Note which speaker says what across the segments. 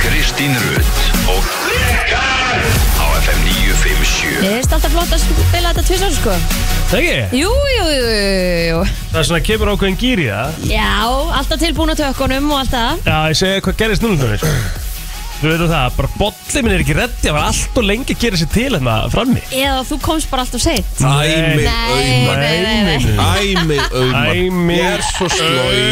Speaker 1: Kristín Rutt og Rikar á FM 957
Speaker 2: Ég veist alltaf flott að spila þetta tvisar sko
Speaker 3: Það ekki?
Speaker 2: Jú, jú, jú, jú, jú
Speaker 3: Það er svona kemur ákveðin gýr í það
Speaker 2: Já, alltaf tilbúin á tökkunum og allt það
Speaker 3: Já, ég segi hvað gerist núna þannig sko. Þú veitum það, bara bolli minn er ekki reddi Það var allt og lengi að gera sér til hérna frammi
Speaker 2: Eða þú komst bara alltaf seint
Speaker 3: Nei.
Speaker 4: Æmi, auðmann
Speaker 2: nei, nei
Speaker 4: Æmi, auðmann
Speaker 3: Æmi
Speaker 4: Ég er svo slói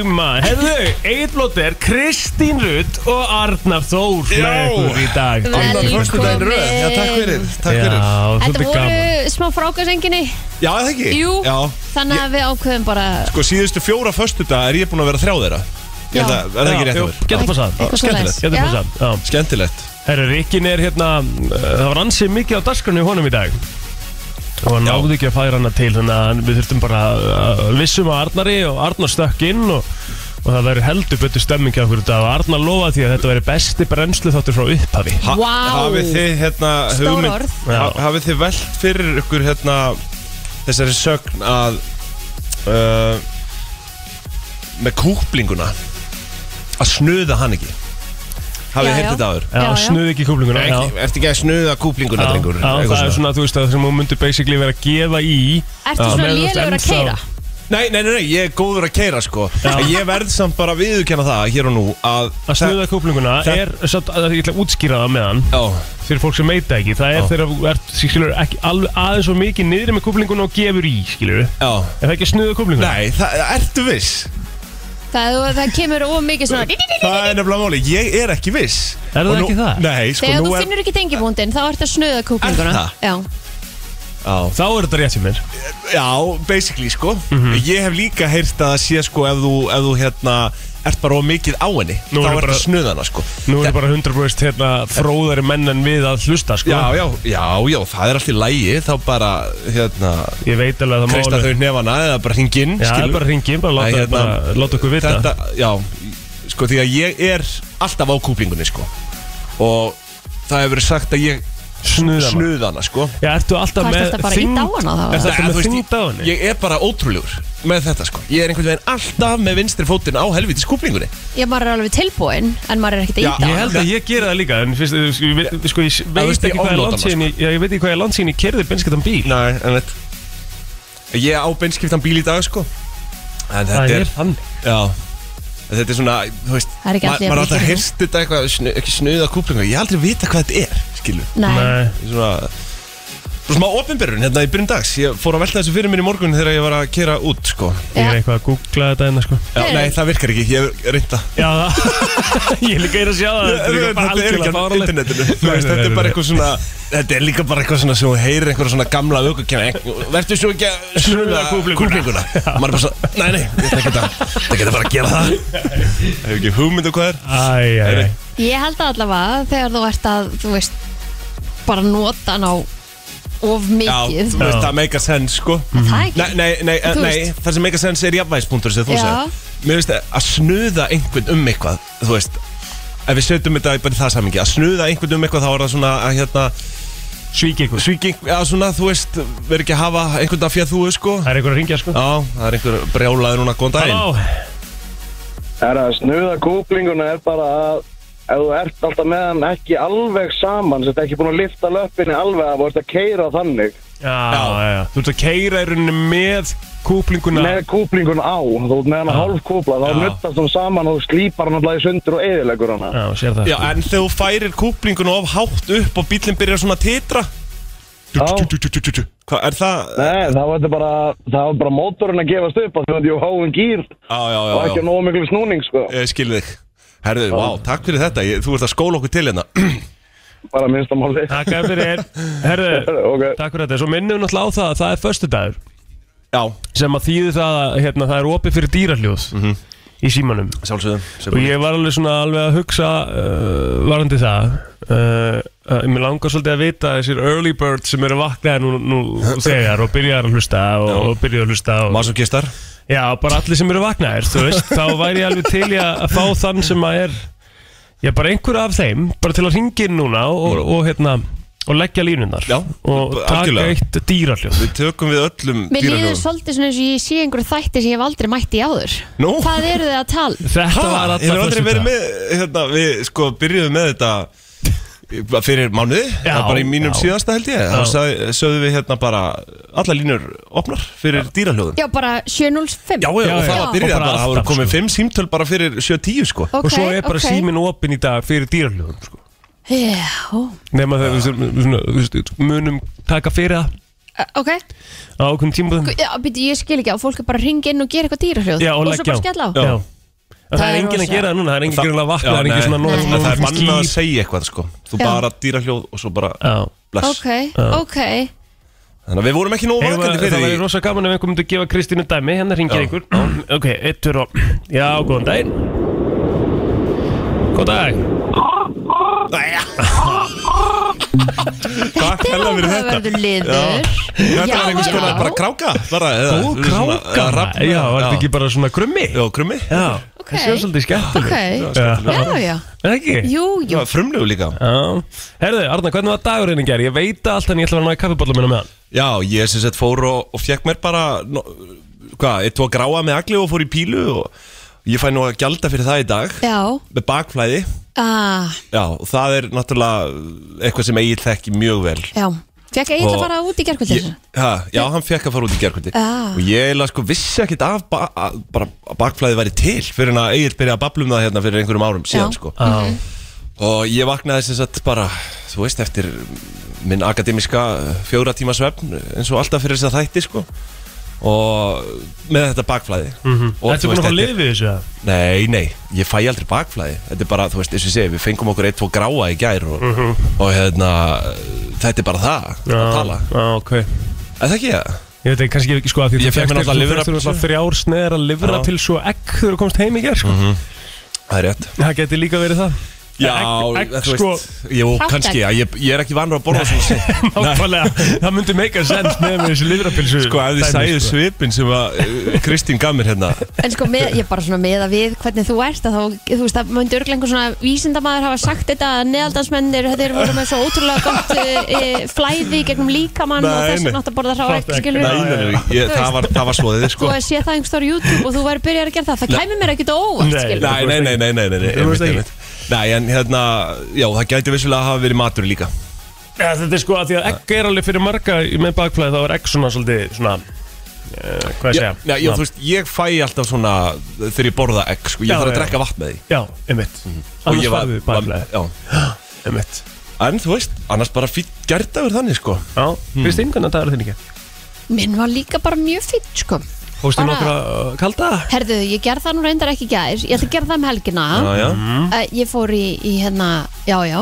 Speaker 3: Æma Herðu, Egil Blóter, Kristín Rutt og Arnar Þór
Speaker 4: Já.
Speaker 3: með ykkur í dag
Speaker 2: Vel.
Speaker 4: Annar föstudaginn í röð. Já, takk fyrir, takk
Speaker 3: Já,
Speaker 4: fyrir
Speaker 2: Þetta
Speaker 3: svolítið gaman
Speaker 2: voru smá frákvæsenginni
Speaker 4: Já, það ekki?
Speaker 2: Jú,
Speaker 4: Já
Speaker 2: þannig að við ákveðum bara
Speaker 4: Sko, síðustu fjóra föstudag er ég búin að vera þrjá þeirra Ég held
Speaker 2: Já.
Speaker 4: að, er það ekki rétt hjá mér?
Speaker 3: Getur bara sann
Speaker 2: eitthvað
Speaker 4: skemmtilegt.
Speaker 3: Getur bara
Speaker 2: svoleiðis.
Speaker 3: sann, já
Speaker 4: Skemmtilegt
Speaker 3: Herru, Rikkin er hérna, uh, það var ansið mikið á dagskrunni honum í dag og hann náði ekki að færa hana til þannig að við þurftum bara að að vissum að Arnari og Arnar stökk inn og, og það verður heldur betur stemmingi okkur þetta og Arnar lofaði því að þetta verður besti brennslu þáttur frá upphafi
Speaker 4: ha,
Speaker 2: Vá.
Speaker 4: Hafið þið, hérna,
Speaker 2: Stór
Speaker 4: hugmynd-
Speaker 2: orð.
Speaker 4: ha, Hafið þið velt fyrir ykkur, hérna Þessari sögn að uh, Með kúplinguna Að snuða hann ekki
Speaker 2: Já,
Speaker 4: Hafið þið
Speaker 2: já.
Speaker 4: heyrt þetta áður?
Speaker 3: Já,
Speaker 2: Já, já.
Speaker 3: snuði ekki kúplinguna
Speaker 4: Ekki-
Speaker 3: já.
Speaker 4: Ertu ekki að snuða kúplinguna,
Speaker 3: Já,
Speaker 4: drengur?
Speaker 3: já,
Speaker 4: Eitthvað
Speaker 3: það er svona, þú veist, að sem hún myndi basically vera að gefa í
Speaker 2: Ertu
Speaker 3: Já.
Speaker 2: svona
Speaker 3: Meðan þú ert
Speaker 2: lélegur að
Speaker 3: ennþá-
Speaker 2: keira?
Speaker 4: Nei, nei, nei, nei, ég er góður að keira sko En ég verð samt bara að viðurkenna það hér og nú Að,
Speaker 3: að snuða kúplinguna
Speaker 4: það-
Speaker 3: er, satt, að ég ætla að útskýra það með hann
Speaker 4: Já,
Speaker 3: fyrir fólk sem meita ekki, það er
Speaker 4: Já.
Speaker 3: þegar þú ert, skilur, ekki alveg aðeins og mikið niðri með kúplinguna og gefur í, skilur
Speaker 4: já
Speaker 3: Er það ekki að snuða kúplinguna?
Speaker 4: Nei, það, ertu viss?
Speaker 2: Það, það kemur of mikið svona
Speaker 4: Það er nefnilega máli, ég er ekki viss
Speaker 3: Er það
Speaker 4: Og nú,
Speaker 3: ekki það?
Speaker 4: Nei, sko,
Speaker 2: Þegar
Speaker 4: nú
Speaker 2: þú
Speaker 4: er
Speaker 2: finnur ekki tengibúndin þá ertu að snuða kúklinguna
Speaker 4: Er það?
Speaker 2: Já,
Speaker 4: já,
Speaker 3: Þá er þetta rétt hjá mér Mhm.
Speaker 4: já, basically sko Ég hef líka heyrt að það sé sko Ef þú, ef þú hérna, ert bara of mikið á henni
Speaker 3: Nú
Speaker 4: Þá ertu
Speaker 3: er bara-
Speaker 4: bara... snuðana sko
Speaker 3: Nú er bara 100% hérna, fróðari menn en við að hlusta sko.
Speaker 4: Já, já, já, já, það er allt í lægi Þá bara, hérna,
Speaker 3: Ég veit alveg að það
Speaker 4: kreista
Speaker 3: máli
Speaker 4: þau nefana Eða bara hringinn
Speaker 3: Já, það er bara að ringi, bara láta,
Speaker 4: Nei,
Speaker 3: hérna, bara, láta okkur vita
Speaker 4: þetta, Já, sko því að ég er alltaf á kúplingunni sko Og það hefur verið sagt að ég
Speaker 3: Snuða maður
Speaker 4: snuða hana sko
Speaker 3: Já, ertu alltaf
Speaker 2: Hvað ertu
Speaker 3: með
Speaker 2: alltaf bara að ýta á hana þá,
Speaker 3: Ertu
Speaker 2: eða?
Speaker 4: Nei,
Speaker 3: alltaf
Speaker 4: þú
Speaker 3: með
Speaker 4: veist,
Speaker 3: þyngd á henni?
Speaker 4: Ég er bara ótrúlegur með þetta sko Ég er einhvern veginn alltaf með vinstri fótinn á helvitis kúplingunni
Speaker 2: ég maður er alveg tilbúin en maður er ekkert
Speaker 4: Já,
Speaker 2: að íta
Speaker 3: Ég held að ég gera það líka En fyrst, sko, ég, veit- sko, ég
Speaker 4: þú
Speaker 3: veit
Speaker 4: veist, ég
Speaker 3: ekki hvað er
Speaker 4: ofnota
Speaker 3: langt
Speaker 4: maður,
Speaker 3: síðan ég- Ég veit ekki hvað er langt síðan ég kerði benskiptan bíl
Speaker 4: Nei, en þetta Ég á beinskiptan bíl í dag sko En þetta
Speaker 3: Það
Speaker 4: er,
Speaker 3: er þannig
Speaker 4: Já En Þetta er svona, þú veist
Speaker 2: Það er ekki allir
Speaker 4: ma-
Speaker 2: jafn
Speaker 4: Maður er alltaf
Speaker 2: mikið.
Speaker 4: hirst þetta eitthvað snu, Ekki snuða kúplingu Ég hef aldrei vita hvað þetta er, skilu
Speaker 2: Nei,
Speaker 3: Nei,
Speaker 4: svona Svo smá opinberun hérna í byrjun dags Ég fór að velta þessu fyrir mér í morgun þegar ég var að kera út sko.
Speaker 3: ég
Speaker 2: Já.
Speaker 3: er eitthvað að googla þetta enna sko
Speaker 4: Já,
Speaker 2: Nei.
Speaker 4: Nei, það virkar ekki, ég hef reynda
Speaker 3: Já, ég er líka að sjá það Þetta er líka bara algjörlega fáránlegt.
Speaker 4: internetinu
Speaker 3: Nei,
Speaker 4: Þú veist, Þetta
Speaker 3: nei,
Speaker 4: er bara
Speaker 3: nei, nei.
Speaker 4: eitthvað svona Þetta er líka bara eitthvað svona sem þú heyrir einhverja svona gamla aukakjana Vertu svo ekki að
Speaker 3: Snuða kúplinguna.
Speaker 4: kúplinguna Maður er bara svona, nei, nei, ég ætla ekki að Það geta bara að gera það Hefur ekki hugmynd og hvað er
Speaker 3: Æ, æ, æ
Speaker 2: ég held að allavega þegar þú ert að, þú veist bara nota hann á of
Speaker 4: Já,
Speaker 2: mikið
Speaker 4: þú veist, það meika sens sko
Speaker 2: Það ekki?
Speaker 4: Nei, nei, nei,
Speaker 2: Þú
Speaker 4: nei
Speaker 2: veist.
Speaker 4: það sem meika sens er jafnvægispunktur sem þú
Speaker 2: Já.
Speaker 4: segir Mér veist að snuða einhvern um eitthvað Þú veist, ef við setjum þetta bara í það samingi Að snuða einhvern um eitthvað þá er það svona að hérna
Speaker 3: Svík ykkur
Speaker 4: Svíking, já svona, þú veist, verður ekki að hafa einhvern að fjöð þú sko Já,
Speaker 3: Það er ykkur að ringja sko
Speaker 4: það er einhver brjálaður núna, góðan daginn
Speaker 3: Halló
Speaker 5: Það er að snuða kúplinguna er bara að ef þú ert alltaf með hann ekki alveg saman sem þetta ekki búin að lifta löppinni alveg að voru að keira þannig
Speaker 3: Já, já, já Þú ert að keira í rauninni með kúplinguna
Speaker 5: með kúplinguna á, þú ert með hann
Speaker 3: Já.
Speaker 5: hálf kúpla þá
Speaker 3: Já.
Speaker 5: nuttast hún saman og þú slípar hann alltaf í sundur og eðilegur hana
Speaker 3: Já, sér það
Speaker 4: Já, en þegar þú færir kúplingun of hátt upp og bílinn byrjar svona að titra Hvað, er það?
Speaker 5: Nei, þá var þetta bara, þá var bara mótorinn að gefast upp að þú ert í háum
Speaker 4: Já,
Speaker 5: gýr
Speaker 4: já, já,
Speaker 5: og
Speaker 4: já
Speaker 5: ekki nógu miklu snúning sko
Speaker 4: Ég Eh, skil þig Herðu, vá, takk fyrir þetta, ég, þú ert að skóla okkur til hérna
Speaker 5: bara minnst að máli
Speaker 3: Takk að fyrir Herðu,
Speaker 5: okay.
Speaker 3: takk fyrir þetta Svo minnum við náttúrulega á það að það er föstudagur
Speaker 4: Já,
Speaker 3: sem að þýði það að hérna, það er opið fyrir dýrahljóð í símanum
Speaker 4: sjálfsögðum
Speaker 3: og ég var alveg svona alveg að hugsa uh, varandi það uh, að mér langar svolítið að vita þessir early birds sem eru vaknaði nú, nú þegar og byrjar að hlusta og, og byrjar að hlusta og,
Speaker 4: Masokistar
Speaker 3: Já, bara allir sem eru vaknaðir, þú veist þá væri ég alveg til í að fá þann sem að er já, bara einhver af þeim bara til að ringja inn núna og, og, hérna og leggja línunar
Speaker 4: Já,
Speaker 3: og taka
Speaker 4: algjörlega.
Speaker 3: eitt dýraljóð
Speaker 4: Við tökum við öllum
Speaker 2: Mér líður
Speaker 4: dýraljóðum.
Speaker 2: svolítið svona eins og ég sé einhverju þætti sem ég hef aldrei mætt í áður
Speaker 4: Nú?
Speaker 2: Hvað eru þið að tala?
Speaker 3: Þetta
Speaker 4: Ha, Ég
Speaker 3: var
Speaker 4: hef
Speaker 3: alla
Speaker 4: aldrei verið með, hérna, við sko byrjuðum með þetta bara fyrir mánuði,
Speaker 3: Já,
Speaker 4: það var bara í mínum
Speaker 3: já.
Speaker 4: síðasta held ég þá sagði- sögðum við hérna bara alla línur opnar fyrir dýraljóðum
Speaker 2: Já, bara 705
Speaker 4: Já, já,
Speaker 3: Já,
Speaker 4: og það
Speaker 3: já.
Speaker 4: var byrjað
Speaker 3: Og
Speaker 4: bara,
Speaker 3: bara
Speaker 4: það voru
Speaker 3: alltaf,
Speaker 4: komið
Speaker 3: sko.
Speaker 4: fimm símtöl bara fyrir 7-10 sko
Speaker 2: Ok,
Speaker 3: og svo er bara
Speaker 2: ok.
Speaker 3: okay. símin opinn í dag fyrir dýraljóðum sko.
Speaker 2: Já,
Speaker 3: nema þegar við sem- svona, þú veist, munum taka fyrir það
Speaker 2: ok
Speaker 3: á okkur tímaböðum
Speaker 2: Já, býttu, ég skil ekki á, fólk er bara að ringa inn og gera eitthvað dýrahjóð
Speaker 3: Já, og
Speaker 2: svo bara skella á
Speaker 3: Já. En
Speaker 2: Það
Speaker 3: það, er
Speaker 2: er
Speaker 3: enginn að
Speaker 2: rosa.
Speaker 3: gera það núna, það er enginn að gera að vakna,
Speaker 4: Já,
Speaker 3: það er enginn
Speaker 4: nei.
Speaker 3: svona
Speaker 2: Nei.
Speaker 3: nóg-
Speaker 4: En það er
Speaker 3: nóg-
Speaker 4: bannað að
Speaker 3: skýr.
Speaker 4: segja eitthvað sko Þú
Speaker 2: Já.
Speaker 4: bara dýraljóð og svo bara
Speaker 3: Já.
Speaker 4: bless
Speaker 2: Ok, ok
Speaker 4: Þannig að við vorum ekki nóg
Speaker 3: Eigum
Speaker 4: vakandi
Speaker 3: að-
Speaker 4: fyrir
Speaker 3: Það
Speaker 4: því
Speaker 3: væri rosa gaman ef einhver myndi að gefa Kristínu dæmi, hérna ringir
Speaker 4: Já.
Speaker 3: einhver Ok, eitt fyrir og Já, góðan daginn Góðan dag
Speaker 4: Æja, Takk
Speaker 2: Þetta er
Speaker 3: um?
Speaker 4: hella fyrir þetta.
Speaker 2: áhugaverður liður
Speaker 4: Þetta var einhvers
Speaker 2: já.
Speaker 4: konar bara kráka bara, eða,
Speaker 3: Ó,
Speaker 4: svona, eða
Speaker 3: kráka
Speaker 4: rafn-
Speaker 3: Já, var þetta ekki bara svona grummi?
Speaker 4: Já, krummi
Speaker 3: Já,
Speaker 2: Ok.
Speaker 3: það séu svolítið skemmtileg
Speaker 2: Ok,
Speaker 3: Já,
Speaker 2: já, já
Speaker 3: Er það ekki?
Speaker 2: Jú, jú,
Speaker 4: Já, frumlegu líka
Speaker 3: Já, herðu, Arna, hvernig var dagurinn í gerð? Ég veit það allt en ég ætla að ná í kaffibólum minna með hann
Speaker 4: Já, ég sem sett fór og, og fekk mér bara no, Hvað, ég tók gráa með agli og fór í pílu og ég fæ nú að gjalda fyrir það í dag
Speaker 2: já
Speaker 4: með bakflæði
Speaker 2: ah,
Speaker 4: Já, og það er náttúrulega eitthvað sem Egil þekki mjög vel
Speaker 2: Já, fekk ég að
Speaker 4: Og-
Speaker 2: fara út í gerkvöldir
Speaker 4: Ég- ha, Já, hann fekk að fara út í gerkvöldi
Speaker 2: Ah.
Speaker 4: og ég eiginlega sko vissi ekkit af ba að, bara að bakflæði væri til fyrir en að Egil byrja að babla um það hérna fyrir einhverjum árum síðan
Speaker 2: Já.
Speaker 4: sko
Speaker 3: Já,
Speaker 4: og ég vaknaði sem sagt bara þú veist eftir minn akademiska eh, fjóra tíma svefn eins og alltaf fyrir þess að þætti sko og með þetta bakflæði og
Speaker 3: Þetta er búin Mhm. að fá lið við þessu eða?
Speaker 4: nei, nei, ég fæ aldrei bakflæði þetta er bara, þú veist, eins og ég segi, við fengum okkur eitt, tvo gráa í gær og, og hérna þetta er bara það að tala,
Speaker 3: Mhm. Já, ok
Speaker 4: er það ekki ég?
Speaker 3: Ég veit ekki, kannski ekki sko að því
Speaker 4: Ég fékk mér náttúrulega lifra-
Speaker 3: Þú þrjár sneðar að livra
Speaker 4: Já. Mhm.
Speaker 3: til svo egg þegar þú komst heim í gerð sko.
Speaker 4: það er rétt
Speaker 3: Það geti líka verið það Egg- egg,
Speaker 4: þú
Speaker 3: sko,
Speaker 4: veist, jú,
Speaker 2: Hrátt egg.
Speaker 4: kannski, já, ég, ég er ekki vanur að borða svona sem
Speaker 3: nákvæmlega Það myndi meika sens með með þessi livrapilsu
Speaker 4: Sko, ef þið sæðu svipin sem að eh, Kristín gaf mér hérna
Speaker 2: En sko, með, ég bara svona með að við hvernig þú ert að þá, þú veist, það myndi örglega einhver svona vísindamaður hafa sagt þetta að neðaldansmennir þeir voru með svo ótrúlega gott e, flæði í gegnum líkamann og
Speaker 4: Nei,
Speaker 2: þess
Speaker 4: nei.
Speaker 2: vegna átt að borða
Speaker 3: Hrátt
Speaker 2: hráegg,
Speaker 3: egg.
Speaker 2: skilur
Speaker 4: Nei, nei, nei, ég,
Speaker 2: Þú
Speaker 4: það,
Speaker 2: veist.
Speaker 4: var, það var svoðið
Speaker 2: þú
Speaker 4: sko
Speaker 2: að sé það einhver stór YouTube og þú væri byrjar að gera það, það kæmi mér ekkert á óvart,
Speaker 3: Nei.
Speaker 2: skilur
Speaker 4: Nei, nei, nei, nei, nei, nei, nei,
Speaker 3: Þú veist
Speaker 4: einmitt,
Speaker 3: ekki.
Speaker 4: einmitt. nei en hérna, já, það gæti vissulega að hafa verið matur líka
Speaker 3: ja, Þetta er sko að því að egg er alveg fyrir marga í- með bakflæði þá er egg svona svolítið svona uh, Hvað ég
Speaker 4: Já,
Speaker 3: segja
Speaker 4: já, já, þú veist, ég fæ alltaf svona þegar ég borða egg, sko, ég
Speaker 3: Já,
Speaker 4: þarf að
Speaker 3: já.
Speaker 4: drekka vatn með því Mhm.
Speaker 3: Já, einmitt
Speaker 4: Og
Speaker 3: Annars
Speaker 4: ég
Speaker 3: var við bakflæði
Speaker 4: já.
Speaker 3: Einmitt
Speaker 4: En þú veist, annars bara fýtt gerðaður þannig, sko
Speaker 3: Já, Kristín, hvernig dagur þinn ekki?
Speaker 2: Minn var líka bara mjög fýtt, sko
Speaker 3: Hóstu
Speaker 2: Bara-
Speaker 3: nokkra uh, kalda?
Speaker 2: Herðu, ég ger það nú reyndar ekki í gær, ég ætla að gera það um helgina
Speaker 4: Já, já,
Speaker 2: Eh, Ég fór í, í hérna, já, já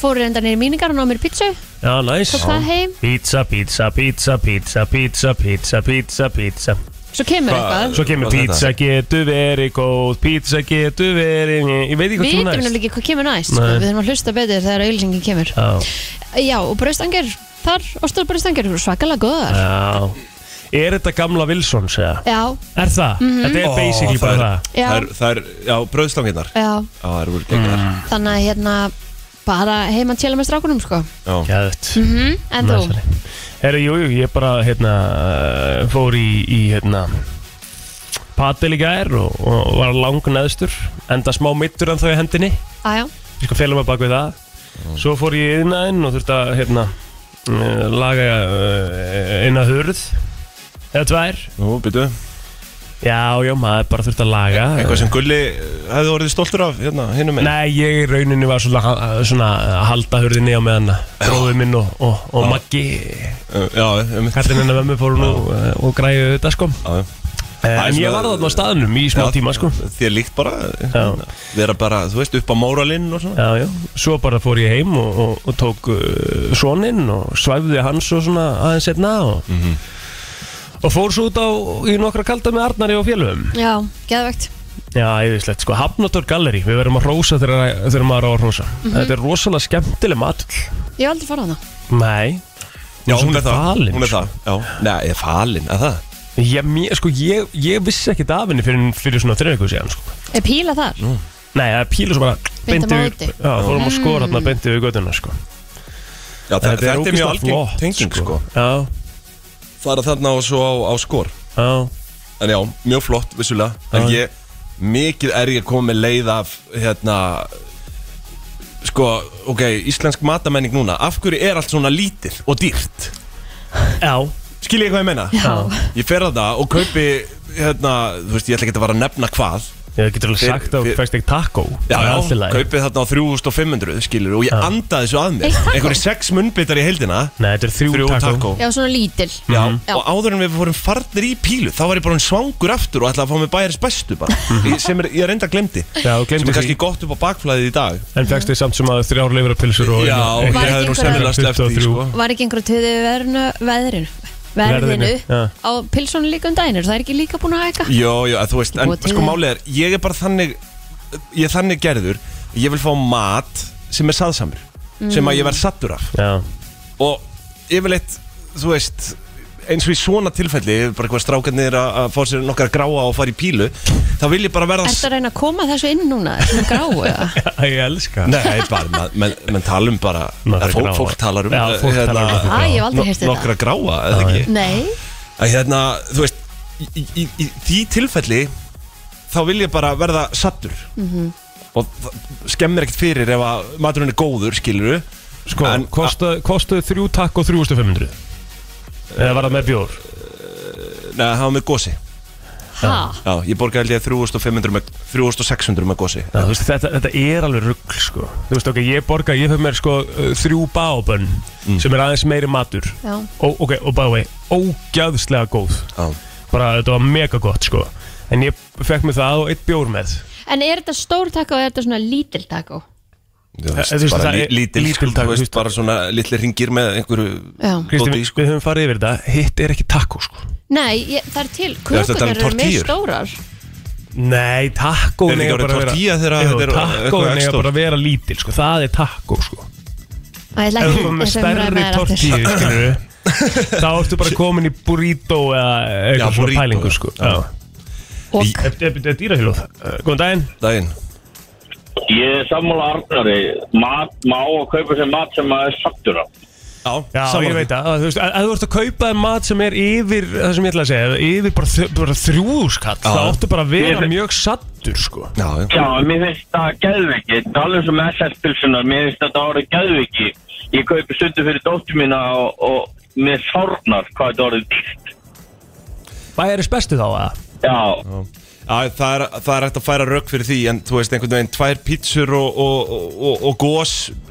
Speaker 2: Fór reyndar niður míningar og ná mér pítsu,
Speaker 3: Já, næs
Speaker 2: tók það heim
Speaker 3: Pizza, pizza, pizza, pizza, pizza, pizza, pizza, pizza
Speaker 2: Svo kemur
Speaker 4: Hvað-
Speaker 2: eitthvað
Speaker 3: Svo kemur
Speaker 4: Hvað er
Speaker 3: pizza getur verið góð, pizza getur verið Ég veit ekki
Speaker 2: Við
Speaker 3: hvað
Speaker 2: vitum
Speaker 3: sem
Speaker 2: náttúrulega
Speaker 3: næst
Speaker 2: ekki hvað kemur næst sko.
Speaker 3: Nei.
Speaker 2: Við þurfum að hlusta betur þegar auðlýsingin kemur
Speaker 3: Já,
Speaker 2: Já, og braustangar Þar, ostur braustangar, eru svakalega góðar
Speaker 3: já Er þetta gamla Wilsons eða?
Speaker 2: Já,
Speaker 3: Er það? Þetta er
Speaker 4: Ó,
Speaker 3: basically bara
Speaker 4: það er-
Speaker 3: það
Speaker 2: já, Eh.
Speaker 4: það er, það er, já, bröðslanginnar Já,
Speaker 2: já
Speaker 4: það eru voru geggar
Speaker 3: Hmm.
Speaker 2: Þannig að hérna bara heima að tjela með strákunum sko
Speaker 4: Já,
Speaker 3: Gæðut
Speaker 2: mm, En þú,
Speaker 3: Herru, jú, jú, ég bara, hérna, eh, fór í, í hérna Patel í gær og, og var lang neðstur Enda smá mittur en þau í hendinni
Speaker 2: aðjá,
Speaker 3: Ég sko félum að bak við það
Speaker 4: Mm.
Speaker 3: Svo fór ég í yðnaðinn og þurfti að, hérna eh, Laga eh, eina hurð Eða tvær
Speaker 4: nú, byrju
Speaker 3: Já, já, maður bara þurfti að laga
Speaker 4: E-, Eitthvað sem Gulli eh, hefði orðið stoltur af, hérna, hinnum minn
Speaker 3: Nei, ég í rauninni var svona, svona að halda hurðinni á meðan Bróður minn og, og, og Maggi
Speaker 4: Já, um
Speaker 3: Kallinn hennar með mig fóru nú eh, og græði þetta sko Eh,
Speaker 4: Það er
Speaker 3: En ég
Speaker 4: svona-
Speaker 3: var þarna á staðnum í smá
Speaker 4: Já.
Speaker 3: tíma sko
Speaker 4: Þér líkt bara, hérna, vera bara, þú veist, upp á móralinn og svona
Speaker 3: Já, já, svo bara fór ég heim og, og, og tók uh, soninn og svæfði hann svo svona aðeins setna og,
Speaker 4: Mhm.
Speaker 3: og fór svo út á í nokkra kalda með Arnari og félögum
Speaker 2: já, geðvegt
Speaker 3: Já, yfirleitt, sko, Hafnator Gallery, við verðum að rósa þegar, þegar maður á að rósa Þetta er rosalega skemmtileg matull
Speaker 2: Ég hef aldrei farað hana
Speaker 3: Nei,
Speaker 4: Já,
Speaker 3: Hún
Speaker 4: hún
Speaker 3: er
Speaker 4: er það,
Speaker 3: falin,
Speaker 4: hún er
Speaker 3: sko.
Speaker 4: það Já, nei, er falin, er það
Speaker 3: ég, mér, sko, ég, ég vissi ekkit af henni fyrir, fyrir svona þreifíku síðan sko.
Speaker 2: Er píla þar?
Speaker 3: Nei, það er pílu sem bara
Speaker 2: Beint á
Speaker 3: beindi við-
Speaker 2: móti. Mm.
Speaker 3: Já, fórum að skora þarna beindi við göttuna sko.
Speaker 4: Já, þetta, þetta er, mjög
Speaker 3: ógeðslega
Speaker 4: algeng
Speaker 3: flott,
Speaker 4: tenging sko.
Speaker 3: Já,
Speaker 4: Fara þarna og svo á, á skor
Speaker 3: já
Speaker 4: En já, mjög flott vissulega En
Speaker 3: Já.
Speaker 4: ég, mikið er ég komið leið af Hérna Sko, ok, íslensk matamenning núna Af hverju er allt svona lítið og dýrt?
Speaker 3: Já,
Speaker 4: Skiljið ég hvað ég meina?
Speaker 2: Já.
Speaker 4: Ég fer að það og kaupi Hérna, þú veist, ég ætla ekki að fara að nefna hvað
Speaker 3: ég getur alveg
Speaker 4: Fyrir-
Speaker 3: sagt að þú
Speaker 4: fyrir-
Speaker 3: fæst ekki taco
Speaker 4: Já,
Speaker 3: Það er
Speaker 4: já,
Speaker 3: allt í lagi.
Speaker 4: kaupið þarna á 3500 skilur og ég
Speaker 3: Já.
Speaker 4: andaði svo að mér
Speaker 2: Eitt taco?
Speaker 4: einhverju sex munnbitar í heildina
Speaker 3: Nei, þetta er þrjú, Mhm.
Speaker 4: þrjú taco
Speaker 2: Já, svona lítil
Speaker 4: Já,
Speaker 2: Já.
Speaker 4: og áður en við fórum farnir í pílu þá var ég bara svangur aftur og ætlaði að fá mig bæjarins bestu bara, Ég- sem er, ég reynda glemdi
Speaker 3: Mhm. Já, þú gleymdir
Speaker 4: sem er
Speaker 3: því.
Speaker 4: kannski gott upp á bakflæðið í dag
Speaker 3: En fegst þið samt sem að þrjár leifurapilsur og
Speaker 4: Já,
Speaker 3: eina-
Speaker 4: ég
Speaker 2: Var
Speaker 4: hefði nú
Speaker 2: ekki
Speaker 4: semmilega sleppt því
Speaker 3: 23.
Speaker 4: sko.
Speaker 2: Var ekki einhver töðu verðinu, veðrinu, verðinu
Speaker 3: Verðinu, já.
Speaker 2: á pilsónu líka um daginn, er það ekki líka búin að hækka?
Speaker 4: Jó, jó, en þú veist, en
Speaker 2: Búið til
Speaker 4: sko
Speaker 2: það.
Speaker 4: málið er ég er bara þannig ég er þannig gerður, ég vil fá mat sem er saðsamur, sem að ég verð sattur af
Speaker 3: Já,
Speaker 4: og yfirleitt, þú veist eins og í svona tilfelli, bara hvað strákarnir að að fá sér nokkar gráa og fara í pílu þá vil ég bara verða
Speaker 2: Ertu að reyna að koma þessu inn núna, þessum gráu? eða?
Speaker 3: ég elska
Speaker 4: Nei, bara, ma- menn men talum bara
Speaker 3: Nokkra
Speaker 4: eða fólk,
Speaker 3: gráa.
Speaker 4: fólk talar um
Speaker 3: Já,
Speaker 4: eh,
Speaker 3: fólk talar um
Speaker 2: Æ, ég hef aldrei
Speaker 4: no-
Speaker 2: heyrt þetta.
Speaker 4: Nokkra gráa, eða ekki
Speaker 2: Nei,
Speaker 4: að, hérna, Þú veist, í, í, í, í því tilfelli þá vil ég bara verða sattur
Speaker 2: Mhm.
Speaker 4: og það skemmir ekkert fyrir ef að maturinn er góður, skilur
Speaker 3: Sko,
Speaker 4: En-
Speaker 3: kostaði kosta þrjú taco 3500 Eða var það með bjór?
Speaker 4: Eh, Nei, það var með gósi
Speaker 2: ha?
Speaker 4: Já, ég borgaði held ég 3500 með, 3600 með gósi
Speaker 3: Já, þú veist, þetta, þetta er alveg rugg sko. Þú veist, ok, ég borga, ég fyrir mér sko uh, þrjú bábönn
Speaker 4: Mm.
Speaker 3: sem er aðeins meiri matur
Speaker 2: Já.
Speaker 3: og, ok, og by the way, ógæðslega góð
Speaker 4: Já.
Speaker 3: bara þetta var mega gott sko en ég fekk mér það og eitt bjór með
Speaker 2: En er þetta stór taco eða er þetta svona lítil taco?
Speaker 4: Þú veist,
Speaker 3: Eh, þú veist,
Speaker 4: bara
Speaker 3: það
Speaker 4: lí-
Speaker 3: er-
Speaker 4: lítil,
Speaker 3: lítil
Speaker 4: sko,
Speaker 3: takk,
Speaker 4: þú
Speaker 3: þú
Speaker 4: veist,
Speaker 3: veist.
Speaker 4: bara svona litli ringir með einhverju
Speaker 2: Já.
Speaker 3: Kristi,
Speaker 4: dóti, sko.
Speaker 3: við höfum farið yfir þetta, hitt er ekki taco sko
Speaker 2: Nei, ég, það er til,
Speaker 4: ertu að tala um
Speaker 2: kökurnar eru með
Speaker 4: tortillur?
Speaker 2: stórar
Speaker 3: Nei, taco
Speaker 4: Er þetta ekki orðið tortilla þegar að þetta er
Speaker 3: Taco
Speaker 4: eitthvað
Speaker 3: er
Speaker 4: ekstra?
Speaker 3: bara að vera lítil sko, það er taco sko
Speaker 2: Æ, ég ætla
Speaker 3: Ef
Speaker 2: ekki-
Speaker 3: þú erum með
Speaker 2: þessi umræða
Speaker 3: stærri
Speaker 2: er aftur.
Speaker 3: tortíu, skilur Þá ertu bara komin í burrito eða
Speaker 4: Já,
Speaker 3: eitthvað svona
Speaker 4: burrito,
Speaker 3: pælingu,
Speaker 4: já.
Speaker 3: sko
Speaker 4: Já.
Speaker 3: Já.
Speaker 2: Og
Speaker 3: Þetta er- Þetta er dýrahjóluð Góðan daginn
Speaker 4: daginn
Speaker 6: Ég er sammála Arnari, mat má að kaupa sér mat sem maður er sattur af.
Speaker 4: Já,
Speaker 3: Já, ég veit að, að þú veist, að, að þú ert að kaupa þér mat sem er yfir, það sem ég ætla að segja yfir bara, þ- bara þrjúskall
Speaker 4: Já.
Speaker 3: það áttu bara að vera
Speaker 6: Ég-
Speaker 3: mjög sattur, sko
Speaker 4: Já, já
Speaker 6: Já, en mér finnst það geðviki, það er alveg sem SS-pilsunar, mér finnst þetta árið geðviki. Ég kaupi stundu fyrir dóttur mína og, og mér sárnar hvað þetta árið dýrt.
Speaker 3: Hvað er þess bestu þá, að?
Speaker 6: Já,
Speaker 4: Já, það er, það er hægt að færa rögg fyrir því en þú veist einhvern veginn tvær pítsur og, og, og, og gós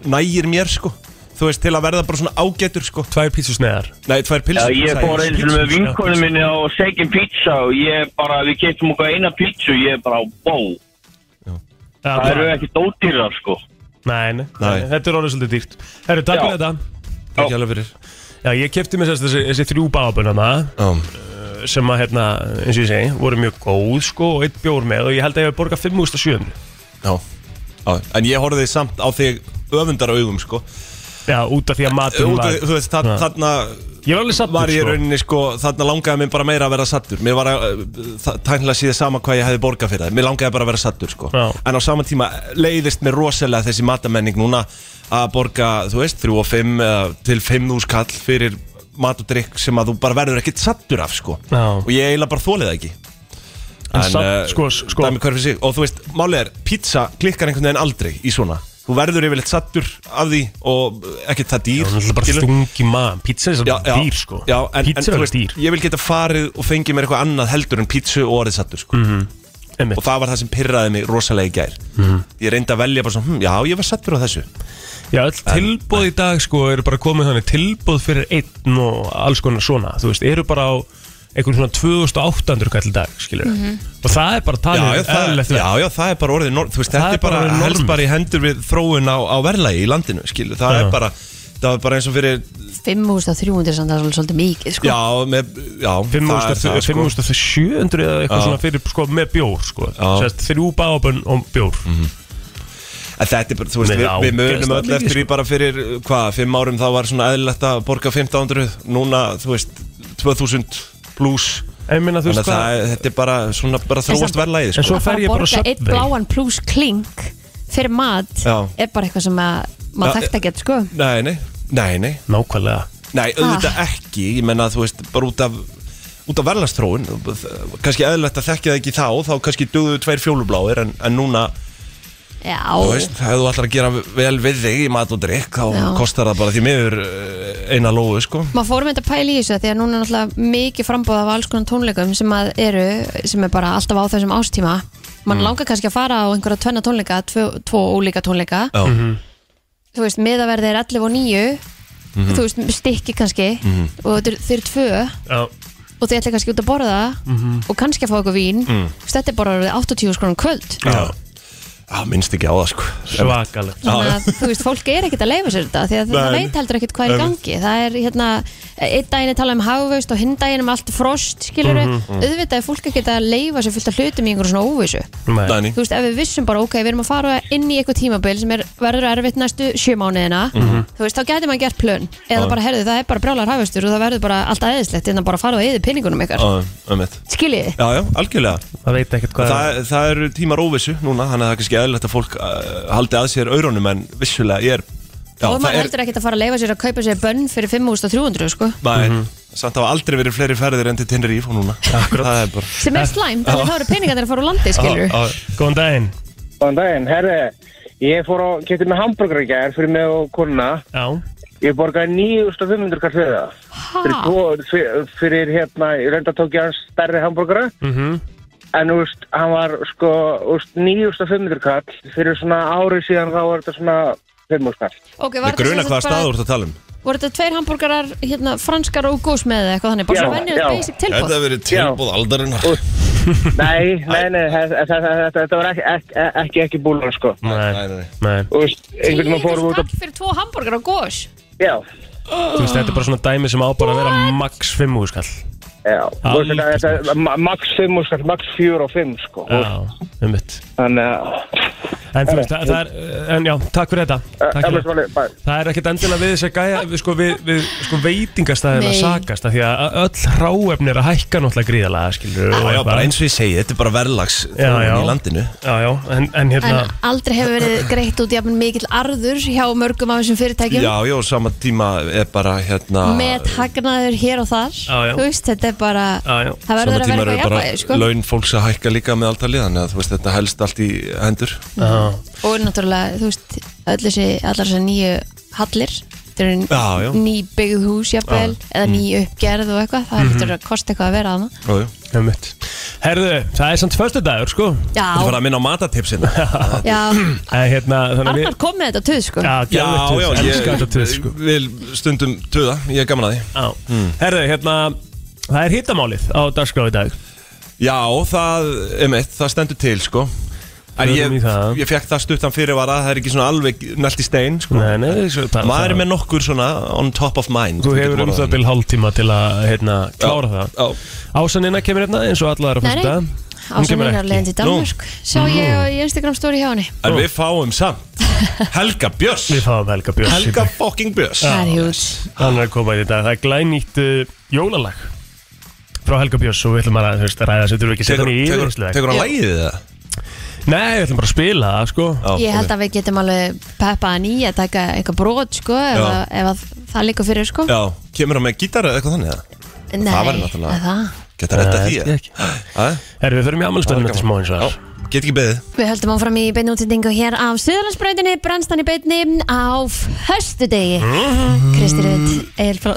Speaker 4: nægir mér sko þú veist til að verða bara svona ágætur sko
Speaker 3: Tvær pítsusneiðar
Speaker 4: Nei, tvær
Speaker 6: já
Speaker 4: pilsur
Speaker 6: ég
Speaker 4: sagði
Speaker 6: fór einu sinni með vinkonu minni á Sekin Pizza og ég bara, við keftum okkur eina pizza og ég er bara á bó. Það eru ekki dóttýrar sko.
Speaker 3: Nei, nei,
Speaker 4: Nei.
Speaker 3: þetta er orðið svolítið dýrt Herru, takk
Speaker 6: Já.
Speaker 3: fyrir þetta
Speaker 4: Ekki alveg fyrir
Speaker 3: Já, ég kefti mér sérst þessi, þessi þrjú bábunana
Speaker 4: Já,
Speaker 3: sem að hérna, eins og ég segi, voru mjög góð sko og eitt bjór með og ég held að ég hef borgað 5.700
Speaker 4: já, já En ég horfði samt á þig öfundar augum sko
Speaker 3: Já, út af því að matur
Speaker 4: Út, af- Þú veist, þa
Speaker 3: Já.
Speaker 4: þarna
Speaker 3: Ég var alveg sattur
Speaker 4: var ég í
Speaker 3: sko
Speaker 4: rauninni sko þarna langaði mér bara meira að vera sattur Mér var að, uh, tænlega síða sama hvað ég hefði borgað fyrir það Mér langaði bara að vera sattur sko
Speaker 3: Já.
Speaker 4: En á sama tíma leiðist mér rosalega þessi matamenning núna Að borga, þú veist, 3 og 5 eða til 5 þús kall fyrir mat og drikk Sem að þú bara verður ekkit sattur af sko
Speaker 3: Já.
Speaker 4: Og ég eiginlega bara þólið það ekki
Speaker 3: En samt,
Speaker 4: eh,
Speaker 3: sko, sko
Speaker 4: dæmi hver fyrir sig Og þú veist, málið er, pizza klikkar einhvern veginn aldrei í svona Þú verður yfirleitt sattur af því og ekkert það dýr
Speaker 3: Það er bara
Speaker 4: skilur.
Speaker 3: stungi maður, pizza er svolítið dýr sko
Speaker 4: já, en, en,
Speaker 3: Pizza er
Speaker 4: þú
Speaker 3: alveg dýr
Speaker 4: Ég vil geta farið og fengið mér eitthvað annað heldur en pítsu og orðið sattur sko.
Speaker 3: Mhm. einmitt.
Speaker 4: Og það var það sem pyrraði mig rosalega í gær Ég reyndi að velja bara svona, hm, já ég var sattur á þessu
Speaker 3: Já, öll tilbóð í dag sko eru bara komið þannig tilbóð fyrir einn og alls konar svona Þú veist, eru bara á einhvern svona 2800 kall í dag, skilur Og það er bara talið
Speaker 4: já, já, það,
Speaker 3: eðlilegt verð.
Speaker 4: já, já, það er bara orðið nor- þú veist,
Speaker 3: Það
Speaker 4: Þetta
Speaker 3: er
Speaker 4: er bara,
Speaker 3: bara orðið norm.
Speaker 4: helst bara í hendur við þróun á, á verðlagi í landinu skilu. Það
Speaker 3: Já.
Speaker 4: er bara, það var bara eins og fyrir
Speaker 2: 5.300 samt það er svolítið mikið sko.
Speaker 4: Já, með, já það er það, sko.
Speaker 3: 5700 eða eitthvað
Speaker 4: Já.
Speaker 3: svona fyrir sko með bjór sko
Speaker 4: Já.
Speaker 3: Sérst, Þrjú bábönn og bjór
Speaker 4: Mhm. En þetta er bara, þú veist,
Speaker 3: Nei,
Speaker 4: við,
Speaker 3: já,
Speaker 4: við munum
Speaker 3: gerist
Speaker 4: öll
Speaker 3: það
Speaker 4: eftir
Speaker 3: mikið,
Speaker 4: því bara fyrir, uh, hvað, fimm árum þá var svona eðlilegt að borga 1500, núna, þú veist, 2000 pluss,
Speaker 3: En ég meina þú
Speaker 4: þannig
Speaker 3: veist
Speaker 4: að það, er- þetta er bara svona, bara þróast verðlæði,
Speaker 3: en
Speaker 4: sko.
Speaker 3: svo fer ég bara á
Speaker 2: að borga eitt
Speaker 3: Subway.
Speaker 2: bláan pluss klink fyrir mat
Speaker 4: Já.
Speaker 2: er bara eitthvað sem að
Speaker 4: Já,
Speaker 2: maður þekkt að geta sko
Speaker 4: Nei, nei, Nei, nei,
Speaker 3: Nákvæmlega
Speaker 4: nei, auðvitað ekki Ég menna, þú veist, bara út af út af verðlastróun kannski eðlægt að þekkja það ekki þá þá kannski dugðu tveir fjólubláir en, en núna,
Speaker 2: Já,
Speaker 4: þú veist, ef þú ætlar að gera vel við þig í mat og drikk þá
Speaker 2: Já.
Speaker 4: kostar það bara því miður eh, eina lóðu, sko
Speaker 2: maður fórum þetta pæli í þessu því að núna er náttúrulega mikið frambóð af alls konar tónleikum sem að eru, sem er bara alltaf á þessum ástíma mann
Speaker 4: Mm.
Speaker 2: langar kannski að fara á einhverja tvenna tónleika, tvo, tvo ólíka tónleika
Speaker 4: Já.
Speaker 3: Mhm.
Speaker 2: þú veist, miðaverði er 11 og 9 þú veist, stykki kannski
Speaker 4: Mhm.
Speaker 2: og þeir, þeir eru tvö
Speaker 3: Já,
Speaker 2: og þeir ætla kannski út að borða
Speaker 3: Mhm.
Speaker 2: og kannski að fá eitthvað vín mm. þetta er bara orðið 80 skrónum kvöld
Speaker 4: Já, Já, minnst ekki á það, sko
Speaker 3: svakalega
Speaker 2: þannig að þú veist, fólk er ekkert að leifa sér þetta því að það veit heldur ekkert hvað er í gangi það er hérna, einn daginn er talað um hafveist og hinn daginn um allt frost skilur auðvitað er fólk ekkert að leifa sér fullt af hlutum í einhverjum svona óvissu
Speaker 3: Nei.
Speaker 4: Dani,
Speaker 2: þú veist, ef við vissum bara, ok, við erum að fara inn í eitthvað tímabil sem er, verður erfitt næstu sjö mánuðina,
Speaker 4: Mhm.
Speaker 2: þú veist, þá getur maður gert plön eða bara, herðu, það er bara brjálar hafveistur og það verður bara allt aðeinslegt, en það bara farið að eða pinningunum ykkar,
Speaker 4: á, um eitt
Speaker 2: skiljið þið?
Speaker 4: Já, já, algjörlega
Speaker 3: Það veit ekkert hvað
Speaker 4: það, það eru tímar óvissu núna Þannig að það er kannski eðlægt að fólk uh, haldi að sér aurónum En vissulega ég er já,
Speaker 2: og maður
Speaker 4: það er-
Speaker 2: heldur ekkert að fara að leifa sér að kaupa sér bönn fyrir 5300, sko,
Speaker 4: Nei,
Speaker 3: Mhm.
Speaker 4: samt hafa aldrei verið fleiri ferðir enn til Tenerife og núna Akkurat Það er bara
Speaker 2: sem er slæm, þannig að þá eru peningarnir að fara úr landi, skilur
Speaker 4: Á, á,
Speaker 3: Góðan daginn
Speaker 7: Góðan daginn, herri, ég fór að geta með hambúrgar í gær fyrir mig og konuna.
Speaker 3: Já,
Speaker 7: Ég borgaði 9.500 kall fyrir það. Fyrir,
Speaker 2: Ha?
Speaker 7: tvo, fyrir, fyrir hérna, ég reynda tók ég hans stærri hambúrgara.
Speaker 4: Mhm.
Speaker 7: En þú veist, hann var sko, þú veist, 9.500 kall. Fyrir svona árið síðan þá var þetta svona 5.000 kall.
Speaker 2: Ok, var
Speaker 4: Með
Speaker 2: þetta sem
Speaker 4: gruna
Speaker 2: sagt
Speaker 4: hvaða
Speaker 2: bara-
Speaker 4: staður þú ert að tala um
Speaker 2: Voru þetta tveir hambúrgarar, hérna, franskar og gós með eða eitthvað þannig Bara
Speaker 7: Já,
Speaker 2: svo vennið
Speaker 7: já.
Speaker 2: basic tilbúð
Speaker 4: verið
Speaker 7: tilboð
Speaker 4: aldarinnar
Speaker 7: Nei, nei, nei, þe- þe- þe- þe- þetta var ekki, ekki, ekki, ekki búlan sko.
Speaker 3: nei, nei
Speaker 7: Þú veist, einhvern veginn fórum við út
Speaker 2: Takk
Speaker 7: að,
Speaker 2: fyrir tvo hambúrgar og gós
Speaker 7: já,
Speaker 3: Þú veist, þetta er bara svona dæmi sem á bara að vera max 5 úrskall
Speaker 7: já. Þú veist, þetta- þetta- ma- Max 5 skall, max 4 og 5 sko.
Speaker 3: Já, um mitt
Speaker 7: Þannig að,
Speaker 3: En þú veist, það það er, en já, takk fyrir þetta Takk fyrir
Speaker 7: eflust var leið,
Speaker 3: Það er ekkert endilega við þess að gæja við, sko, við, við sko, veitingastæðin að
Speaker 2: Nei.
Speaker 3: sakast af því að öll hráefni er að hækka náttúrulega gríðalega, skilur
Speaker 4: Já, já, bara eins og ég segi, þetta er bara verðlags
Speaker 3: Já, já.
Speaker 4: í landinu
Speaker 3: Já, já, en, en
Speaker 2: En
Speaker 3: hérna
Speaker 2: aldrei hefur verið greitt út jafn mikill arður hjá mörgum af þessum fyrirtækjum
Speaker 4: Já, já, og sama tíma er bara hérna
Speaker 2: Með hagnaður hér og þar
Speaker 3: Já, já.
Speaker 2: Þú veist, þetta er bara
Speaker 3: Já, já.
Speaker 2: Það verður
Speaker 4: Sama
Speaker 2: að
Speaker 4: tíma
Speaker 2: vera
Speaker 4: eru
Speaker 2: eitthvað
Speaker 4: bara
Speaker 2: jafnvægi, sko
Speaker 4: laun fólks að hækka líka með alltaf liðan Þú veist, þetta helst allt í hendur
Speaker 3: Já,
Speaker 2: Og náttúrulega, þú veist, öll þessi, allar þessar nýju hallir Þetta
Speaker 4: Já, já.
Speaker 2: eru ný byggð hús, jafnvel Eða ný
Speaker 3: Mm.
Speaker 2: uppgerð og eitthvað
Speaker 3: Mhm.
Speaker 2: Það heldur að kosta eitthvað að vera hana
Speaker 4: Jú, jú.
Speaker 3: um mitt Herðu, það er samt föstudagur, sko
Speaker 4: Þetta var
Speaker 2: Já,
Speaker 4: að minna á matatipsina
Speaker 2: já,
Speaker 3: En hérna, þannig að
Speaker 2: Arnar kom með þetta töð, sko
Speaker 3: Já,
Speaker 4: Já,
Speaker 3: geðveikt
Speaker 4: já,
Speaker 3: tuss,
Speaker 4: ég
Speaker 3: elska þetta tuss, sko
Speaker 4: vil stundum töða, ég er gaman að því Hmm.
Speaker 3: Já, herðu, hérna Það er hittamálið á dagskrá í dag
Speaker 4: Já, það, emitt, það stendur til sko En
Speaker 3: Förum
Speaker 4: ég,
Speaker 3: í það.
Speaker 4: ég fekk það stuttan fyrirvara Það er ekki svona alveg nælt í stein sko.
Speaker 3: Nei, nei, svo bara
Speaker 4: Maður er
Speaker 3: það-
Speaker 4: með nokkur svona on top of mind
Speaker 3: Þú hefur um það bil hálftíma til að hérna, klára það
Speaker 4: Já,
Speaker 3: Ásanina kemur hérna eins og allar að
Speaker 2: Nei,
Speaker 3: fyrsta
Speaker 2: nei, ásum mín er leiðin til Danmark Sá ég á Instagram story hjá henni
Speaker 4: en við fáum samt Helga Björs
Speaker 3: Við fáum Helga Björns í
Speaker 4: Helga
Speaker 3: dag.
Speaker 4: fucking Björs
Speaker 2: Það er hjúts
Speaker 3: Hann er að koma í dag Það er glænýtt uh, jólalag Frá Helga Björns og við ætlum bara að þú veist, ræða þessu Þurfum ekki að setja
Speaker 4: Tekur
Speaker 3: hann í
Speaker 4: tekur-
Speaker 3: yfirhersluleik
Speaker 4: tekur hann
Speaker 2: Já.
Speaker 4: lægið það?
Speaker 3: Nei, við ætlum bara að spila það sko
Speaker 2: Ég held að við getum alveg peppa hann í að taka eitthvað brot sko ef,
Speaker 4: Já.
Speaker 2: að, ef að það liggur fyrir sko
Speaker 4: Já, kemur hann með gítar eða eitthvað þannig eða?
Speaker 2: Nei,
Speaker 4: það væri náttúrulega-
Speaker 2: er það.
Speaker 4: Geta að redda
Speaker 3: Nei,
Speaker 4: því
Speaker 3: held ég ekki. Herru, við förum í
Speaker 4: Það
Speaker 3: afmælspenninu
Speaker 4: er
Speaker 3: þetta smá eins og
Speaker 4: Já,
Speaker 3: það
Speaker 4: Get ekki beðið
Speaker 2: Við höldum áfram í beinu útsendingu hér af Suðurlandsbrautinni, brennstan í beinni á höstudegi
Speaker 4: Mhm.
Speaker 2: Kristi Rutt, Egil Frá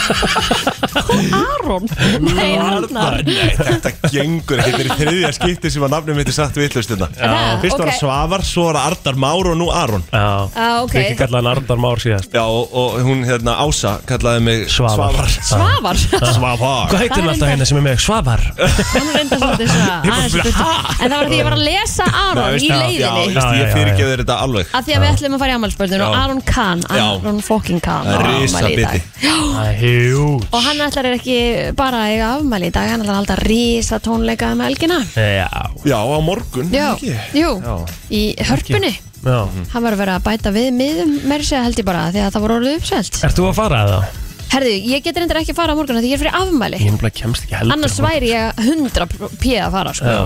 Speaker 2: Aron Nei, Arnar
Speaker 4: Nei, þetta gengur ekki Þetta er í þriðja skipti sem að nafnum mitt er satt við yllustuna
Speaker 2: Það,
Speaker 4: Fyrst var
Speaker 2: ok.
Speaker 4: hann Svavar, svo var það Arnar Már og nú Aron
Speaker 3: Já,
Speaker 2: Já, ok.
Speaker 3: við ekki kallaði hann Arndar Már síðast
Speaker 4: Já, og, og hún hérna Ása kallaði mig
Speaker 3: Svavar.
Speaker 2: Svavar
Speaker 4: Svavar
Speaker 3: Hvað
Speaker 2: Það
Speaker 3: heitir
Speaker 2: er
Speaker 3: hann alltaf
Speaker 2: reyndar-
Speaker 3: hérna sem er með Svavar?
Speaker 2: Hann er reyndar svolítið svona aðeins í burtu. En það var því ég var að lesa Aron í
Speaker 4: Já,
Speaker 2: leiðinni
Speaker 4: veist,
Speaker 3: Já, já,
Speaker 4: ég
Speaker 3: já,
Speaker 4: fyrirgefði þér þetta alveg
Speaker 2: að því að við ætlum að fara í ammálspörðun og
Speaker 4: Já.
Speaker 2: Aron Kahn,
Speaker 4: Já.
Speaker 2: Aron fucking Kahn á
Speaker 4: Það er
Speaker 2: afmæli í
Speaker 4: risa
Speaker 2: dag.
Speaker 4: biti
Speaker 3: Jú
Speaker 2: og hann ætlar er ekki bara að eiga afmæli í dag hann ætlar að halda risa tónleika um með elgina
Speaker 3: Já,
Speaker 4: Já, á morgun
Speaker 2: Já,
Speaker 4: ekki?
Speaker 2: jú,
Speaker 4: Já.
Speaker 2: í hörpunni
Speaker 3: já
Speaker 4: Mhm.
Speaker 2: hann var að vera að bæta við miðum meiri segja held ég bara því að það voru orðið uppselt
Speaker 3: Ert þú að fara eða?
Speaker 2: Herðu, ég get reyndar ekki að fara á morgun af því ég er fyrir afmæli
Speaker 3: Ég er nefnilega kemst ekki heldur
Speaker 2: annars væri ég 100 p að fara sko.
Speaker 3: Já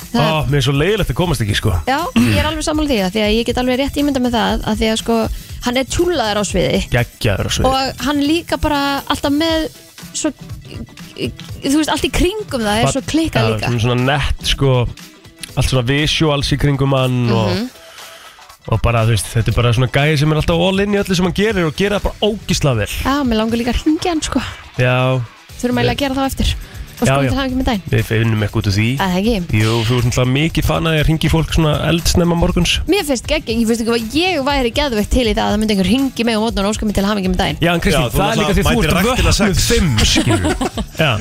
Speaker 2: það er
Speaker 3: Ó, mér er svo leiðilegt að komast ekki sko
Speaker 2: Já, ég er alveg sammála því að því að ég get alveg rétt ímynda með það að því að sko, hann er tjúlaður á sviði
Speaker 3: Geggjaður á svið
Speaker 2: og hann er líka bara alltaf með svo, þú veist, allt í kringum það er svo klikkað líka
Speaker 3: Svona nett sko Allt svona visuals í kringum hann
Speaker 2: Mhm.
Speaker 3: og, og bara þú veist Þetta er bara svona gæði sem er alltaf all in í öllu sem hann gerir Og gera það bara ógisla vel
Speaker 2: Já, mér langar líka að hringja hann sko
Speaker 3: Já,
Speaker 2: þurfum eiginlega að gera það eftir og
Speaker 3: Já,
Speaker 2: skoðum
Speaker 3: já.
Speaker 2: til hafingi með daginn
Speaker 3: við finnum eitthvað út úr því
Speaker 2: Það ekki
Speaker 3: Jú, þú ert náttúrulega mikið fan að ég ringi fólk svona eldsnemma morguns
Speaker 2: Mér finnst geggjum, ég finnst ekki að ég væri geðveikt til í það að það myndi einhver ringi mig og mótna og óska mig til hamingi með daginn
Speaker 3: Já, en Kristín,
Speaker 4: Já, þú
Speaker 3: það er líka því að þú
Speaker 4: mætir
Speaker 3: ert
Speaker 4: vaktina
Speaker 3: vöknuð
Speaker 4: sex.
Speaker 3: fimm, skilur Já,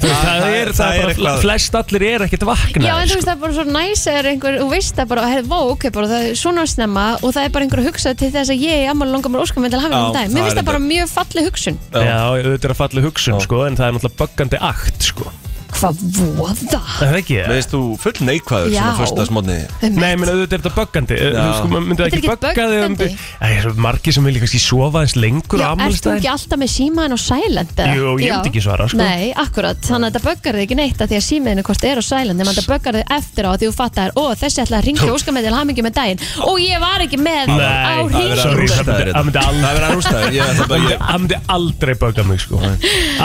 Speaker 3: þú veist, það
Speaker 4: það
Speaker 3: er,
Speaker 4: er-
Speaker 3: það
Speaker 4: það er
Speaker 3: er bara,
Speaker 4: eitthvað.
Speaker 3: flest allir er ekkert vaknaðir
Speaker 2: Já, en þú
Speaker 3: sko.
Speaker 2: veist það er bara svo næs eða einhver, þú veist það bara, herri, vó, ok, bara það er svona snemma og það er bara einhver að hugsa til þess að ég ammali langar mér óskum til að hafa
Speaker 4: Já,
Speaker 2: um dag.
Speaker 4: það
Speaker 2: Mér
Speaker 4: er
Speaker 2: finnst það bara mjög falleg hugsun.
Speaker 4: Já.
Speaker 3: Já, auðvitað er að falla hugsun,
Speaker 4: Já.
Speaker 3: sko, en það er náttúrulega böggandi akt, sko
Speaker 2: Hvað voða?
Speaker 3: Er Það er ekki,
Speaker 4: Mér
Speaker 3: eða?
Speaker 4: veist þú full neikvæður
Speaker 2: Já.
Speaker 4: svona fyrsta smotni
Speaker 3: Nei, menn auðvitað er þetta böggandi eh, Þú sko, maður
Speaker 2: Þetta
Speaker 3: myndi
Speaker 2: er
Speaker 3: ekki
Speaker 2: ekkert
Speaker 3: bögga þig um
Speaker 2: böggandi.
Speaker 3: Það er svo margir sem vilja kannski sofa eins lengur
Speaker 2: Já,
Speaker 3: á
Speaker 2: ert þú ekki
Speaker 3: afmælstæðin
Speaker 2: alltaf með símaðin og silent? eða?
Speaker 3: Jú, ég
Speaker 2: Já.
Speaker 3: myndi ekki svara, sko.
Speaker 2: Nei, akkurat, þannig að þetta böggar þig ekki neitt að því að símaðinu hvort er á silent nema þetta böggar þig eftir á því þú fattar ó, þessi ætlaði að ringja óska með til hamingi með daginn og ég var ekki með á
Speaker 3: Nei,
Speaker 4: það er verið að
Speaker 3: sorry,
Speaker 2: hringi
Speaker 4: rústa
Speaker 3: það myndi-
Speaker 4: þér Það
Speaker 3: það myndi aldrei
Speaker 4: verður að rústaður Ég ætla bara ég-
Speaker 3: Það myndi aldrei bögga mig, sko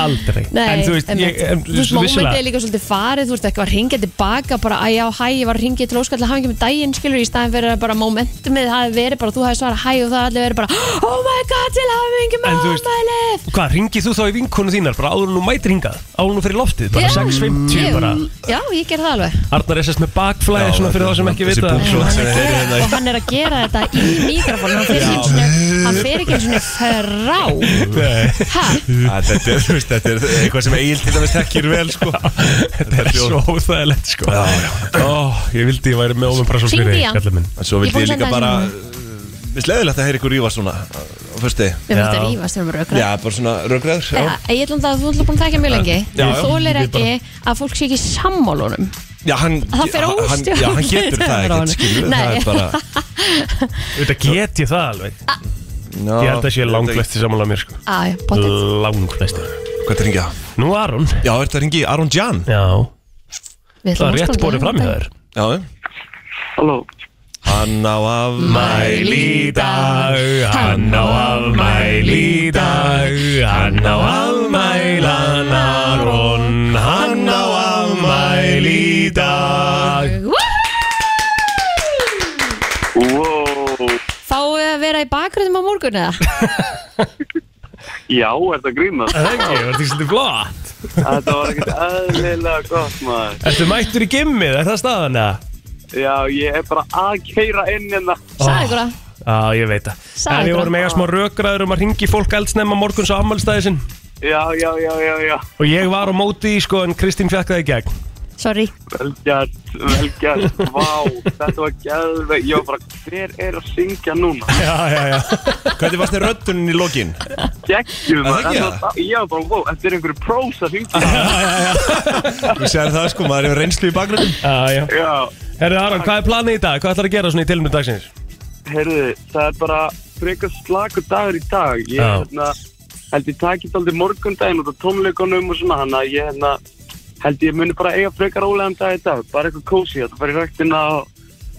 Speaker 3: Aldrei
Speaker 2: Nei,
Speaker 3: En þú veist, ég, en,
Speaker 2: þú veist, mómentið
Speaker 3: vissulega-
Speaker 2: er líka svolítið farið, þú veist, ekki var hringið tilbaka, bara, að já, hæ, ég var hringið til óskall að hafa ekki með daginn, skilur, í staðin fyrir að bara momentumið hafi verið, bara, þú hafi svarað hæ og það allir verið bara, oh my god, til hafa ekki
Speaker 3: En
Speaker 2: með
Speaker 3: þú veist-
Speaker 2: ámælið.
Speaker 3: Hvað, ringið þú þá í vinkonu þínar bara áður en þú mætir hingað? Áður en þú fyrir loftið, bara 6.50 bara
Speaker 2: Já, ég ger það alveg.
Speaker 3: Arnar SS með bakflæði
Speaker 4: Já,
Speaker 3: svona fyrir þá sem
Speaker 4: þetta-
Speaker 3: ekki
Speaker 4: þessi
Speaker 3: vita
Speaker 4: búkla.
Speaker 2: Og
Speaker 4: Svo-
Speaker 2: hann,
Speaker 4: sem
Speaker 2: er gera,
Speaker 4: þeir eru hérna í-
Speaker 2: og hann er að gera þetta í mikrofón hann fer ekki einu sinni- hann fer ekki eins og frá ha,
Speaker 4: Æ, Þetta er, þú veist, þetta er eitthvað sem Egil til dæmis þekkir vel sko
Speaker 3: Þetta er svo óþægilegt sko
Speaker 4: Já, já.
Speaker 3: Ó, Ég vildi ég væri með ofum prasum
Speaker 2: Hringdu
Speaker 3: fyrir
Speaker 2: í hann.
Speaker 3: kallið minn
Speaker 4: En svo
Speaker 2: Ég
Speaker 4: vildi
Speaker 2: búin
Speaker 4: ég
Speaker 2: að
Speaker 4: líka
Speaker 2: senda
Speaker 4: bara
Speaker 2: þessu
Speaker 4: Mér er leðilegt að heyra ykkur rífa svona á á föstu degi.
Speaker 2: við erum þetta
Speaker 3: Já.
Speaker 2: að rífast þegar við erum
Speaker 4: Já, bara svona röggræður
Speaker 2: Já, Ég ætlum það að þú ætlum búin að þekka mjög lengi
Speaker 4: Já, já.
Speaker 2: Þú þólir
Speaker 3: Ég
Speaker 2: ekki að fólk sé ekki sammálunum
Speaker 4: Já, hann
Speaker 2: Það fer
Speaker 4: hann-
Speaker 2: óstjórnlega
Speaker 4: Já, hann getur það
Speaker 2: frá honum.
Speaker 4: ekkert, skilur
Speaker 2: Nei.
Speaker 4: Það er bara
Speaker 3: Þetta get ég það alveg
Speaker 4: Já,
Speaker 3: Ég held að sé
Speaker 4: veit ekki.
Speaker 3: langflesti sammála mér sko
Speaker 2: Æ, potið
Speaker 3: Langflesti
Speaker 4: Hvað er ringið á?
Speaker 3: Nú Aron
Speaker 4: Já, er þetta ringið Aron Jan?
Speaker 3: Já,
Speaker 2: Við
Speaker 3: það
Speaker 2: ætlum að
Speaker 3: er rétt
Speaker 2: skoða
Speaker 3: borðið fram í þær
Speaker 4: Já,
Speaker 8: Halló
Speaker 4: hann á af
Speaker 3: Mæli í dag, hann á afmæli í dag, hann á afmælan Aron, hann á afmæli í dag.
Speaker 8: Wow
Speaker 2: Fáum við að vera í bakgröðum á morgun eða?
Speaker 8: Já, er þetta grínast?
Speaker 3: Þengi, var því svolítið flott.
Speaker 8: Þetta var ekkert aðlilega gott maður
Speaker 3: Ertu mættur í gimmið, er það staðan eða?
Speaker 8: Já, ég er bara að keira inn hérna
Speaker 2: Sæði ykkur að
Speaker 3: Já, ég veit það.
Speaker 2: Sagði
Speaker 3: En við
Speaker 2: ykkur
Speaker 3: vorum
Speaker 2: að-
Speaker 3: eiga smá rökraður um að ringi fólk eldsnemma morguns á afmælstæði sinn.
Speaker 8: Já, já, já, já, já
Speaker 3: Og ég var á móti í sko en Kristín fekk það í gegn.
Speaker 2: Sorry
Speaker 8: Velgjart, velgjart, vá Þetta var gæðveg Ég var bara, hver er að syngja núna?
Speaker 3: Já, já, já.
Speaker 4: Hvernig varst þið röddunin í lokin?
Speaker 8: Geggjum
Speaker 4: Er það ekki
Speaker 8: maður Þetta var- Ég var bara, wow, þetta er einhverju prós að syngja
Speaker 4: Þú sér það sko, maður hefur reynslu í bakgröndum
Speaker 3: Já, já.
Speaker 8: Já,
Speaker 3: Herru Aron, hvað er planið í dag? Hvað ætlar að gera svona í tilmyndu dagsins?
Speaker 8: Heyrðu, það er bara frekar slakur dagur í dag. Ég
Speaker 3: Já.
Speaker 8: hérna, held ég takist aldrei morgundaginn út af tónleikunum og svona, hann að ég hérna, held ég muni bara eiga frekar ólegan dag í dag. Bara eitthvað kósi, þetta bara í ræktina og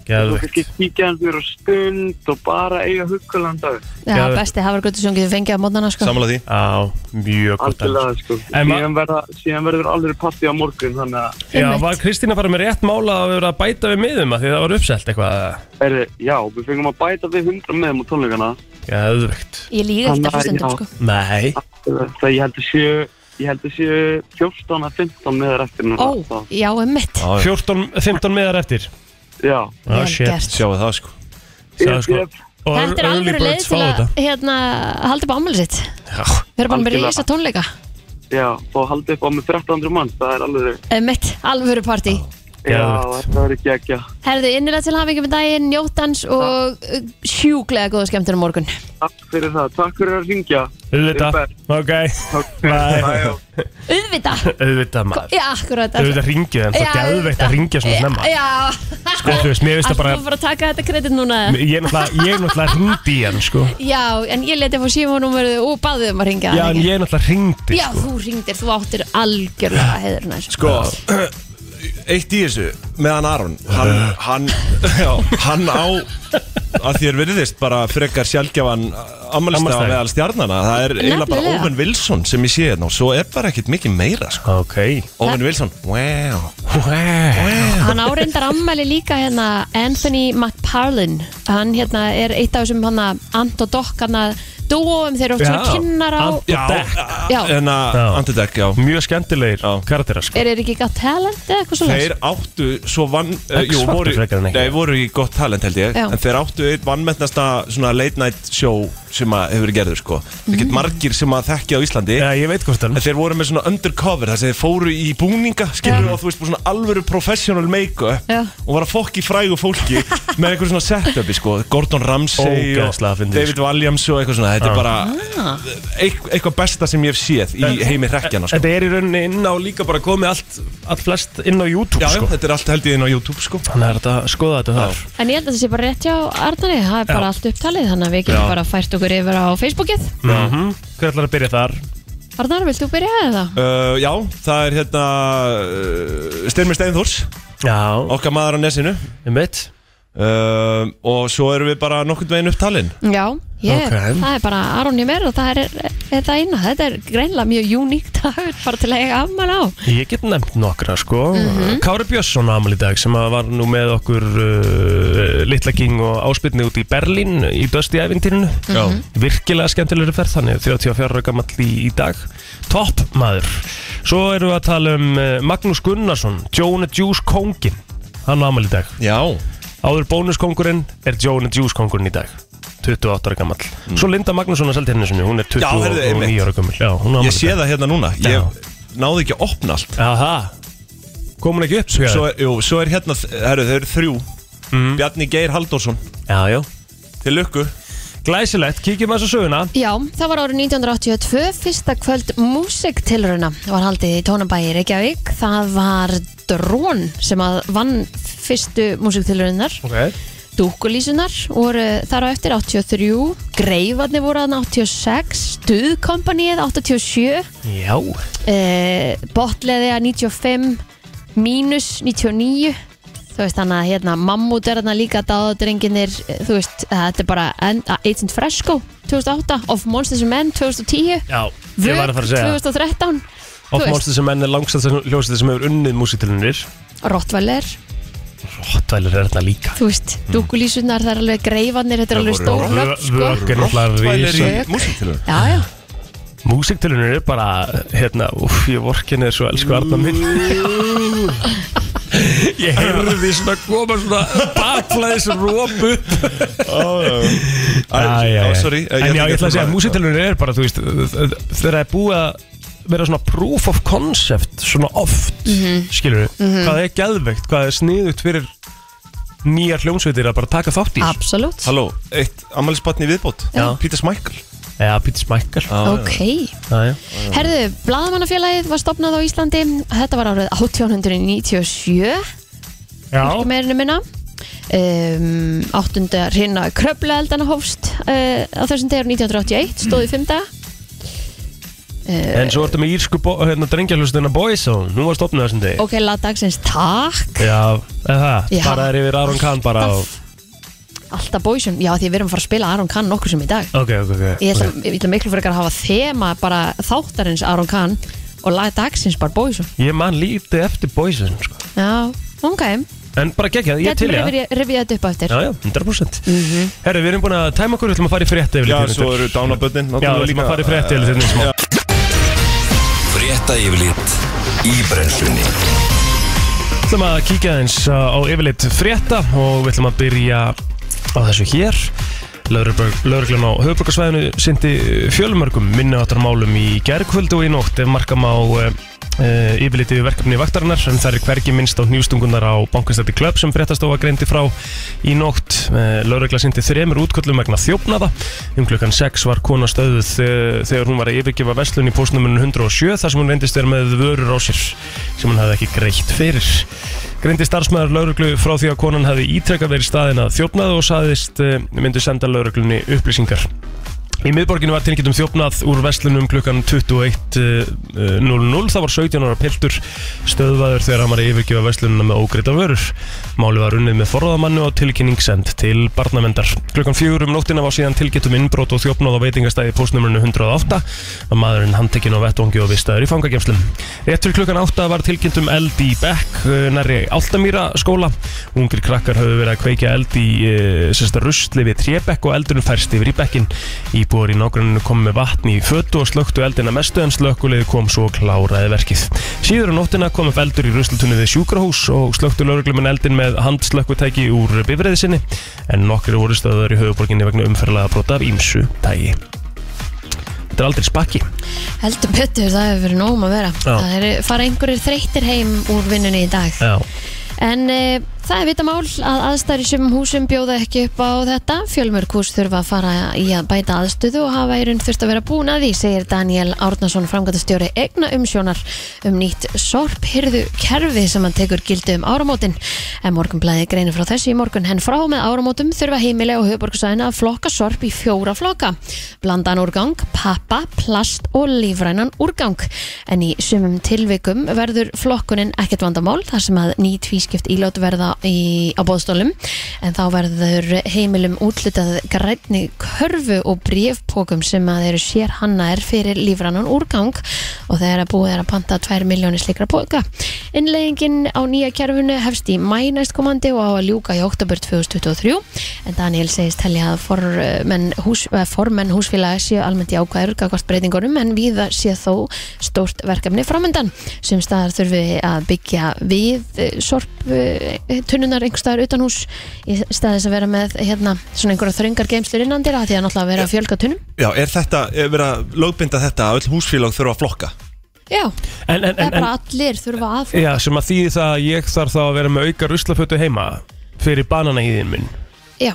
Speaker 8: svo
Speaker 3: Gæðvegt.
Speaker 8: kannski kíkja hans mér á stund og bara eiga huggulegan dag.
Speaker 2: Já,
Speaker 3: Geðveikt.
Speaker 2: besti hafragröðu sem getur fengið á mótnana sko
Speaker 4: Sammála því
Speaker 3: Já, mjög gott.
Speaker 8: Algjörlega, sko.
Speaker 3: En ma-
Speaker 8: Síðan, verða, síðan verður alveg partí á morgun, þannig að,
Speaker 3: Já,
Speaker 2: Einmitt.
Speaker 3: var Kristín að fara með rétt mála að vera að bæta við miðum að því það var uppselt eitthvað
Speaker 8: heyrðu, já, við fengum að bæta við 100 meðum á tónleikana.
Speaker 3: Gæðvögt
Speaker 2: Ég líka
Speaker 8: Hann-
Speaker 2: alltaf hlustendum
Speaker 8: já.
Speaker 2: sko
Speaker 3: Nei
Speaker 8: Það ég held að séu, ég held að séu 14 að 15 meðar eftir núna.
Speaker 2: Ó,
Speaker 8: þá.
Speaker 2: já, emmitt
Speaker 3: 14, 15 miðar eftir
Speaker 8: Já.
Speaker 3: Ah,
Speaker 2: Vel
Speaker 3: shit.
Speaker 2: gert
Speaker 4: Sjáu það sko
Speaker 3: Það er
Speaker 8: Ég-
Speaker 3: sko-
Speaker 8: ég-
Speaker 3: Og
Speaker 2: Þetta er
Speaker 3: early
Speaker 2: alveg leið
Speaker 3: birds
Speaker 2: til
Speaker 3: fá
Speaker 2: að
Speaker 3: þetta.
Speaker 2: hérna, halda upp á ámæli sitt Við erum bara með
Speaker 8: Algjörlega.
Speaker 2: rísa tónleika
Speaker 8: Já, þá haldið upp á með 1300 mann, það er alveg
Speaker 2: Emmitt, alvöru partí
Speaker 8: Já,
Speaker 3: Geðvegt.
Speaker 8: þetta verður ekki ekki
Speaker 2: Herðu innilega til hafa með daginn, njóttans og uh, sjúklega góða skemmtur um morgun
Speaker 8: Takk fyrir það, takk fyrir að ringja
Speaker 3: Auðvitað Ok Bye.
Speaker 2: Uðvita
Speaker 3: Auðvitað maður
Speaker 2: Já, akkurat
Speaker 3: Auðvitað ringið en það er gæðveikt að ringja svona snemma
Speaker 2: Já,
Speaker 3: Sko þú veist, mér veist
Speaker 2: alltaf
Speaker 3: það bara
Speaker 2: bara að taka þetta kredit núna eða?
Speaker 3: Ég er náttúrulega, ég er náttúrulega hringdi í hann sko
Speaker 2: Já, en ég leti að fá símanúmerið og baðið um að ringa
Speaker 3: Já, en ég er náttúrulega hringdi
Speaker 2: Já,
Speaker 3: sko
Speaker 2: þú ringdir, þú áttir algjörlega heiðurinn að þessu
Speaker 4: Sko, eitt í þessu meðan Aron hann, hann, já, hann á að þér virðist bara frekar sjálfgjafan ammælstaf
Speaker 3: Afmælisdag.
Speaker 4: meðal stjarnana það er eiginlega bara
Speaker 2: Nefnilega.
Speaker 4: Owen Wilson sem ég sé hérna og svo er bara ekkit mikið meira sko.
Speaker 3: Ok
Speaker 4: Owen Wilson, wow, wow.
Speaker 2: Hann áreindar ammæli líka hérna Anthony McParlin Hann hérna er eitt af þessum hann Ant og Dokk hann að dóum þeir eru oft svona kynnar á
Speaker 3: Ant og Dekk
Speaker 2: Já.
Speaker 4: en að
Speaker 3: Já.
Speaker 4: Antidek, já
Speaker 3: Mjög skemmtilegir karakterar sko
Speaker 2: Er þeir ekki gott talent eða eitthvað svona
Speaker 4: Þeir áttu svo vann uh, Jú,
Speaker 3: X-Factor
Speaker 4: voru,
Speaker 3: frekar en ekki.
Speaker 4: nei, voru í gott talent held ég
Speaker 2: Já.
Speaker 4: En þeir áttu einn vannmennasta svona late night show sem að hefur verið gerður sko
Speaker 2: Mhm.
Speaker 4: Ekkert margir sem að þekki á Íslandi
Speaker 3: Já, ég veit hvort hann
Speaker 4: En þeir voru með svona undercover þar sem þeir fóru í búninga skilur og þú veist bara svona alvöru professional make-up
Speaker 2: Já.
Speaker 4: og var að fokki frægu fólki með einhver svona setup sko, Gordon Ramsay og
Speaker 3: Ógeðslega fyndið, sko.
Speaker 4: David Walliams og eitthvað svona þetta er bara eit- eitthvað besta sem ég hef séð í heimi hrekkjana sko.
Speaker 3: Þetta er í rauninni inn á líka bara komið allt, allt flest inn á YouTube
Speaker 4: Já,
Speaker 3: sko
Speaker 4: þetta er allt held ég inn á YouTube sko
Speaker 3: Þannig er þetta að skoða þetta þar
Speaker 2: En ég held að það sé bara rétt hjá Arnari Það er bara
Speaker 3: Já.
Speaker 2: allt upptalið Þannig að við getum bara fært okkur yfir á Facebookið
Speaker 3: mm Hver ætlar að byrja þar?
Speaker 2: Arnar, vilt þú byrja eða?
Speaker 4: Uh, já, það er hérna uh, Styrmi Steinþórs,
Speaker 3: Já,
Speaker 4: okkar maður á nesinu
Speaker 3: ég veit
Speaker 4: uh, og svo erum við bara nokkund veginn upptalinn
Speaker 2: Já, ég,
Speaker 3: Ok.
Speaker 2: það er bara Aron ég meir og það er, er, er það eina Þetta er greinlega mjög uník dagur bara til að eiga afmæli á
Speaker 3: Ég get nefnt nokkra sko Kári Björnsson ámali í dag sem að var nú með okkur uh, Litla King og áspilni út í Berlín í Dösti ævintýrinu
Speaker 4: Já.
Speaker 3: Virkilega skemmtilegur ferð þannig 34 ára gamall í, í dag Topp maður Svo erum við að tala um uh, Magnús Gunnarsson Jonah Juice Kongin Hann ámali í dag
Speaker 4: Já,
Speaker 3: Áður bónuskongurinn er Jonah Juice kongurinn í dag 28 ára gamall Svo Linda Magnússon að seldi henni sinni Hún er
Speaker 4: Mm. Já, heyrðu,
Speaker 3: 29
Speaker 4: einmitt.
Speaker 3: ára gamall Já, hún á afmæli í
Speaker 4: ég sé
Speaker 3: dag.
Speaker 4: það hérna núna
Speaker 3: Já.
Speaker 4: Ég náði ekki að opna allt
Speaker 3: Aha Kom hún ekki upp? Svo,
Speaker 4: Svo er, jú, svo er hérna, herru, þau eru þrjú
Speaker 3: Mhm.
Speaker 4: Bjarni Geir Halldórsson,
Speaker 3: Já, já
Speaker 4: til lukku
Speaker 3: Glæsilegt, kíkjum að þessu söguna
Speaker 2: Já, það var árið 1982, fyrsta kvöld músiktilruna var haldið í tónabæi í Reykjavík. Það var Drón sem að vann fyrstu músiktilrunar.
Speaker 3: okay.
Speaker 2: Dúkulísunar voru þar á eftir 83, Greifarnir voru aðna 86, Stuðkompanið 87,
Speaker 3: Já
Speaker 2: eh, Botleðiða 95, Mínus 99, þú veist þannig að hérna, Mammut er þarna líka dáðadrenginir, eh, þú veist, þetta er bara en- Agent Fresco 2008, Of Monsters and Men 2010,
Speaker 3: Já, ég var
Speaker 2: Vök
Speaker 3: að fara að segja
Speaker 2: 2013 þú
Speaker 3: Of
Speaker 2: veist.
Speaker 3: Monsters sem enn er langstætt hljósið sem hefur unnið músitilunir
Speaker 2: Rottweiler,
Speaker 3: Rottvælir er þarna líka
Speaker 2: þú veist,
Speaker 3: Mm.
Speaker 2: dúkulísunar það er alveg greifanir, þetta er alveg
Speaker 4: voru
Speaker 2: stór nöfn sko.
Speaker 3: Vögg er náttúrulega
Speaker 4: Rottweiler
Speaker 3: rísa
Speaker 4: í músiktilur
Speaker 2: Já, já,
Speaker 3: Músiktilunir er bara, hérna, úf, ég vorkin er svo elsku Arna minn
Speaker 4: Mm.
Speaker 3: Ég heyrði því svona koma svona bakflæðis rópu Já, já, já.
Speaker 4: Sorry eh,
Speaker 3: En já, ég ætla að segja að
Speaker 4: bara-
Speaker 3: músitilunir er bara, þú veist, þegar það er búið að vera svona proof of concept svona oft, mm
Speaker 2: Mhm.
Speaker 3: skilur við hvað er geðveikt, hvað er sniðugt fyrir nýjar hljómsveitir að bara taka þátt í þessu.
Speaker 2: absolutt
Speaker 4: Halló, eitt ammælisbatni viðbót
Speaker 2: Já.
Speaker 4: Pítur Smækkel
Speaker 3: Já, Pítur Smækkal
Speaker 2: Ok,
Speaker 3: Já, já.
Speaker 2: herðu, Blaðamannafélagið var stopnað á Íslandi Þetta var árið 1897
Speaker 3: já.
Speaker 2: ekki meirinu minna um, áttunda hrina kröfla eldana hófst uh, á þessum degur 1981 stóði fymta
Speaker 3: En svo ertu með írsku bo- hérna, drengjahlustuna Boyzone, hún var stopnið þessum degi
Speaker 2: ok, lag dagsins, takk
Speaker 3: Já, eða það,
Speaker 2: Já.
Speaker 3: bara er yfir Aron Kahn bara á
Speaker 2: alltaf bóisum, já því við erum að fara að spila Aron Kahn nokkur sem í dag
Speaker 3: Ok, ok, ok
Speaker 2: ég ætla, ég ætla miklu frekar að hafa þema bara þáttarins Aron Kahn og lag dagsins bara bóisum
Speaker 3: Ég man lítið eftir Boyzone, sko
Speaker 2: já, ok,
Speaker 3: En bara geggjað, ég er til
Speaker 2: getum
Speaker 3: í það
Speaker 2: við revið þetta upp á eftir
Speaker 3: Já, já, 100% Herru, við erum búin að tæma okkur, við ætlum að fara í frétti
Speaker 4: Já, svo eru dánabönnin
Speaker 3: Já, við ætlum að fara í frétti yfir þinn smá
Speaker 1: Frétta yfirlit í brennslunni
Speaker 3: Við ætlum að kíkja aðeins uh, á yfirleitt frétta og við ætlum að byrja á þessu hér Lauruglan á höfuborgarsvæðinu sindi fjölmörgum minnáttar málum í gerkvöld og í nótt ef markam á uh, yfirliti verkefni vaktarinnar en það er hvergi minnst á hnjústungunar á bankastætti klöp sem fréttastofa greindi frá í nótt. Uh, Laurugla sindi þremur útköllum vegna þjófnaða. Um klukkan 6 var kona stöðuð eh, þegar hún var að yfirgefa verslun í postnumunum 107 þar sem hún reyndist vera með vörur á sér sem hún hafði ekki greitt fyrir. Greindi starfsmæður lauruglu frá því að eh, konan hafði ítrekka verið staðin að þjófnaða og saðist myndu senda lauruglunni upplýsingar. Í miðborginu var tilkynntum þjófnað úr vestlunum klukkan eh, 21.00 Það var 17 ára piltur stöðvaður þegar hann var að yfirgefa vestlununa með ógreita vörur. Máli var unnið með forðamannu og tilkynning send til barnavendar. Klukkan 4 um nóttina var síðan tilkynntum innbrot og þjófnað á veitingastæði postnumrunu 108 að maðurinn handtekinn á vettvangi og vistaður í fangagemslum. Rétt fyrir klukkan 8 var tilkynntum eld í Beck nærri Áltamýra skóla. Ungir krakkar höfðu verið að kveikja eld í eh, sem sagt, rusli við trébekk og eldurinn færst yfir í bekkin. Íbúar í nágruninu kom með vatn í fötu og slöktu eldina mestu en slökkulegði kom svo og kláraði verkið. Síður á nóttina kom upp eldur í ruslutunni við sjúkrahús og slöktu lauruglumenn eldin með handslökkutæki úr bifræði sinni en nokkri voru stöðar í höfuborginni vegna umferðlega brota af ímsu tægi. Þetta er aldrei spakki.
Speaker 2: Heldur betur, það hefur verið nóg um að vera
Speaker 3: Já.
Speaker 2: Það er, fara einhverjir þreyttir heim úr vinnunni í dag
Speaker 3: Já.
Speaker 2: En e, það er vita mál að aðstæður í sumum húsum bjóða ekki upp á þetta. Fjölmörg hús þurfa að fara í að bæta aðstöðu og hafa í raun þurft að vera búin að því, segir Daniel Árnason, framgættastjóri egna umsjónar um nýtt sorphyrðu kerfi sem hann tekur gildi um áramótin. En morgunblæði greinir frá þessu í morgun henn frá með áramótum þurfa heimili og höfuborgsæðina að flokka sorp í fjóra flokka. Blandan úrgang, pappa, plast og lífrænan úrgang. En í sumum tilvikum verður flokkunin ekkert vandamál þar sem að ný tvískipt ílát verða í, á bóðstólum en þá verður heimilum útlutað grænni körfu og brefpókum sem að eru sér hannaðir fyrir lífrannan úrgang og þegar að búið er að panta 2 miljónir slikra póka. Innleggingin á nýja kerfinu hefst í mæ næstkomandi og á að ljúka í oktober 2023 en Daniel segist telja að formenn, hús, eh, formenn húsfélaga séu almennt í ákvæður gagvart breytingunum en viða sé þó stórt verkefni framöndan sem staðar þurfi að byggja við eh, sorptunnunar einhver staðar utan hús í staðis að vera með hérna svona einhverja þröngar geimslur innan dýra því að náttúrulega vera að fjölga tunnum
Speaker 5: Já, er þetta, er verið að lögbinda þetta að öll húsfélag þurfa að flokka?
Speaker 2: Já,
Speaker 3: En, en,
Speaker 2: það er
Speaker 3: en,
Speaker 2: bara
Speaker 3: en,
Speaker 2: allir þurfa að
Speaker 3: já, sem að þýði það að ég þarf þá að vera með auka ruslafötu heima fyrir bananæðin minn.
Speaker 2: Já,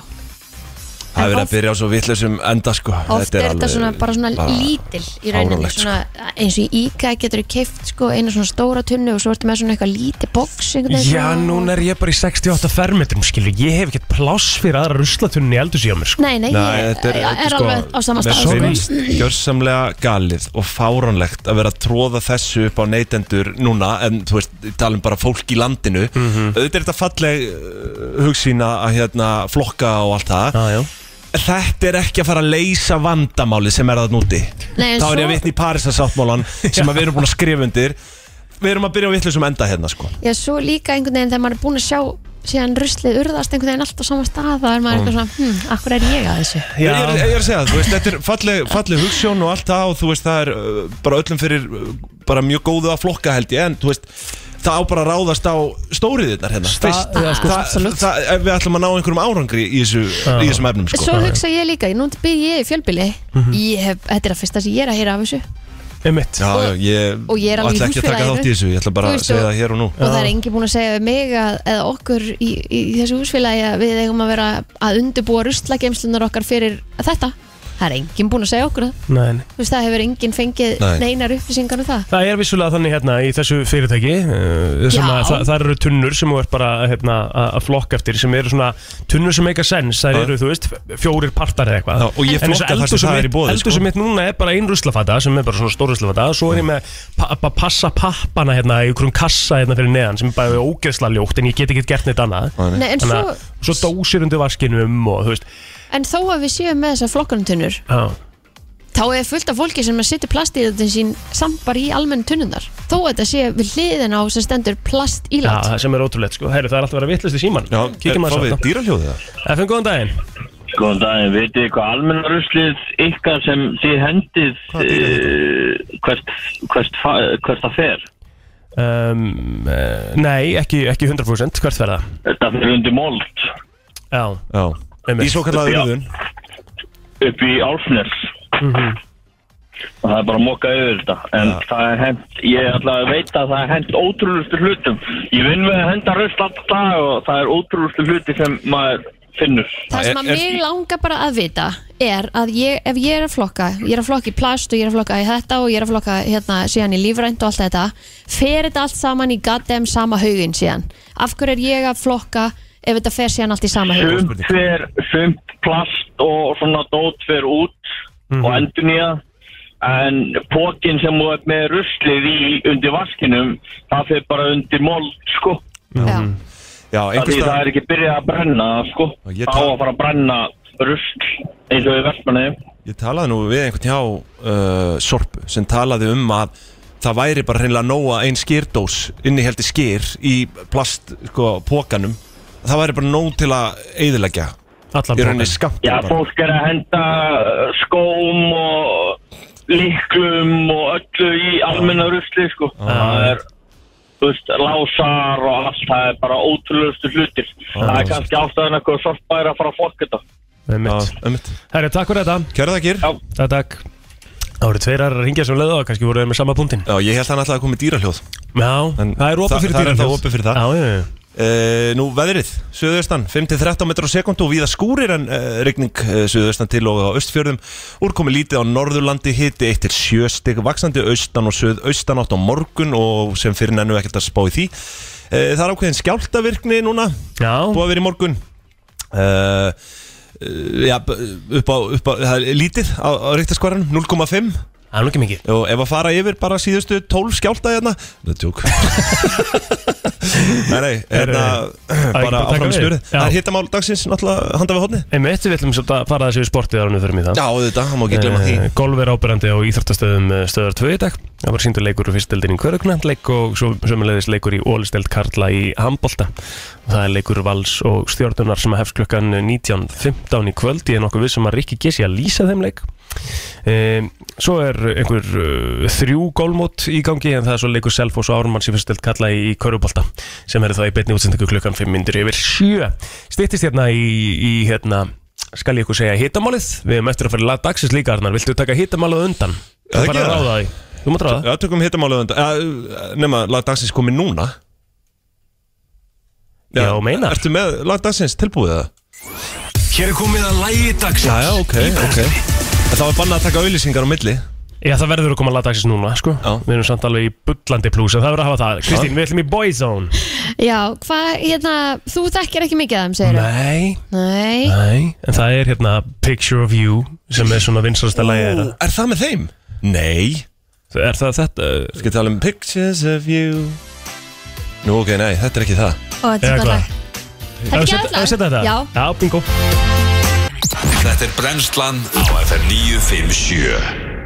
Speaker 5: Það er verið
Speaker 2: oft-
Speaker 5: að byrja á svo vitlausum enda sko
Speaker 2: oft er þetta
Speaker 5: alveg
Speaker 2: svona, bara svona lítil í rauninni
Speaker 5: fáránlegt,
Speaker 2: svona, eins og í IKEA getur þú keift sko, eina svona stóra tunnu og svo ertu með svona eitthvað lítið box einhvern veginn
Speaker 3: Já,
Speaker 2: svona-
Speaker 3: núna er ég bara í 68 fermetrum, skilur. Ég hef ekkert pláss fyrir aðra ruslatunni eldur síðan mér, sko.
Speaker 2: Nei, nei, ég er, alveg á sama stað
Speaker 5: Mér
Speaker 2: sko.
Speaker 5: finnst gjörsamlega galið og fáránlegt að vera að tróða þessu upp á neytendur núna en þú veist, ég tala um bara fólk í landinu
Speaker 3: Mhm.
Speaker 5: auðvitað er þetta falleg uh, hugsýna að hérna, flokka og allt það
Speaker 3: Já, já.
Speaker 5: Þetta er ekki að fara að leysa vandamáli sem er það núti
Speaker 2: Nei, en
Speaker 5: Þá er ég að
Speaker 2: svo-
Speaker 5: vitna í Parísasáttmálan sem að við erum búin að skrifa undir Við erum að byrja á vitlausum enda hérna sko
Speaker 2: Já, svo líka einhvern veginn þegar maður er búin að sjá síðan ruslið urðast einhvern veginn allt á sama stað þá er maður eitthvað svona, hm, akkur er ég að þessu
Speaker 5: Ég er, ég er að segja það, þú veist, þetta er falleg, falleg hugssjón og allt það og þú veist, það er uh, bara öllum fyrir uh, bara mjög góðu að flokka held ég en þú veist, það á bara að ráðast á stóriðirnar hérna
Speaker 3: Sta-
Speaker 5: fyrst.
Speaker 3: já, sko,
Speaker 5: það,
Speaker 3: absolutt.
Speaker 5: það, ef við ætlum að ná einhverjum árangri í, þessu, í þessum efnum sko
Speaker 2: Svo hugsa ég líka, nú byrð ég í fjölbili ég hef, Þetta er að fyrsta sem ég er að heyra af þessu
Speaker 3: Einmitt.
Speaker 5: Já, já, ég
Speaker 2: og ég er alveg í
Speaker 5: ætla ekki að taka
Speaker 2: húsfélaginu.
Speaker 5: þátt í þessu, ég ætla
Speaker 2: Þú
Speaker 5: bara að
Speaker 2: veist,
Speaker 5: segja
Speaker 2: og-
Speaker 5: það hér og nú
Speaker 2: og það er engi búin að segja við mig að, eða okkur í, í þessu húsfélagi að við eigum að vera að undubúa ruslagemslunar okkar fyrir þetta það er enginn búin að segja okkur það
Speaker 3: Nei, nei.
Speaker 2: Þú veist, það hefur enginn fengið
Speaker 5: Nei.
Speaker 2: neinar upplýsingar um það
Speaker 3: Það er vissulega þannig hérna í þessu fyrirtæki uh, sem að
Speaker 2: Já.
Speaker 3: það, það eru tunnur sem þú ert bara hérna, að að flokka eftir sem eru svona tunnur sem make a sense, það
Speaker 5: Já.
Speaker 3: eru þú veist fjórir partar eða eitthvað
Speaker 5: Já, og ég
Speaker 3: En þessu
Speaker 5: flokka þar sem
Speaker 3: eldhúsi
Speaker 5: það er í
Speaker 3: mitt-
Speaker 5: boði,
Speaker 3: Eldhúsi
Speaker 5: sko. Mm.
Speaker 3: mitt núna er bara ein ruslafata sem er bara svona stór ruslafata og svo er ég með pa að passa pappana hérna í einhverjum kassa hérna fyrir neðan sem er bara ógeðsla ljótt en ég get ekki gert neitt annað
Speaker 5: Nei.
Speaker 2: Nei, en,
Speaker 3: Þannig að
Speaker 2: svo,
Speaker 3: svo dósir undir vaskinum og þú veist
Speaker 2: en þó að við séum með þessar flokkanutunur
Speaker 3: Já,
Speaker 2: þá er fullt af fólki sem að setja plast í þetta sín samt bara í almenn tunnundar þó að þetta sé við hliðin á sem stendur plast í
Speaker 3: já
Speaker 2: land
Speaker 3: það sem er ótrúlegt sko Herru, það er alltaf að vera vitlist í síman
Speaker 5: Já,
Speaker 3: Kíkjum að
Speaker 5: fá við
Speaker 3: þetta
Speaker 5: dýraljóðið það
Speaker 3: FN, góðan daginn
Speaker 6: Góðan daginn, veitu þið hvað almennaruslið ykkar sem þið hendið
Speaker 5: Hvað er
Speaker 6: uh, hvert, hvert, fa- hvert það fer?
Speaker 3: um, uh, Nei, ekki, ekki 100% Hvert verða?
Speaker 6: Þetta fer undir mold
Speaker 3: Já,
Speaker 5: Já,
Speaker 3: Einmitt.
Speaker 5: í svo kallaði
Speaker 6: Já.
Speaker 5: röðun
Speaker 6: upp í Álfnes
Speaker 7: Mhm.
Speaker 6: og það er bara að moka yfir þetta en það er hent, ég ætla að veita að það er hent ótrúlustu hlutum ég vinn við að henda rusl alltaf dag og það er ótrúlustu hluti sem maður finnur
Speaker 2: Það sem að
Speaker 5: Er- er-
Speaker 2: mig langar bara að vita er að ég, ef ég er að flokka ég er að flokka í plast og ég er að flokka í þetta og ég er að flokka hérna síðan í lífrænt og allt þetta fer þetta allt saman í goddamn sama haugin síðan af hverju er ég að flokka ef þetta fer síðan allt í sama haugin
Speaker 6: sumt fer, sumt plast og svona dót fer út
Speaker 4: Mhm.
Speaker 6: og endur nýja en pókin sem þú ert með ruslið í undir vaskinum það fyrir bara undir mold sko
Speaker 2: Já.
Speaker 4: Já,
Speaker 6: Það
Speaker 4: einhvers
Speaker 6: því það
Speaker 4: staðar
Speaker 6: er ekki byrjað að brenna sko
Speaker 4: Og ég
Speaker 6: Það á
Speaker 4: tal-
Speaker 6: að fara að brenna rusl eins og í vestmanni
Speaker 4: Ég talaði nú við einhvern hjá uh, Sorpu sem talaði um að það væri bara hreinlega nóa ein skýrdós inniheldi skýr í plast sko, pókanum það væri bara nóg til að eyðileggja
Speaker 3: Allan
Speaker 4: í rauninni
Speaker 3: pokann.
Speaker 4: skamt
Speaker 6: Já, fólk er að henda uh, skóm og líklum og öllu í almenna rusli sko Það er, þú veist, lásar og allt það er bara ótrúlustu hlutir Það er kannski ástæðan eitthvað sorpa er að fara að fokka þetta
Speaker 3: Einmitt. Herri, takk fyrir þetta
Speaker 4: Kjörða kýr
Speaker 6: Já.
Speaker 3: Takk, takk Það voru tveir aðrar að ringja sem leiða og kannski voru þeir með sama punktin
Speaker 4: Já, ég held að hann ætlaði að koma í dýrahljóð
Speaker 3: Já,
Speaker 4: En
Speaker 3: það
Speaker 4: það-
Speaker 3: er opið fyrir
Speaker 4: það er
Speaker 3: dýrin
Speaker 4: ennþá opið fyrir það.
Speaker 3: Já, já, já
Speaker 4: Uh, nú veðrið, suðaustan 5-13 metrar á sekundu og víða skúrir en uh, rigning uh, suðaustan til og á östfjörðum úrkomi lítið á norðurlandi hiti 1-7 stig vaksandi austan og suðaustan átt á morgun og sem fyrir nennu ekkert að spá í því uh, það er ákveðin skjáltavirkni núna
Speaker 3: Já,
Speaker 4: búið að vera í morgun uh, uh, já, b- upp á, upp á það er lítið á, á ríktaskvaran 0,5
Speaker 3: það er nú ekki mikið
Speaker 4: og ef að fara yfir bara síðustu 12 skjálta hérna það er tjók nei, nei, hérna
Speaker 3: ekki
Speaker 4: bara
Speaker 3: bara taka
Speaker 4: áfram
Speaker 3: við?
Speaker 4: spjörið
Speaker 3: Já.
Speaker 4: það er hittamál dagsins náttúrulega handa við hodni
Speaker 3: Einmitt, við ætlum svolítið að fara þessi við sportið ára nú fyrir mig það
Speaker 4: já, þetta, hann má ekki glemma því
Speaker 3: Eh, Golf er ábyrjandi á Íþróttastöðum eh, stöðar 2 í dag Það var síndur leikur úr fyrstdeldin í Körugna leik og svo sömulegðis leikur í Ólisteld Karla í Hambolta Það er leikur Vals og Stjórnunar sem hefst klukkan 19.15 í kvöld Ég er nokkuð við sem að Rikki Gessi að lýsa þeim leik Um, svo er einhver uh, þrjú gólmót í gangi en það er svo leikur Selfoss og Ármanns í fyrstild kalla í, í Körubolta sem verður þá í beinni útsendingu klukkan 5 myndir yfir 7 Styttist hérna í, í hérna, skal ég ykkur segja hitamálið við erum eftir að fara í lag dagsins líka Arnar viltu taka hitamálið á undan?
Speaker 4: Já, það
Speaker 3: Þú farið
Speaker 4: gera
Speaker 3: að ráða því Þú mátt ráða
Speaker 4: já, tökum hittamálið undan nema, lag dagsins komið núna
Speaker 3: Já, meinar.
Speaker 4: ertu með lag dagsins tilbúið það?
Speaker 1: Hér er komið að lægi dagsins
Speaker 4: já, já, ok, ok En það var bannað að taka auðlýsingar á milli
Speaker 3: Já það verður að koma lag dagsins núna sko
Speaker 4: Já.
Speaker 3: Við erum samt alveg í bullandi plús en það verður að hafa það Kristín við ætlum í Boyzone
Speaker 2: Já, hvað, hérna, þú þekkir ekki mikið af þeim, segir
Speaker 3: Nei
Speaker 2: Nei.
Speaker 3: Nei En það er hérna Picture of You sem er svona vinsalasta lagi þeirra
Speaker 4: Ú, er það með þeim? nei
Speaker 3: Er það þetta?
Speaker 4: Skal tala um pictures of you Nú, ok, nei, þetta er ekki það
Speaker 2: Og þetta
Speaker 3: Eða
Speaker 2: er gott
Speaker 3: hvað?
Speaker 2: lag. Þetta er
Speaker 3: Ef við
Speaker 2: gæðlag.
Speaker 3: setja- ef við setja þetta?
Speaker 2: Já.
Speaker 3: Já, bingo
Speaker 1: Þetta er brennslan á FM 957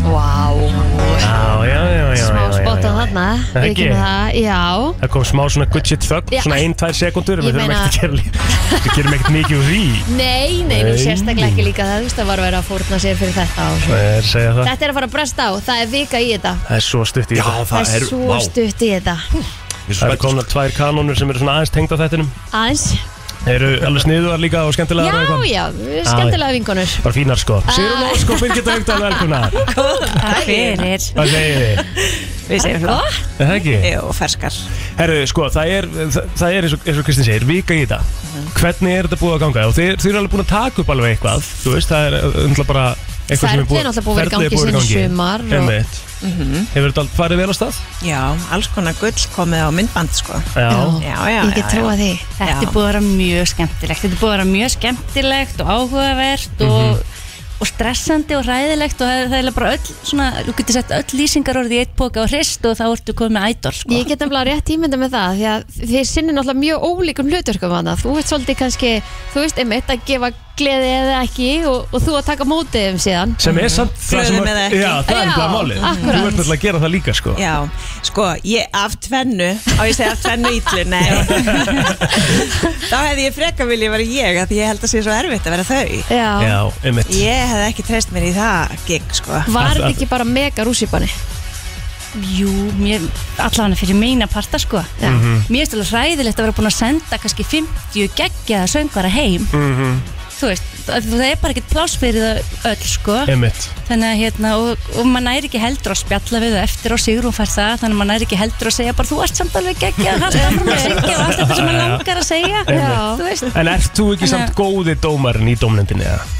Speaker 2: Vá.
Speaker 3: Já, já, já, já
Speaker 2: Smá
Speaker 3: já, já,
Speaker 2: spottað
Speaker 3: já.
Speaker 2: þarna.
Speaker 3: Ekki?
Speaker 2: Ekki með það. Já.
Speaker 3: Það kom smá svona good shit fuck
Speaker 2: Já.
Speaker 3: Svona ein, tvær sekundur
Speaker 2: Ég
Speaker 3: Við þurfum
Speaker 2: meina-
Speaker 3: ekkert að gera líka Við gerum ekkert mikið úr því
Speaker 2: Nei, nei, nú
Speaker 3: Nei.
Speaker 2: sérstaklega ekki líka það, þú veist, það var verið að fórna sér fyrir þetta og svo.
Speaker 3: Það er að segja það
Speaker 2: Þetta er að fara að bresta á, það er vika í þetta.
Speaker 3: Það er svo stutt í þetta
Speaker 2: Það, er svo
Speaker 4: vá,
Speaker 2: stutt í þetta.
Speaker 4: ég er svo
Speaker 3: Það eru
Speaker 4: spenntur.
Speaker 3: komna tvær kanónur sem eru svona aðeins tengd á þettinum
Speaker 2: Aðeins.
Speaker 3: Þeir eru alveg sniðuðar líka
Speaker 2: Já,
Speaker 3: og
Speaker 2: Ah.
Speaker 3: skemmtilegar og eitthvað.
Speaker 2: já, skemmtilega vingunur.
Speaker 3: Bara fínar sko Sigrun Ósk og Birgitta Haugdal velkuna
Speaker 9: Takk fyrir
Speaker 3: Hvað segir þið?
Speaker 9: Við segjum flott
Speaker 3: Er það ekki?
Speaker 9: Jú, ferskar
Speaker 3: Herru, sko, það er, það, það er eins, og, eins og Kristinn segir, vika í þetta
Speaker 9: Mhm.
Speaker 3: Hvernig er þetta búið að ganga? Og þeir, þeir eru alveg búin að taka upp alveg eitthvað Þú veist, það er umtlað bara eitthvað sem er
Speaker 2: Ferlið er náttúrulega búið að vera í
Speaker 3: ferlið
Speaker 2: gangi
Speaker 3: búið að
Speaker 2: síðan í sumar og-
Speaker 3: Einmitt. Hefur þetta allt farið vel á stað?
Speaker 9: Mhm. Já, alls konar gull komið á myndband sko
Speaker 3: Já,
Speaker 9: Já, já,
Speaker 2: Ég get
Speaker 9: já,
Speaker 2: trúa
Speaker 9: já.
Speaker 2: því.
Speaker 10: Þetta
Speaker 9: Já.
Speaker 10: er búið að vera mjög skemmtilegt Þetta er búið að vera mjög skemmtilegt og áhugavert og,
Speaker 3: Mhm.
Speaker 10: og stressandi og ræðilegt og það er- það er bara öll svona, þú getur sett öll lýsingar orðið í eitt póka og hrist og þá ertu komið með ædol sko.
Speaker 2: Ég get nefnilega rétt tímynda með það því að þið sinnir náttúrulega mjög ólíkum hlutverkum hana. Þú veist svolítið kannski, þú veist einmitt að gefa gleði eða ekki og, og þú að taka mótið um síðan.
Speaker 3: sem er samt það sem
Speaker 9: Glöðum eða ekki.
Speaker 3: Já, það er
Speaker 2: Já,
Speaker 3: nefnilega málið
Speaker 2: akkurat.
Speaker 3: Þú ert náttúrulega að gera það líka, sko
Speaker 9: Já, sko, ég af tvennu á ég segja af tvennu ítlu, nei Þá hefði ég freka viljað vera ég af því ég held að sé svo erfitt að vera þau
Speaker 2: Já.
Speaker 3: Já, einmitt
Speaker 9: Ég hefði ekki treyst mér í það gig sko
Speaker 2: Var
Speaker 3: Að-
Speaker 2: þetta
Speaker 3: að-
Speaker 2: ekki bara mega rússipanni?
Speaker 10: Jú, mér, allavega fyrir meina parta sko.
Speaker 3: Mhm.
Speaker 10: Mér er stölu ræðilegt að vera búin að senda kannski 50 geggjaða söngvara heim
Speaker 4: Mhm.
Speaker 10: Þú veist, það það er bara ekkert pláss fyrir það öll sko.
Speaker 3: Einmitt
Speaker 10: þannig að hérna og, og maður næri ekki heldur að spjalla við það eftir og Sigrún fær það þannig að maður næri ekki heldur að segja bara þú ert samt alveg geggja það er bara að syngja og allt þetta sem maður langar að segja þú veist
Speaker 3: En ert þú ekki
Speaker 10: Þannig
Speaker 3: samt góði dómarinn í dómnendinni, eða?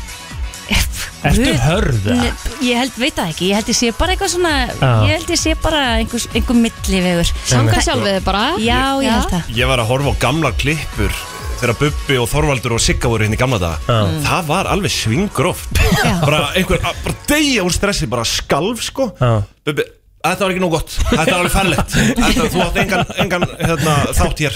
Speaker 3: Ertu hörð, eða?
Speaker 10: Nei, ég held, veit það ekki, ég held ég sé bara eitthvað svona,
Speaker 3: Já.
Speaker 10: ég held ég sé bara einhver, einhver millivegur.
Speaker 2: Sangar sjálfið þið bara
Speaker 10: Já, ég held það.
Speaker 4: Ég var að horfa á gamlar klippur þegar Bubbi og Þorvaldur og Sigga voru hérna í gamla daga Það var alveg svingróft bara einhver, að- bara deyja úr stressi bara skalf sko
Speaker 3: Já.
Speaker 4: Bubbi, þetta var ekki nóg gott, þetta var alveg færlegt Þetta, þú átt engan, engan hérna, þátt hér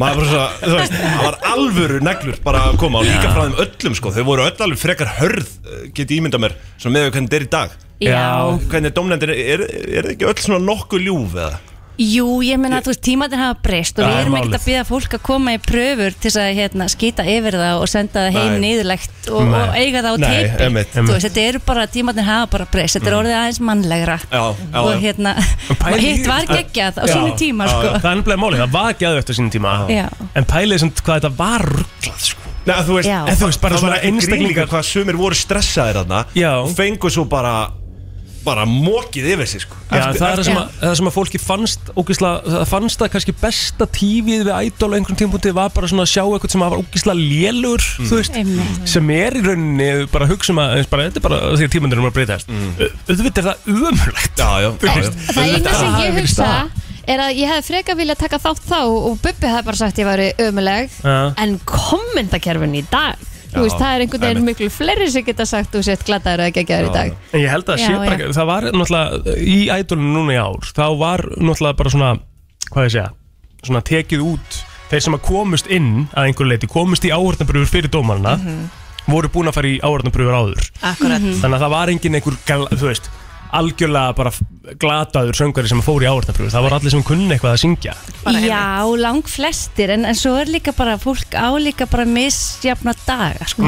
Speaker 4: Maður bara svo, þú veist, það var alvöru neglur bara að koma og líka frá þeim öllum sko Þau voru öll alveg frekar hörð, eh, get ég ímyndað mér Svo með við hvernig þetta er í dag
Speaker 10: Já.
Speaker 4: Hvernig domnendir, er, er þið ekki öll svona nokkuð ljúf eða?
Speaker 10: Jú, ég meina þú veist, tímatin hafa breyst og
Speaker 3: Það
Speaker 10: við
Speaker 3: er
Speaker 10: erum ekkert
Speaker 3: málið.
Speaker 10: að bíða fólk að koma í pröfur til þess að hérna, skýta yfir það og senda það heim
Speaker 4: Nei.
Speaker 10: niðurlegt og,
Speaker 3: Nei.
Speaker 10: og eiga það á
Speaker 4: Nei,
Speaker 10: teipi.
Speaker 4: einmitt.
Speaker 10: Þú veist, þetta eru bara, tímatin hafa bara breyst, þetta er orðið aðeins mannlegra
Speaker 4: Já, já,
Speaker 10: og
Speaker 4: já.
Speaker 10: hérna,
Speaker 3: pæli
Speaker 10: og
Speaker 3: í
Speaker 10: hitt
Speaker 3: því,
Speaker 10: var
Speaker 3: sko.
Speaker 10: geggjað á sínu tíma,
Speaker 4: já,
Speaker 10: sko.
Speaker 3: Það er ennblega málið, það var geðvögt á sínum tíma
Speaker 10: Já.
Speaker 3: En pælið sem hvað þetta var rugglað sko.
Speaker 4: Nei, þú veist,
Speaker 10: Já.
Speaker 4: en þú veist bara
Speaker 3: Það var
Speaker 4: svona
Speaker 3: ekki
Speaker 4: einstaklingar
Speaker 3: grín.
Speaker 4: hvað sumir voru stressaðir þarna
Speaker 3: Já.
Speaker 4: og fengu svo bara bara mókið yfir sig sko
Speaker 3: Já, það er það sem, að, það sem að fólki fannst ógislega, það fannst að kannski besta tífið við ædol á einhverjum tímpúti var bara svona að sjá eitthvað sem var ógislega lélur þú veist,
Speaker 10: Einmitt.
Speaker 3: sem er í rauninni ef við bara hugsa um að, eins bara, þetta er bara því að tímandur erum að breyta þess mm. auðvitað er það umhverlegt
Speaker 4: Já, já, já, já.
Speaker 2: Það eina sem
Speaker 3: hafi
Speaker 2: ég
Speaker 3: verið
Speaker 2: hugsa
Speaker 3: staðan.
Speaker 2: er að ég hefði freka vilja taka þátt þá og Bubbi hefði bara sagt ég væri ömuleg
Speaker 3: Já.
Speaker 2: en kommentakerfin í dag þú veist, það er einhvern veginn miklu fleiri sem geta sagt þú sett glataður eða geggjaður í dag
Speaker 3: En ég held að
Speaker 10: Já,
Speaker 3: sé bara,
Speaker 10: já.
Speaker 3: það var náttúrulega í ædolinu núna í ár, þá var náttúrulega bara svona, hvað ég segja svona tekið út, þeir sem að komust inn að einhverju leiti, komust í áhörðnabröfur fyrir dómarna,
Speaker 2: Mhm.
Speaker 3: voru búin að fara í áhörðnabröfur áður,
Speaker 9: Mhm. Akkurat
Speaker 3: þannig að það var engin einhver, gal- þú veist, algjörlega bara glataður söngari sem fór í áhörðnabröfur það var allir sem kunni eitthvað að syngja
Speaker 9: Bara einmitt.
Speaker 10: Já, lang flestir en, en svo er líka bara fólk á líka bara misjafna daga sko.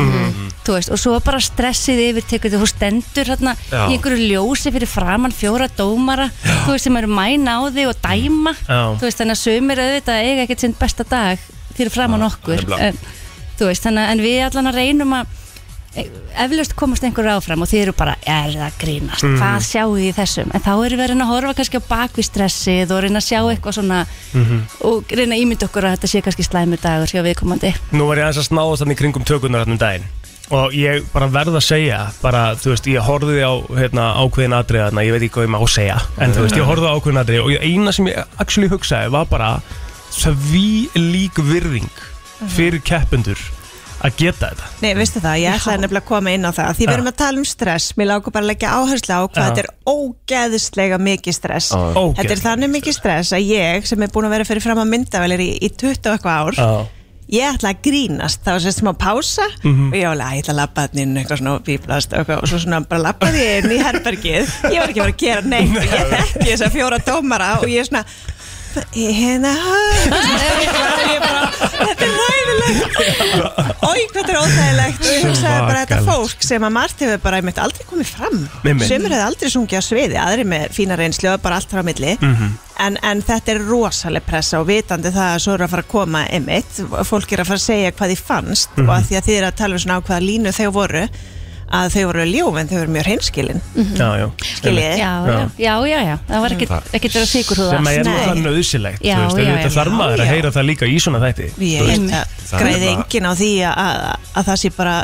Speaker 10: Þú veist, og svo er bara stressið yfir tekur því þú stendur hérna
Speaker 4: Já.
Speaker 10: í einhverju ljósi fyrir framann fjóra dómara þú veist sem eru mæna á því og dæma
Speaker 3: Já.
Speaker 10: þú veist þannig að sömur auðvitað eiga ekkert sinn besta dag fyrir framann okkur
Speaker 4: nefnilega.
Speaker 10: en, þú veist þannig að en við allan að reynum að e, eflaust komast einhverju áfram og þið eru bara, er það að grínast hvað sjáu þið í þessum, en þá erum við að reyna að horfa kannski á bakvið stressið og reyna að sjá eitthvað svona og reyna að ímynda okkur að þetta sé kannski slæmur dagur hjá viðkomandi
Speaker 3: Nú var ég aðeins að snáðast þannig kringum tökunar hann um daginn og ég bara verð að segja bara, þú veist, ég horfði á hérna, ákveðin atriða þarna, ég veit ekki hvað ég má segja en þú veist, ég horfði á ákveðin atriða og ég- eina sem ég actually hugsaði var bara því lík virðing fyrir keppendur að geta þetta
Speaker 9: Nei, veistu það, ég ætlaði nefnilega að koma inn á það Því við erum að tala um stress, mér lágur bara að leggja áherslu á hvað
Speaker 3: Já.
Speaker 9: þetta er ógeðislega mikið stress Þetta er
Speaker 3: Ógeðslega.
Speaker 9: þannig mikið stress að ég sem er búin að vera fyrir fram að myndavælir í, í 20 og eitthvað ár
Speaker 3: Já.
Speaker 9: Ég ætla að grínast, það var sérst smá pása og ég var alveg að ég ætla að labba þannig inn eitthvað svona og bíblast og, eitthvað, og svo svona bara labbaði ég inn í herbergið Ég var ekki að vera að gera neitt og ég þekki þess að fjóra dómara og ég er svona hérna ég bara, þetta er ræðilegt Ói, hvað þetta er óþægilegt og ég hugsaði bara þetta
Speaker 3: Svakalegt.
Speaker 9: fólk sem að margt hefur bara einmitt aldrei komið fram
Speaker 3: Nei, nei.
Speaker 9: Sumir hefur aldrei sungið á sviði, aðri með fína reynslu og bara allt frá milli
Speaker 11: Mhm.
Speaker 3: Mhm.
Speaker 9: en, en þetta er rosaleg pressa og vitandi það að svo eru að fara að koma einmitt fólk er að fara að segja hvað því fannst og að því að þið eru að tala um svona á hvaða línu þau voru að þau voru ljúf en þau voru mjög hreinskilin
Speaker 2: Mm.
Speaker 3: Já, já.
Speaker 9: skiljiði
Speaker 10: já, já, já, já, já. það var ekkert ekkert verið að sigur húða
Speaker 3: sem að er
Speaker 9: Nei.
Speaker 3: náttúrulega nöðsilegt
Speaker 10: Já, já,
Speaker 3: þetta
Speaker 10: já.
Speaker 3: þarf
Speaker 9: Já,
Speaker 3: maður að
Speaker 9: já.
Speaker 3: heyra það líka í svona þætti
Speaker 9: Ég held að
Speaker 4: Það er
Speaker 9: græði
Speaker 4: bara-
Speaker 3: hérna
Speaker 9: enginn á því að, að, að það sé bara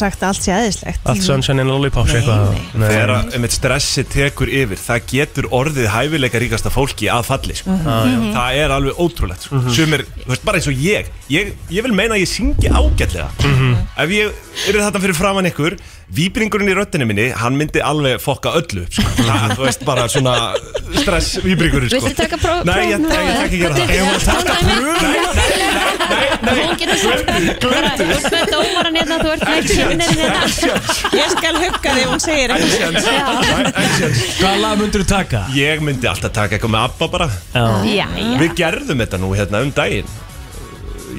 Speaker 9: sagt að allt sé aðeinslegt
Speaker 3: allt sunshine and lollipops
Speaker 9: Nei,
Speaker 3: eitthvað
Speaker 9: nei.
Speaker 3: Nei.
Speaker 4: Þegar að, einmitt stressi tekur yfir það getur orðið hæfileika ríkasta fólki að falli sko. það er alveg ótrúlegt sko. sumir, þú veist, bara eins og ég ég, ég vil meina að ég syngi ágætlega
Speaker 3: Mhm.
Speaker 4: ef ég er þetta fyrir framann ykkur víbringurinn í röttinu minni hann myndi alveg fokka öllu upp, sko. það, þú veist, bara svona stress víbringurinn sko.
Speaker 2: Viltu taka pró-
Speaker 4: Nei, ég
Speaker 2: próf núna,
Speaker 4: tek ekki gera
Speaker 2: eða?
Speaker 4: það Ég var að taka
Speaker 2: Prófaðu
Speaker 4: pröf Nei, nei, nei,
Speaker 2: Hún getur sagt Þú ert með dómaran hérna, þú ert með kynnin hérna
Speaker 9: Ég skal hugga því hún segir eitthvað
Speaker 4: nei, nei, nei
Speaker 3: hvað lag myndur þú taka?
Speaker 4: Ég myndi alltaf taka eitthvað með ABBA bara
Speaker 3: Já.
Speaker 2: Já, já
Speaker 4: Við gerðum þetta nú hérna um daginn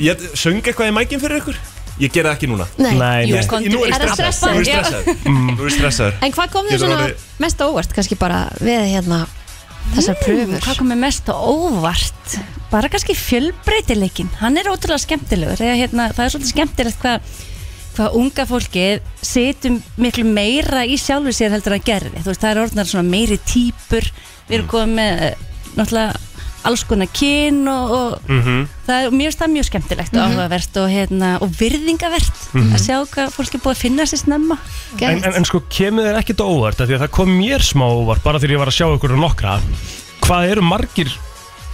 Speaker 4: Ég söng eitthvað í mækinn fyrir ykkur Ég gerði það ekki núna
Speaker 3: Nei,
Speaker 10: Jú,
Speaker 3: nei.
Speaker 2: sko,
Speaker 10: komdu.
Speaker 4: Nú er ég
Speaker 2: Er það
Speaker 4: stressaður Nú er ég
Speaker 2: stressaður?
Speaker 4: stressaður Mm, Nú er ég stressaður
Speaker 2: En hvað kom þér
Speaker 4: Getur
Speaker 2: svona
Speaker 4: orðið-
Speaker 2: mest á óvart kannski bara við hérna þessar pröfur?
Speaker 10: Mm, Hvað komið mest á óvart? Bara kannski fjölbreytileikin Hann er ótrúlega skemmtilegur Eða, hérna, Það er svolítið skemmtilegt hvað hvað unga fólkið setum miklu meira í sjálfu sér
Speaker 4: Mm.
Speaker 10: heldur að gerði þú veist, það er orðnar svona meiri týpur við erum komið með eh, náttúrulega alls konar kyn og, og
Speaker 7: Mhm.
Speaker 10: það er mér finnst það mjög skemmtilegt
Speaker 9: Mhm.
Speaker 10: og áhugavert og, hérna, og virðingavert að sjá hvað fólk er búið að finna sér snemma
Speaker 3: En, en, en sko kemur þér ekkert á óvart af Því að það kom mér smá á óvart Bara þegar ég var að sjá ykkur um nokkra Hvað eru margir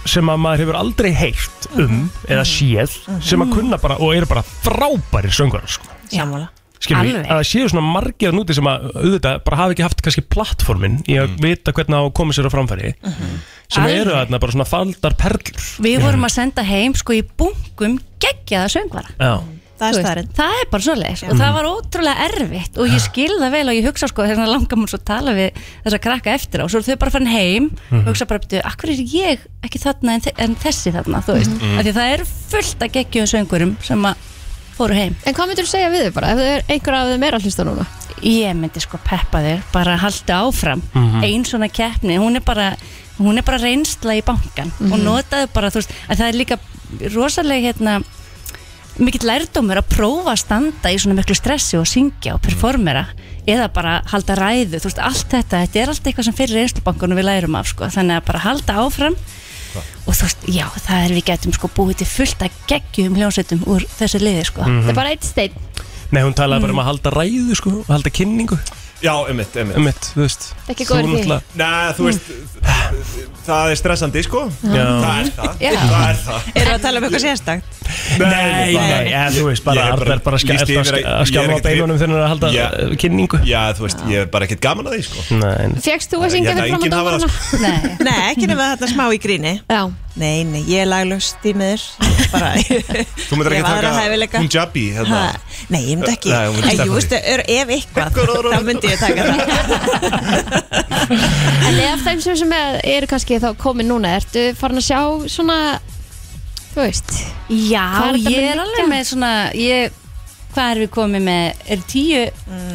Speaker 3: sem að maður hefur aldrei heyrt um Eða séð Sem að kunna bara og eru bara frábæri söngur sko.
Speaker 9: Sammála
Speaker 3: Skilur við
Speaker 10: Alveg.
Speaker 3: að það séu svona margir að núti sem að auðvitað bara hafa ekki haft kannski plattformin Í
Speaker 4: Mm.
Speaker 3: að vita hvernig það á að koma sér á framfæri
Speaker 2: Mhm.
Speaker 3: Sem
Speaker 10: Alveg.
Speaker 3: eru þarna bara svona faldar perlur
Speaker 10: við vorum að senda heim sko í bunkum geggjaða söngvara
Speaker 3: Já
Speaker 9: Það
Speaker 10: Þú
Speaker 9: er
Speaker 10: veist,
Speaker 9: staðarinn
Speaker 10: það er bara svoleiðis og það var ótrúlega erfitt og ég skil það vel og ég hugsa sko þess að langar mér svo að tala við þess að krakka eftir á svo eru þau bara farin heim
Speaker 3: Mhm.
Speaker 10: og hugsa bara betur, akkur er ég ekki þarna en, þe- en þessi þarna, þú veist
Speaker 3: Mhm.
Speaker 10: af því það eru fullt að geggjum söngurum sem að fóru heim
Speaker 2: En hvað myndur þú segja við þau bara, ef þau er einhver af þeim er að hlusta núna?
Speaker 10: ég myndi sko peppa þér bara að halda áfram ein svona keppni, hún er bara hún er bara reynsla í bankan og
Speaker 2: Mhm.
Speaker 10: notaðu bara, þú veist, að það er líka rosalega hérna mikill lærdómur að prófa að standa í svona miklu stressi og syngja og performera eða bara halda ræðu, þú veist, allt þetta þetta er allt eitthvað sem fyrir reynslubankunum við lærum af sko, þannig að bara halda áfram og þú veist, já, það er við getum sko búið til fullt að geggjum hljónsveitum úr þessu liði sko
Speaker 9: Mhm.
Speaker 2: Það er bara eitt stein
Speaker 3: Nei, hún talaði
Speaker 2: Mm.
Speaker 3: bara um að halda ræðu sko og Halda kynningu
Speaker 4: Já, einmitt, einmitt
Speaker 3: um eitt, þú veist
Speaker 2: Ekki góður í því.
Speaker 4: Nei, þú veist, það er stressandi, sko Það er það,
Speaker 2: Já.
Speaker 4: það er það
Speaker 9: Erum við að tala um eitthvað sérstakt?
Speaker 3: Nei, nei, ja, þú veist bara
Speaker 4: Ég er bara-
Speaker 3: Arnar bara
Speaker 4: lýst
Speaker 3: skjálf
Speaker 4: yfir
Speaker 3: að
Speaker 4: að- ég er
Speaker 3: skjálfa á
Speaker 4: ekkert
Speaker 3: beinunum þegar hann er að halda
Speaker 4: Já.
Speaker 3: yeah. kynningu
Speaker 4: Já, þú veist, ég er bara ekkert gaman að því, sko
Speaker 3: Nei,
Speaker 2: Fegst þú að syngja
Speaker 4: Ég held að
Speaker 2: fyrir fram að
Speaker 4: enginn hafa það, sko.
Speaker 2: dómarana?
Speaker 10: Nei,
Speaker 9: Nei, ekki nema þarna smá í gríni
Speaker 2: Já,
Speaker 9: Nei, nei, ég er laglaust í miður Bara
Speaker 4: Þú myndir
Speaker 9: Ég
Speaker 4: ekki
Speaker 9: hef aðra
Speaker 4: taka
Speaker 9: hæfileika.
Speaker 4: Punjabi hérna.
Speaker 9: Ha, Nei, ég myndi ekki
Speaker 4: Nei, þú myndi
Speaker 9: En
Speaker 4: sleppa
Speaker 9: jú
Speaker 4: því.
Speaker 9: veistu, er- ef eitthvað þá myndi ég taka það
Speaker 2: en ef þeim sem, sem er, eru kannski þá komin núna Ertu farin að sjá svona, þú veist Hvað
Speaker 10: Já,
Speaker 2: er þetta
Speaker 10: ég
Speaker 2: með
Speaker 10: er
Speaker 2: liggja?
Speaker 10: alveg með svona ég, Hvað er við komið með? Er tíu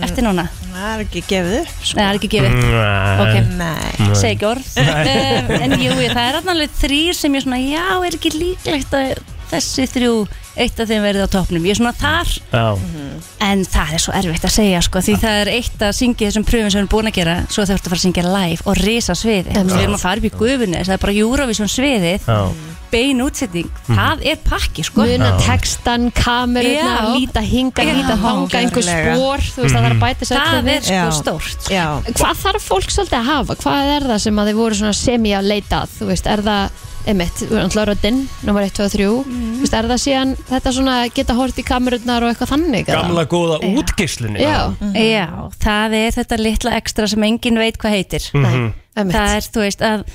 Speaker 10: eftir núna?
Speaker 9: Mm. Það er ekki gefið upp sko. Mm,
Speaker 10: Nei, það er ekki gefið
Speaker 3: Nei.
Speaker 10: Ok,
Speaker 9: Nei,
Speaker 10: segi ekki orð um, En jú, það er þarna alveg þrýr sem ég svona Já, er ekki líklegt að þessi þrjú Eitt af þeim verið á topnum Ég er svona þar,
Speaker 3: Já,
Speaker 2: Mhm.
Speaker 10: en það er svo erfitt að segja sko, Því það er eitt að syngja í þessum pröfum sem við erum búin að gera Svo þau ertu að fara að syngja live og risa sviði
Speaker 2: Emmitt.
Speaker 10: Við erum að fara upp í gufunni Það er bara Eurovision sviðið
Speaker 3: já
Speaker 10: Bein útsetning, það er pakki sko.
Speaker 2: Muna textan, kameruna,
Speaker 10: Já.
Speaker 2: líta hinga,
Speaker 10: Já,
Speaker 2: líta þanga, einhver
Speaker 9: nákvæmlega.
Speaker 2: spór Þú veist, það þarf að bæta sér
Speaker 10: Það er sko
Speaker 9: Já.
Speaker 10: stórt
Speaker 9: já
Speaker 2: Hvað þarf fólk svolítið að hafa? Hvað er það sem að þið voru svona semi að leita að? Þú veist, er það, einmitt, náttúrulega röddinn, nummer 1, 2, 3 Þú veist, er það síðan þetta svona geta hort í kamerunnar og eitthvað þannig? eða?
Speaker 3: Gamla góða útgeislunni
Speaker 2: Já,
Speaker 10: Já, það er þetta litla ekstra sem enginn veit hvað heitir.
Speaker 3: Mhm.
Speaker 2: nei, einmitt
Speaker 10: Það er, þú veist, að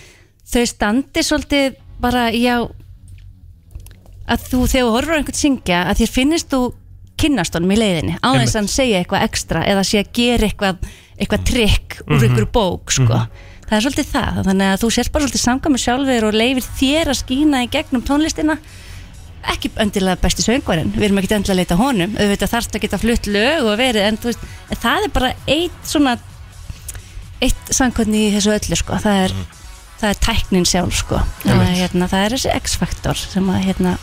Speaker 10: þau standi svolítið bara, já, að þú þegar þú horfur á einhvern syngja, að þér finnist þú kynnast honum í leiðinni, á þess að hann segja eitthvað ekstra eða sé að gera eitthvað, eitthvað trikk úr
Speaker 9: Mhm.
Speaker 10: einhverju bók, sko. Það er svolítið það, þannig að þú sérst bara svolítið samkvæmur sjálfur og leifir þér að skína í gegnum tónlistina ekki endilega besti söngvarinn, við erum ekki endilega að leita að honum, auðvitað þarfst að geta flutt lög og verið, en þú veist, en það er bara eitt svona eitt samkvæmni í þessu öllu, sko, það er það er tæknin sjálf, sko það er, hérna, það er þessi X-faktor sem að, hérna,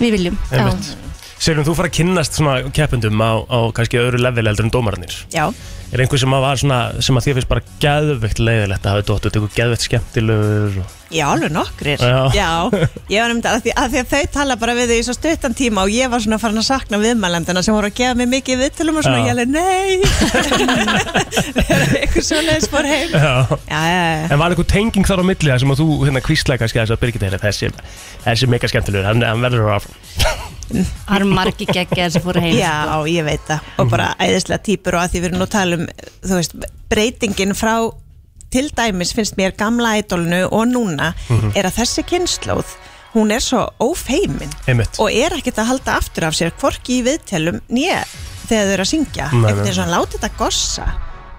Speaker 10: við viljum
Speaker 3: Einmitt. Segjum þú fara að kynnast svona keppendum á, á kannski öðru level heldur en dómararnir
Speaker 9: Já,
Speaker 3: Er einhver sem að var svona sem að þér finnst bara geðveikt leiðilegt að hafa dótt út eitthvað geðveikt skemmtilegur og...
Speaker 9: já, alveg nokkrir
Speaker 3: Já.
Speaker 9: ég var nefndi að því að, því að þau tala bara við þau í svo stuttan tíma og ég var svona farin að sakna viðmælendina sem voru að gefa mig mikið viðtölum og svona
Speaker 3: Já.
Speaker 9: ég alveg, nei eitthvað svoleiðis fór heim Já,
Speaker 3: Já
Speaker 9: já, já
Speaker 3: En var einhver tenging þar á milli þar sem að þú hérna kvísla kannski að þess að Birgit heyra þessi, þessi mega skemmtilegur, hann, hann verður að
Speaker 10: það eru margi geggjar sem fóru heim
Speaker 9: Já, ég veit það
Speaker 3: Mhm.
Speaker 9: og bara æðislega típur og að því við erum nú að tala um þú veist, breytingin frá til dæmis finnst mér gamla ædolnu og núna
Speaker 3: Mhm.
Speaker 9: er að þessi kynnslóð hún er svo ófeimin
Speaker 3: Einmitt.
Speaker 9: og er ekkert að halda aftur af sér hvorki í viðtelum nýja þegar þau eru að syngja
Speaker 3: Nei,
Speaker 9: einhvern
Speaker 3: nei,
Speaker 9: veginn svona láti þetta gossa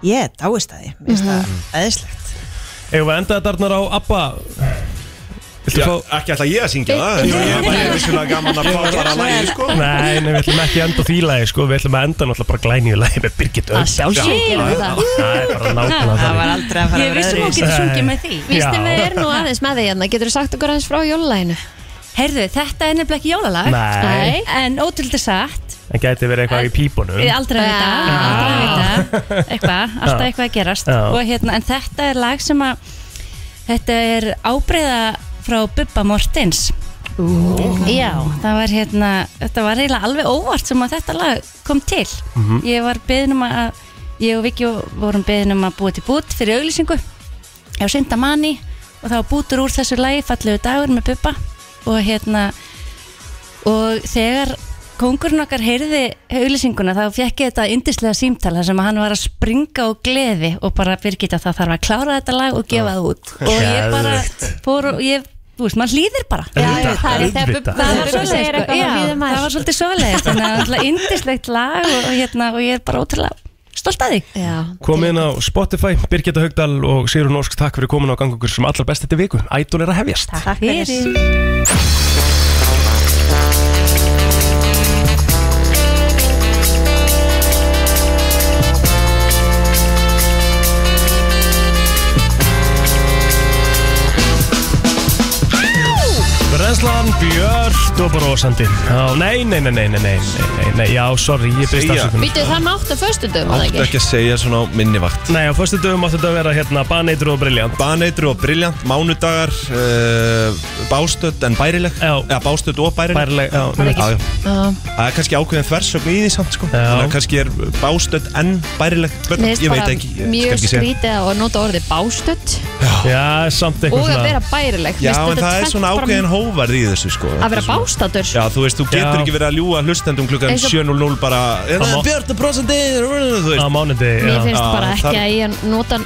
Speaker 9: ég dáist að því, mér finnst það
Speaker 3: Mhm.
Speaker 9: æðislegt
Speaker 3: Eigum við að enda þetta Arnar, á Abba Viltu
Speaker 4: Já,
Speaker 3: fá
Speaker 4: Ekki ætla ég að syngja það en Ég er bara vissulega gaman að fá bara lægi, sko
Speaker 3: Nei, nei, við ætlum ekki að enda á því lagi sko, við ætlum að enda náttúrulega bara glænýju lagi með Birgit
Speaker 2: Að
Speaker 3: Öld
Speaker 2: sjálfsög gerum við það
Speaker 3: Það er bara nákvæmlega
Speaker 9: það var
Speaker 3: það
Speaker 9: aldrei að fara
Speaker 10: ég
Speaker 9: að vera
Speaker 10: vissum að hún
Speaker 9: öðruvísi.
Speaker 10: getur sungið með því
Speaker 2: Vístum við
Speaker 3: Já.
Speaker 2: erum nú aðeins með því hérna Getur þú sagt okkur aðeins frá jólalæginu?
Speaker 10: heyrðu, þetta er nefnilega ekki jólalag
Speaker 3: Nei,
Speaker 10: en ótrúlega satt
Speaker 3: en gæti verið eitthvað í pípunum
Speaker 10: við aldrei að vita,
Speaker 2: Já.
Speaker 10: aldrei að vita eitthvað, alltaf
Speaker 3: Já.
Speaker 10: eitthvað að gerast
Speaker 3: Já.
Speaker 10: og hérna, en þetta er lag sem að þetta er ábreyða frá Bubba Mortens Já, það var hérna þetta var eiginlega alveg óvart sem að þetta lag kom til
Speaker 6: Mhm.
Speaker 10: ég var beðin um að ég og Viki vorum beðin um að búa til bút fyrir auglýsingu á Sindamanni og það var bútur úr þessu lagi fallegu dagur með Bubba og hérna og þegar kongurinn okkar heyrði auðlýsinguna þá fekk ég þetta yndislega símtal þar sem að hann var að springa og gleði og bara Birgitta það þarf að klára þetta lag og gefa það út og ég bara fór og ég þú veist, maður hlýðir bara
Speaker 2: Já, Auðvitað, það er þegar auðvitað. Bubbi-
Speaker 10: það var
Speaker 2: þegar Bubbi segir
Speaker 10: svolítið
Speaker 2: eitthvað,
Speaker 10: sko, já,
Speaker 2: þá hlýðir maður.
Speaker 10: það var svolítið svolítið þannig að það er indislegt lag og, og, hérna, og ég er bara ótrúlega stolt að þig
Speaker 2: já,
Speaker 3: Komið inn á Spotify, Birgitta Haugdal og Sigrun Ósk, takk fyrir komin á gangungur sem allar best þetta viku. Ædol er að hefjast.
Speaker 10: Takk fyrir
Speaker 3: Brenslan, Björn og brosandi. Já, nei, nei, nei, nei, nei, nei, nei, nei, já, sorry, ég byrst
Speaker 4: Segja.
Speaker 3: afsökunar.
Speaker 2: Býtu það máttu föstudum að
Speaker 4: Áttu
Speaker 2: ekki?
Speaker 4: ekki að segja svona á minni vakt
Speaker 3: Nei, á fyrstu dögum áttu þetta að vera hérna baneitur og briljant.
Speaker 4: Baneitur og briljant, mánudagar uh, Bástödd en bærileg
Speaker 3: Já.
Speaker 4: Eða bástödd og bærileg
Speaker 3: Bærileg, já.
Speaker 4: Já, já.
Speaker 2: Já.
Speaker 4: Það er kannski ákveðin þversögn í því samt sko Þannig að kannski er bástödd en bærileg
Speaker 2: Mér finnst
Speaker 4: Ég veit
Speaker 2: bara
Speaker 4: ekki, ég skal
Speaker 2: mjög
Speaker 4: ekki segja
Speaker 2: skrítið að nota orðið bástödd
Speaker 3: Já, samt eitthvað
Speaker 2: og að vera bærileg
Speaker 4: Já,
Speaker 2: Mér finnst
Speaker 4: en
Speaker 2: þetta
Speaker 4: það er
Speaker 2: tvennt
Speaker 4: svona
Speaker 2: bara-
Speaker 4: ákveðin hóvarð í þessu sko
Speaker 2: að vera bástaddur
Speaker 4: Já, þú veist, þú getur
Speaker 3: Já.
Speaker 4: ekki verið að ljúa hlustendum klukkan
Speaker 2: Eins og-
Speaker 4: 7.00 bara "Eh,
Speaker 3: Það má-
Speaker 4: Björn og brosandi Þú
Speaker 3: Á
Speaker 4: veist
Speaker 3: mánundi,
Speaker 2: Mér
Speaker 3: já.
Speaker 2: finnst
Speaker 4: Já,
Speaker 2: bara ekki
Speaker 4: þar-
Speaker 2: að ég nota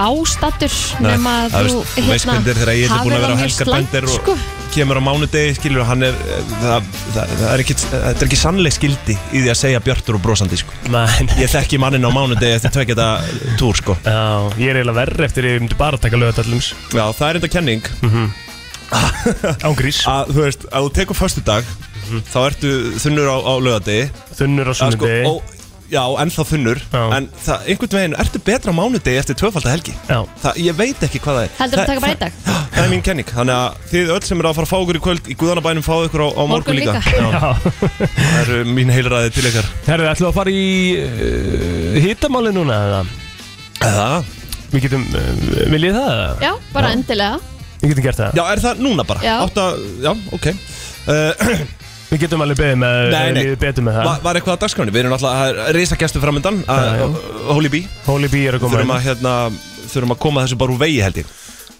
Speaker 2: bástaddur
Speaker 4: Nei,
Speaker 2: nema að
Speaker 4: það
Speaker 2: þú hérna
Speaker 4: veist, þú veist hvernig þegar ég er búin að vera á helgarbændir og
Speaker 2: sko.
Speaker 4: kemur á mánudegi, skilur, hann er eh, það, það, það er ekki, þetta er ekki sannleik skildi í því að segja björtur og brosandi, sko
Speaker 3: Nei, nei.
Speaker 4: ég þekki mannin á mánudegi eftir tvekja þetta túr, sko
Speaker 3: Já, ég er eiginlega verri eftir ég myndi bara taka lögatallums.
Speaker 4: já, það er enda kenning
Speaker 3: Mhm. Ángrís,
Speaker 4: að, þú veist, að þú tekur förstu dag þá ertu þunnur á, á lögadegi
Speaker 3: Mhm. þunnur á
Speaker 4: Eða, sko,
Speaker 3: sunnudegi.
Speaker 4: ó, já, ennþá þunnur
Speaker 3: Já.
Speaker 4: en það, einhvern veginn, ertu betra á mánudegi eftir tvöfalda helgi
Speaker 3: Já.
Speaker 4: það, ég veit ekki hvað það er
Speaker 2: Heldur
Speaker 4: það,
Speaker 2: að taka bara í dag
Speaker 4: Það er mín kenning, þannig að þið öll sem eru að fara að fá okkur í kvöld í Guðanabænum fáðu ykkur á, á morgun
Speaker 2: Morgun
Speaker 4: líka,
Speaker 2: líka.
Speaker 4: Já. Það eru mín heilræði til ykkar
Speaker 3: Herðu, ætlum við að fara í uh, hittamáli núna eða?
Speaker 4: Eða?
Speaker 3: Við getum, uh, viljið það eða?
Speaker 2: Já, bara endilega
Speaker 3: Við getum gert það.
Speaker 4: Já, er það núna bara?
Speaker 2: Já.
Speaker 4: Átta, já ok uh,
Speaker 3: Við getum alveg beðið með,
Speaker 4: Nei, nei.
Speaker 3: við betum með það.
Speaker 4: var, var eitthvað að dagskráni? Við erum alltaf, það er risagestur framöndan
Speaker 3: Já, já.
Speaker 4: Holy Bee
Speaker 3: Holy Bee er að koma
Speaker 4: Þurfum að, hérna, þurfum að koma þessu bara úr vegi held ég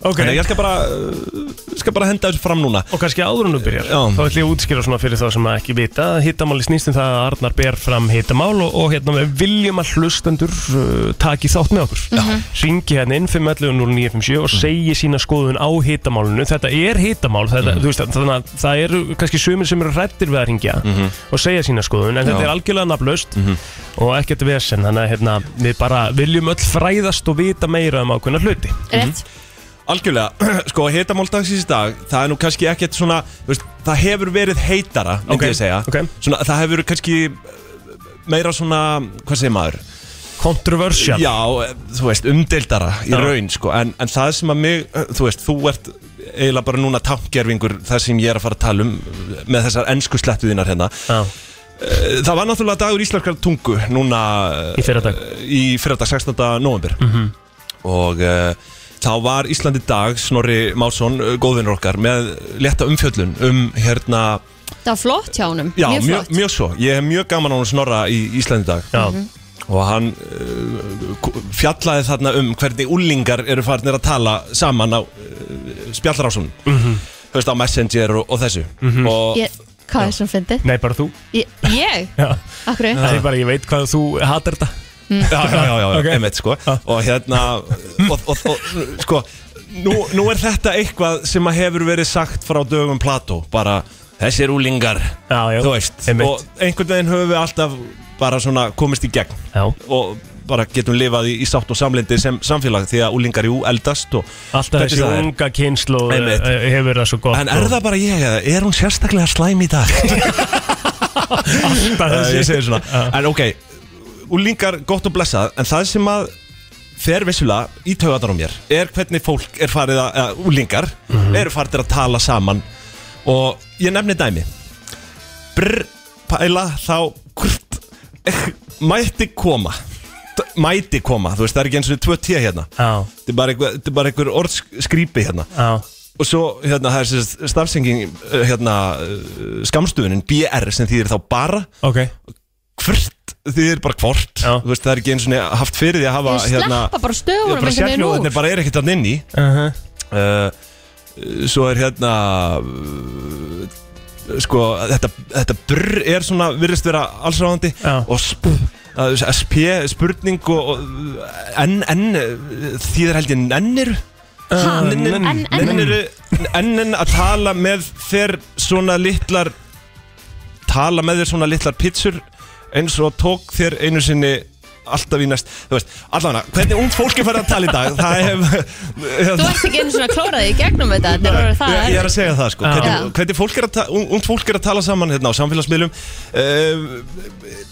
Speaker 3: Ok,
Speaker 4: Þannig að ég skal bara, uh, skal bara henda þessu fram núna
Speaker 3: og kannski áður en þú byrjar
Speaker 4: Já.
Speaker 3: Þá ætlum ég að útskýra svona fyrir þá sem að ekki vita Hittamáli snýst um það að Arnar ber fram hittamál og, og hérna við viljum að hlustendur uh, taki þátt með okkur Já. Ringi hérna inn 511-0957
Speaker 4: Mhm.
Speaker 3: og segi sína skoðun á hittamálinu Þetta er hittamál,
Speaker 4: Mhm.
Speaker 3: þetta, þú veist, þannig að það eru kannski sumir sem eru hrættir við að ringja
Speaker 4: Mhm.
Speaker 3: og segja sína skoðun En þetta er algjörlega nafnlaust og ekkert vesen Þannig að hérna, við bara viljum öll fræðast og vita meira um ákveðna hluti
Speaker 2: Rétt
Speaker 4: Mhm. Algjörlega, sko hitamáldagsins í dag Það er nú kannski ekkert svona þú veist, Það hefur verið heitara, myndi
Speaker 3: Ok,
Speaker 4: ég segja
Speaker 3: ok.
Speaker 4: svona, Það hefur kannski uh, meira svona, hvað segir maður?
Speaker 3: Kontroversjál
Speaker 4: Já, eh, þú veist, umdeildara í
Speaker 3: Já.
Speaker 4: raun sko. en, en það sem að mig, eh, þú veist, þú ert eiginlega bara núna tankgerfingur Það sem ég er að fara að tala um eh, með þessar ensku slettuðinar hérna
Speaker 3: Já.
Speaker 4: Eh, Það var náttúrulega dagur íslenskar tungu núna eh,
Speaker 3: Í fyrradag. Mhm.
Speaker 4: Í fyrradag 16. november -hmm. Og uh, þá var Íslandi dag Snorri Másson, góðvinnur okkar með létta umfjöllun um hérna
Speaker 2: Það var flott hjá honum
Speaker 4: Já,
Speaker 2: Mjög
Speaker 4: mjög,
Speaker 2: flott
Speaker 4: mjög svo, ég hef mjög gaman á hún Snorra í Íslandi dag
Speaker 3: Já.
Speaker 4: Og hann uh, k- fjallaði þarna um hvernig úlingar eru farnir að tala saman á uh, spjallrásunum mm -hmm. Þú veist á Messenger og, og þessu og,
Speaker 2: Ég- Hvað er sem fyndi?
Speaker 3: Nei, bara þú
Speaker 2: Ég?
Speaker 3: Já.
Speaker 2: Akkur
Speaker 3: Það er bara, ég veit hvað þú hatar þetta
Speaker 4: já, já, já, já, já
Speaker 3: Ok. Ah.
Speaker 4: einmitt sko og hérna og, og, og, sko, nú, nú er þetta eitthvað sem að hefur verið sagt frá dögum Plató, bara þessir úlingar,
Speaker 3: Já, já,
Speaker 4: þú veist
Speaker 3: einmitt.
Speaker 4: og einhvern veginn höfum við alltaf bara svona komist í gegn
Speaker 3: Já.
Speaker 4: og bara getum lifað í, í sátt og samlindi sem samfélag því að úlingar jú eldast og
Speaker 3: Alltaf
Speaker 4: hvernig
Speaker 3: þessi
Speaker 4: það er.
Speaker 3: unga kynslu
Speaker 4: Einmitt.
Speaker 3: hefur það svo gott
Speaker 4: En er það bara ég eða er hún sérstaklega slæm í dag? Eh,
Speaker 3: alltaf
Speaker 4: ég
Speaker 3: þessi
Speaker 4: segir svona En ok, úlingar gott og blessað En það sem að fer vissulega í taugarnar á mér Er hvernig fólk er farið að, eða úlingar
Speaker 3: Mhm.
Speaker 4: Eru farið að tala saman Og ég nefni dæmi Brr, pæla, þá kurt, Mætti koma D- Mæti koma, þú veist það er ekki eins og tvö tíða hérna
Speaker 3: Já,
Speaker 4: Þetta er bara einhver, þetta er bara einhver orðskrýpi hérna
Speaker 3: já
Speaker 4: Og svo, hérna, það er þessi stafsenging, hérna, skamstuðunin, BR, sem þýðir þá bara,
Speaker 3: Ok
Speaker 4: hvort, þýðir bara hvort,
Speaker 3: Já.
Speaker 4: þú veist, það er ekki einu svona haft fyrir því að hafa,
Speaker 2: Ég
Speaker 4: hérna,
Speaker 2: sleppa bara stöðunum
Speaker 4: bara
Speaker 2: einhvern veginn
Speaker 4: sérhljóðinni
Speaker 2: úr.
Speaker 4: bara er ekkert að nynni,
Speaker 3: uh -huh.
Speaker 4: uh, svo er hérna uh, sko þetta, þetta brr er svona virðist vera allsráðandi
Speaker 3: Já.
Speaker 4: og sp að- sp spurning og, og enn enn þýðir held ég nennir
Speaker 3: Ha,
Speaker 2: enn- enn-
Speaker 4: nennir enn að tala með þér svona litlar tala með þér svona litlar pitsur eins og tók þér einu sinni alltaf í næst, þú veist, allavega hvernig ungt fólk er farið að tala í dag það hef,
Speaker 2: Þú ert ekki einu svona klóraði í gegnum þetta Þetta er orðið það
Speaker 4: Ég, ég er að segja það sko
Speaker 3: Já.
Speaker 4: hvernig, hvernig fólk er að ta- un- ungt fólk er að tala saman hérna á samfélagsmiðlum uh,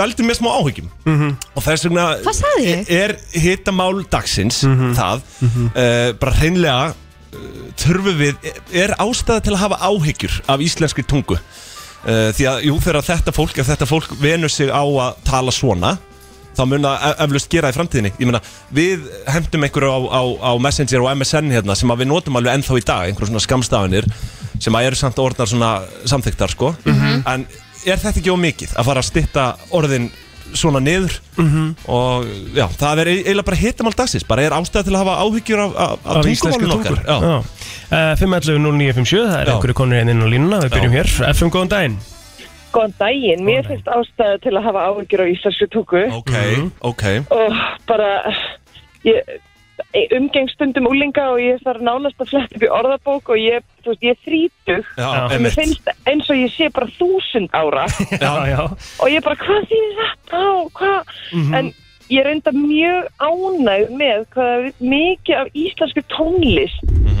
Speaker 4: veldur mér smá áhyggjum
Speaker 10: Mhm.
Speaker 4: og þess vegna e-
Speaker 2: Hvað sagði ég?
Speaker 4: er hitamál dagsins það uh, bara hreinlega uh, þurfum við, e, er ástæða til að hafa áhyggjur af íslenskri tungu uh, því að jú þegar þetta fólk ef þetta fólk venur sig á að tala svona þá mun það e- eflaust gera í framtíðinni ég meina, við hendum einhverju á, á, á Messenger og MSN hérna sem að við notum alveg ennþá í dag, einhverjum svona skamstafinir sem að eru samt orðnar svona samþyktar sko,
Speaker 2: Mhm.
Speaker 4: en er þetta ekki ómikið að fara að stitta orðin svona niður og já, það er eiginlega bara hitamál dagsins bara er ástæða til að hafa áhyggjur af, af, af,
Speaker 3: Af íslensku
Speaker 4: tungumálun okkar
Speaker 3: tungur
Speaker 4: já.
Speaker 3: Eh, 511 0957, það er
Speaker 4: Já.
Speaker 3: einhverju konur hérna inn á línuna Við byrjum
Speaker 4: Já.
Speaker 3: hér, FM góðan daginn
Speaker 12: Góðan daginn, mér finnst ástæða til að hafa áhyggjur á íslensku tungu
Speaker 4: ok,
Speaker 3: Mhm.
Speaker 4: ok
Speaker 12: og bara ég, ég umgeng stundum úlinga og ég þarf nánast að fletta upp í orðabók og ég, þú veist, ég er þrítug
Speaker 4: já,
Speaker 3: Já.
Speaker 12: og mér
Speaker 4: einmitt.
Speaker 12: finnst eins og ég sé bara þúsund ára
Speaker 3: Já, já,
Speaker 12: og ég bara, hvað þýðir þetta og hvað
Speaker 4: Mhm.
Speaker 12: en ég er enda mjög ánægð með hvað mikið af íslensku tónlist
Speaker 4: Mhm.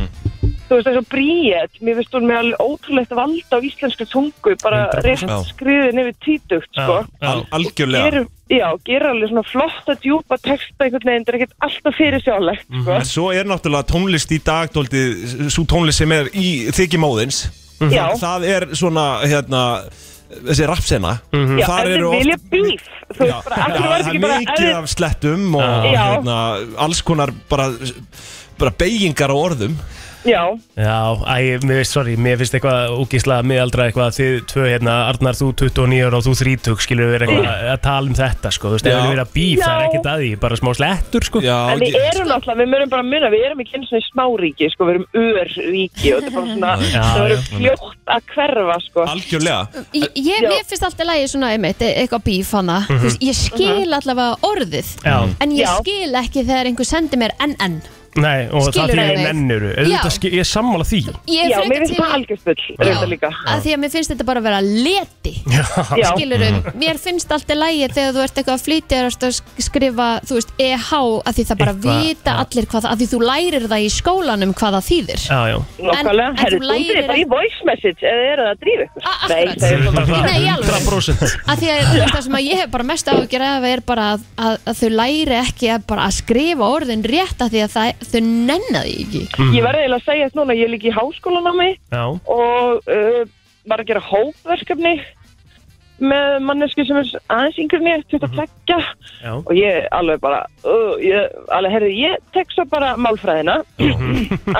Speaker 12: þú veist, þess að bríet mér finnst hún með alveg ótrúlegt vald á íslensku tungu, bara
Speaker 3: 100%.
Speaker 4: Já.
Speaker 12: rétt skriðin yfir títugt,
Speaker 3: já,
Speaker 12: sko
Speaker 3: já.
Speaker 4: Al- algjörlega
Speaker 12: gerum, já, gerum alveg svona flotta djúpa texta einhvern veginn, þetta er ekkert alltaf fyrir sjálflegt sko.
Speaker 4: En svo er náttúrulega tónlist í dag dóldi, Sú tónlist sem er í þykji móðins
Speaker 12: Mhm. Já.
Speaker 4: Það er svona hérna, Þessi rapsena
Speaker 12: Já, ef
Speaker 4: Mm, Þar
Speaker 12: þeir
Speaker 4: eru oft-
Speaker 12: vilja bíf þú
Speaker 4: Já,
Speaker 12: veist bara,
Speaker 4: já,
Speaker 12: allir
Speaker 4: það
Speaker 12: verður
Speaker 4: er
Speaker 12: ekki bara ef
Speaker 4: mikið
Speaker 12: þeir-
Speaker 4: af slettum og
Speaker 12: Já.
Speaker 4: hérna, alls konar bara, bara beigingar á orðum
Speaker 12: já,
Speaker 3: Já, æ, mér veist, sorry, mér finnst eitthvað úgislega miðaldra eitthvað að þið tvö hérna, Arnar, þú 29 ára og þú 30 skilur við eitthvað að tala um þetta, sko, þú veist, ef
Speaker 4: Mm. Já.
Speaker 3: við vera bíf, það er
Speaker 12: Já.
Speaker 3: ekkert að því, bara smá slettur, sko
Speaker 4: Já,
Speaker 12: en við
Speaker 4: ég-
Speaker 12: erum náttúrulega við mörum bara að muna, við erum ekki eins og í smáríki sko, við erum örríki og þetta er bara svona
Speaker 3: Já,
Speaker 12: það verður
Speaker 3: já.
Speaker 12: fljótt að hverfa sko.
Speaker 4: Algjörlega
Speaker 2: Ég, ég,
Speaker 12: Já. Mhm.
Speaker 2: mér finnst alltaf lægi svona einmitt, e- eitthvað bíf hana mm veist, Ég skil allavega orðið
Speaker 3: Já.
Speaker 2: En ég
Speaker 12: Já.
Speaker 2: skil ekki þegar einhver sendir mér NN
Speaker 3: Nei, og
Speaker 2: Skilur
Speaker 3: það því
Speaker 2: það
Speaker 3: ég
Speaker 2: við. Já.
Speaker 3: nennuru Auðvitað, skil- Ég er sammála því
Speaker 2: Ég er
Speaker 12: já,
Speaker 2: frekar
Speaker 12: mér finnst
Speaker 2: til-
Speaker 12: það algjörfull
Speaker 2: Já,
Speaker 12: reynda líka
Speaker 2: að Því að mér finnst þetta bara að vera leti
Speaker 12: já, Mhm.
Speaker 2: Skiluru, mér finnst alltaf lægi þegar þú ert eitthvað að flytja og ert að sk- skrifa, þú veist, EH að því það bara
Speaker 3: Eitthvað,
Speaker 2: vita
Speaker 3: já.
Speaker 2: allir hvað það, að því þú lærir það í skólanum hvað það þýðir
Speaker 3: Já, já
Speaker 12: nákvæmlega,
Speaker 2: en þú
Speaker 12: herru, þú
Speaker 2: lærir
Speaker 12: er bara í
Speaker 2: að-
Speaker 12: voice message eða eru það að drífa ykkur
Speaker 2: A- akkurat.
Speaker 12: nei, það er svona bara
Speaker 2: Nei, í alvöru.
Speaker 3: 100%
Speaker 2: að því að þú veist, það sem að ég hef bara mest ágjör af er bara að, að, að þau læri ekki að, bara að skrifa orðin rétt að því að það, þau nenna því ekki
Speaker 4: Mhm.
Speaker 12: ég verði eiginlega að segja þetta núna, ég er líka í háskólanámi
Speaker 3: Já,
Speaker 12: og uh, var að gera hópverkefni með mannesku sem er aðeins yngri mér, 22
Speaker 6: Mhm.
Speaker 3: já,
Speaker 12: og ég alveg bara uh, ég, alveg, herri, ég tek svo bara málfræðina Af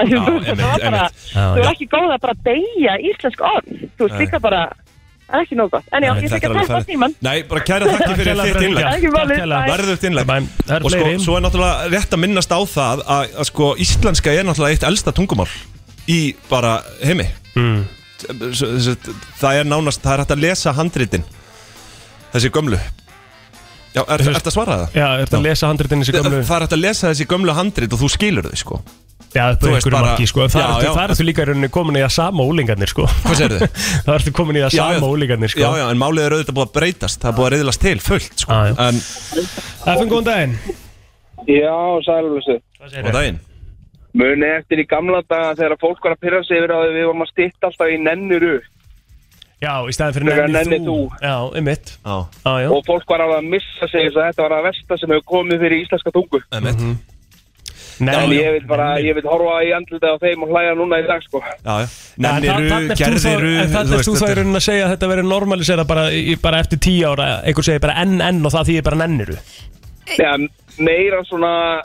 Speaker 12: því þú veist,
Speaker 4: Já, einmitt,
Speaker 12: það var bara
Speaker 4: einmitt.
Speaker 3: já,
Speaker 12: þú er
Speaker 3: já.
Speaker 12: ekki góð að bara deyja íslensk orð þú veist
Speaker 4: Nei.
Speaker 12: líka bara það er ekki nóg gott, en
Speaker 4: Nei,
Speaker 12: já, ég
Speaker 4: þetta
Speaker 12: þekka
Speaker 4: er alveg
Speaker 12: þetta
Speaker 4: ferð.
Speaker 12: tíman
Speaker 4: Nei, bara kæra þakki fyrir
Speaker 3: Takk
Speaker 4: þitt
Speaker 3: hérlega
Speaker 4: innlega
Speaker 3: fyrir
Speaker 12: Ekki málið,
Speaker 3: Takk hérlega.
Speaker 12: bye.
Speaker 4: Verðugt innlega
Speaker 3: Bæm, það er
Speaker 4: Og sko,
Speaker 3: fleiri.
Speaker 4: svo er náttúrulega rétt að minnast á það að, að sko, íslenska er náttúrulega eitt elsta tungumál í bara heimi
Speaker 3: Mm.
Speaker 4: S- s- Það er nánast, það er hægt að lesa handritin Þessi gömlu Já, er, er, að svara það?
Speaker 3: Já, ertu að lesa handritinni sér gömlu
Speaker 4: Það er hægt að lesa þessi gömlu handrit og þú skilur þau sko
Speaker 3: Já, upp á
Speaker 4: þú veist
Speaker 3: einhverju
Speaker 4: bara-
Speaker 3: marki, sko
Speaker 4: Já,
Speaker 3: Það
Speaker 4: já.
Speaker 3: ertu líka í rauninni komin í að sama úlingarnir, sko
Speaker 4: Hvað segir þau?
Speaker 3: Það ertu komin í að sama úlingarnir, sko
Speaker 4: Já, já, en málið er auðvitað búið að breytast Það er búið að reyðlast til fullt sko
Speaker 3: Já, já.
Speaker 4: En,
Speaker 3: FN, góðan daginn
Speaker 13: Já, sælulösu.
Speaker 3: Hvað
Speaker 4: og daginn
Speaker 13: Muni eftir í gamla daga þegar fólk var að pyrra sig yfir að við vorum að stitta alltaf í nennuru
Speaker 3: Já, í staðin fyrir
Speaker 13: Þegar
Speaker 3: nenni,
Speaker 13: nenni
Speaker 3: þú.
Speaker 13: þú.
Speaker 3: Já, um mitt
Speaker 4: Já,
Speaker 3: Já, já
Speaker 13: og fólk var alveg að missa sig þess að þetta var að versta sem hefur komið fyrir íslenska tungu.
Speaker 4: emmitt
Speaker 13: En
Speaker 3: Mhm. Nenni,
Speaker 13: ég vil bara,
Speaker 3: nenni.
Speaker 13: ég vil horfa í andlita á þeim og hlæja núna í dag sko.
Speaker 4: Já, já
Speaker 3: Já, en þa-
Speaker 4: Nenniru,
Speaker 3: þarna ert þú þá-
Speaker 4: gerðiru þú
Speaker 3: En þannig
Speaker 4: veist,
Speaker 3: erst þú þá
Speaker 4: þetta
Speaker 3: í
Speaker 4: er-
Speaker 3: rauninni að segja að þetta verið normalisera bara, í- bara eftir tíu ára einhver segir bara enn enn og það þýðir bara nenniru
Speaker 13: Já, meira svona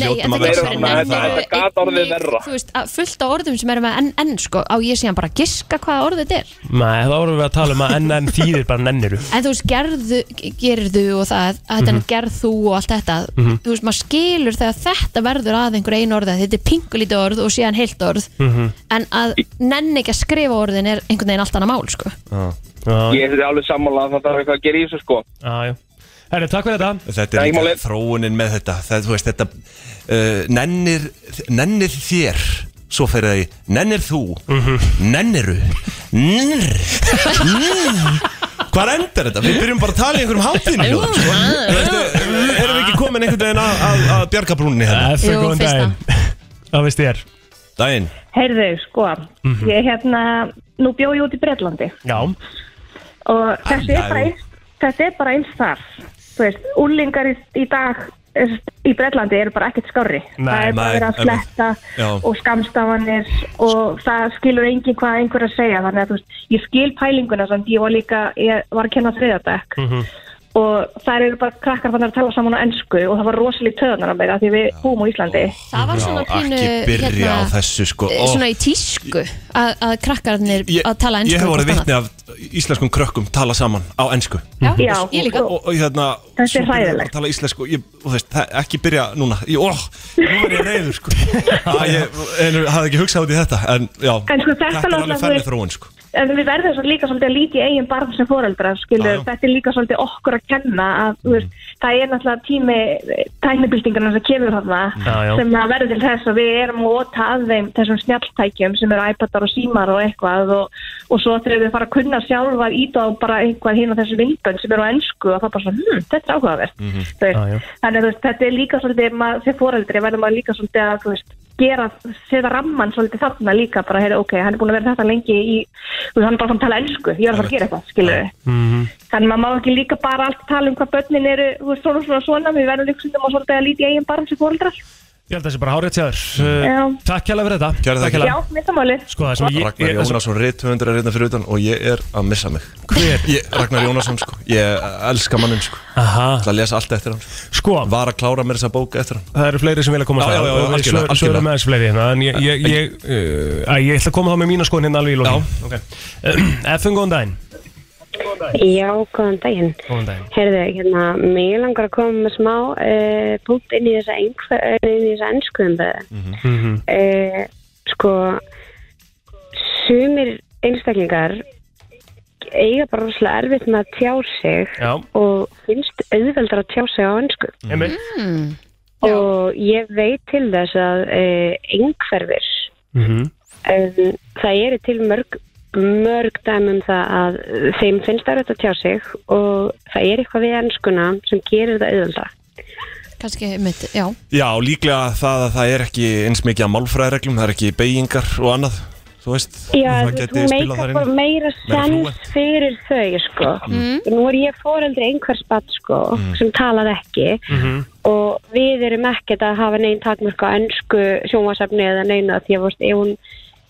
Speaker 2: Nei, en
Speaker 4: hljótum að
Speaker 2: þetta er
Speaker 4: vera
Speaker 2: ekki
Speaker 4: saman
Speaker 2: verið
Speaker 4: um það
Speaker 2: þetta gat orðið verra Þú veist, að fullt á orðum sem eru með enn enn sko á ég síðan bara að giska hvaða orð þetta er
Speaker 3: Nei, þá vorum við að tala um að NN þýðir bara nenniru
Speaker 2: En þú veist, gerðu, gerðu og það að þetta
Speaker 4: Mhm.
Speaker 2: er gerð þú og allt þetta
Speaker 3: Mhm.
Speaker 2: Þú veist, maður skilur þegar þetta verður að einhver ein orð að þetta er pingulítið orð og síðan heilt orð
Speaker 3: Mhm.
Speaker 2: En að nenni ekki að skrifa orðin er einhvern veginn allt annað mál sko
Speaker 3: Já,
Speaker 14: Ég er alveg sammála að það þarf eitthvað að gera í þessu sko
Speaker 3: já, já Herri, takk fyrir þetta
Speaker 4: Þetta
Speaker 14: Nei,
Speaker 4: er líka
Speaker 14: málið.
Speaker 4: þróunin með þetta Það, þú veist, þetta uh, nennir, nennir þér Svo fer það í Nennir þú
Speaker 3: Mhm.
Speaker 4: Nenniru Nennir Nennir Hvar endar þetta? Við byrjum bara að tala í einhverjum hátíðinu hljóðum, sko.
Speaker 3: Ah,
Speaker 4: Þú veist, eh, Erum við ekki komin einhvern veginn að, að, að bjarga brúninni hérna?
Speaker 3: F,
Speaker 2: Jú,
Speaker 3: góðan
Speaker 2: fyrsta.
Speaker 3: daginn Það veist ég er
Speaker 4: Daginn
Speaker 15: Heyrðu, sko,
Speaker 4: Mhm.
Speaker 15: ég hérna, nú bjó ég út í Breitlandi
Speaker 3: Já,
Speaker 15: og þetta er bara eins, þetta er bara eins þar. Þú veist, úlingar í, í dag þú veist, í Breitlandi eru bara ekkert skárri.
Speaker 3: Nei,
Speaker 15: það er bara
Speaker 4: nei,
Speaker 15: verið að
Speaker 4: einmitt.
Speaker 15: fletta
Speaker 4: Já.
Speaker 15: og skamstafanir og það skilur enginn hvað einhver er að segja. Þannig að þú veist, ég skil pælinguna samt ég var líka, ég var að kenna þriðabæk
Speaker 7: Mhm.
Speaker 15: og það eru bara krakkar þannig að tala saman á ennsku og það var rosalík töðunar á mig að því við búum á Íslandi.
Speaker 2: Það var svona pínu
Speaker 4: Ekki byrja á
Speaker 2: hérna,
Speaker 4: þessu sko
Speaker 2: eh,
Speaker 4: Ó,
Speaker 2: Svona í tísku að, að krakkarnir
Speaker 4: ég,
Speaker 2: að tala
Speaker 4: Ég
Speaker 2: ennsku
Speaker 4: hef orðið vitni af íslenskum krökkum tala saman á ensku
Speaker 2: Já,
Speaker 15: Já,
Speaker 2: Mhm. ég líka
Speaker 4: og, og hérna
Speaker 15: Þetta er
Speaker 4: svo byrjar bara
Speaker 15: hræðilegt.
Speaker 4: að tala íslensku ég, og þú veist, það, ekki byrja núna ég, ó, nú er ég reyður sko að ég en, hafði ekki hugsað út í þetta en já,
Speaker 15: En sko, þetta
Speaker 4: þetta er
Speaker 15: náttúrulega-
Speaker 4: alveg færni þróun sko
Speaker 15: En við verðum svo líka svolítið að líti eigin barn sem foreldra, skilur,
Speaker 4: Já, já.
Speaker 15: þetta er líka svolítið okkur að kenna að, þú veist, það er náttúrulega tími tæknibildingarna sem kemur þarna
Speaker 3: Já, já.
Speaker 15: sem að verður til þess að við erum að óta að þeim þessum snjalltækjum sem eru iPadar og símar og eitthvað og, og svo þegar við fara að kunna sjálfa íta á bara einhvað hinn á þessu myndbönd sem eru á ennsku og það er bara svona, hm, þetta er áhugavert mm
Speaker 3: Ah, Já, já.
Speaker 15: þannig að þú veist, þetta er líka svolítið maður, sem foreldri verður maður líka svolítið að þú veist, gera, setja ramman svolítið þarna líka, bara heyra, ok, hann er búin að vera þetta lengi í, þú veist, hann er bara svona að tala ensku ég er að fara að gera eitthvað, skilur við
Speaker 3: Mhm.
Speaker 15: þannig að maður má ekki líka bara allt tala um hvað börnin eru, þú veist, svona svona svona við verðum líka svolítið að svolítið að líti eigin barn sem foreldrar
Speaker 3: ég held að það sé bara hárið tjáður uh,
Speaker 15: Já.
Speaker 3: Takk hérlega fyrir þetta
Speaker 4: Kæra þakkir.
Speaker 15: já, minnst að máli
Speaker 3: Sko, það sem ég,
Speaker 4: Ragnar
Speaker 3: ég svo,
Speaker 4: Jónasson rithöfundur er hérna fyrir utan og ég er að missa mig
Speaker 3: Hver?
Speaker 4: Ég, Ragnar Jónasson sko, ég elska mannin sko
Speaker 3: Aha,
Speaker 4: Það að lesa allt eftir hann sko.
Speaker 3: sko,
Speaker 4: Var að klára mér þessa bók eftir hann
Speaker 3: það eru fleiri sem vilja
Speaker 4: Já,
Speaker 3: koma
Speaker 4: já, já, algjörlega,
Speaker 3: algjörlega Svo
Speaker 4: algjörlega.
Speaker 3: eru með þessi fleiri hérna, En ég, ég, ég, uh, æ, ég ætla að koma þá með mína skoðin hérna alveg í lókin Já okay. Efum góðan daginn
Speaker 11: Já, góðan daginn.
Speaker 3: Góðan daginn
Speaker 11: Herðu, hérna, mig langar að koma með smá uh, punkt inn í þessa, einhver, inn í þessa ennsku umræðu.
Speaker 3: Mhm.
Speaker 11: Eh, sko, sumir einstaklingar eiga bara rosalega erfitt með að tjá sig
Speaker 3: Já,
Speaker 11: og finnst auðveldar að tjá sig á ennsku.
Speaker 3: einmitt Mm.
Speaker 11: Og ég veit til þess að uh, einhverfir
Speaker 3: Mhm.
Speaker 11: um, það eru til mörg mörg dæmi um það að þeim finnst það rætt að tjá sig og það er eitthvað við ennskuna sem gerir það auðvölda.
Speaker 2: Kannski mitt, já
Speaker 4: Já, líklega það að það er ekki eins mikið að málfræðreglum, það er ekki beigingar og annað, þú veist um
Speaker 11: Já,
Speaker 4: það
Speaker 11: þú veist,
Speaker 4: gæti
Speaker 11: hún
Speaker 4: spilað
Speaker 11: meikar
Speaker 4: þar
Speaker 11: bara
Speaker 4: inn í.
Speaker 11: meira sens
Speaker 4: fluent.
Speaker 11: fyrir þau, sko.
Speaker 4: Mm.
Speaker 2: Mm.
Speaker 11: Nú er ég foreldri einhvers bat, sko, sem talað ekki
Speaker 4: Mm.
Speaker 7: Mhm.
Speaker 11: og við erum ekkert að hafa neinn takmörk á ennsku sjónvasafni eða neina því að, þú veist, ef hún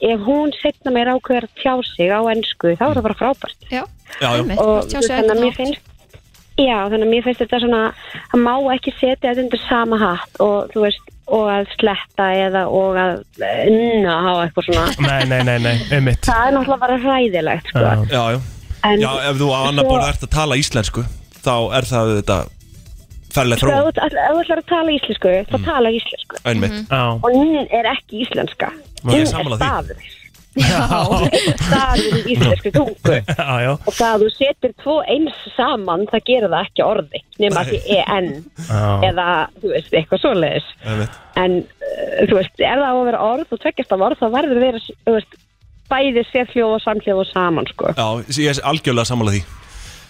Speaker 11: ef hún setna mér ákveður að tjá sig á ennsku, þá er það bara frábært.
Speaker 2: Já,
Speaker 4: já.
Speaker 2: einmitt,
Speaker 11: og þú
Speaker 2: tjá
Speaker 11: veist,
Speaker 2: sig á
Speaker 11: þannig að
Speaker 2: einhvern
Speaker 11: mér
Speaker 2: hátt.
Speaker 11: finnst já, þannig að mér finnst þetta svona að má ekki setja þetta undir sama hatt og þú veist, og að sletta eða og að unna á eitthvað svona,
Speaker 3: Nei, nei, nei, nei, einmitt
Speaker 11: það er náttúrulega bara hræðilegt sko,
Speaker 3: Já.
Speaker 4: Já, já
Speaker 11: en sko-
Speaker 4: Já, ef þú á annar
Speaker 11: Svo-
Speaker 4: borð ert að tala íslensku þá er það þetta
Speaker 11: Svo
Speaker 4: ferlega
Speaker 11: Sko, ef
Speaker 4: þróun
Speaker 11: þú ef þú ætlar að tala íslensku, þá tala íslensku
Speaker 4: Mm. einmitt
Speaker 2: Mhm.
Speaker 3: Mhm. Já,
Speaker 11: og nýn er ekki íslenska
Speaker 4: Ég
Speaker 11: nýn
Speaker 4: er
Speaker 11: er
Speaker 4: sammála því.
Speaker 11: staður staður í íslensku tungu
Speaker 3: já, já
Speaker 11: og það að þú setir tvo eins saman það gerir það ekki orði nema að því en
Speaker 3: Já,
Speaker 11: eða, þú veist, eitthvað svoleiðis
Speaker 4: einmitt.
Speaker 11: en uh, þú veist, ef það á að vera orð og tveggjast af orð, þá verður að vera þú veist, bæði sérhljóð og samhljóð og saman sko.
Speaker 4: Já, ég er algjörlega sammála því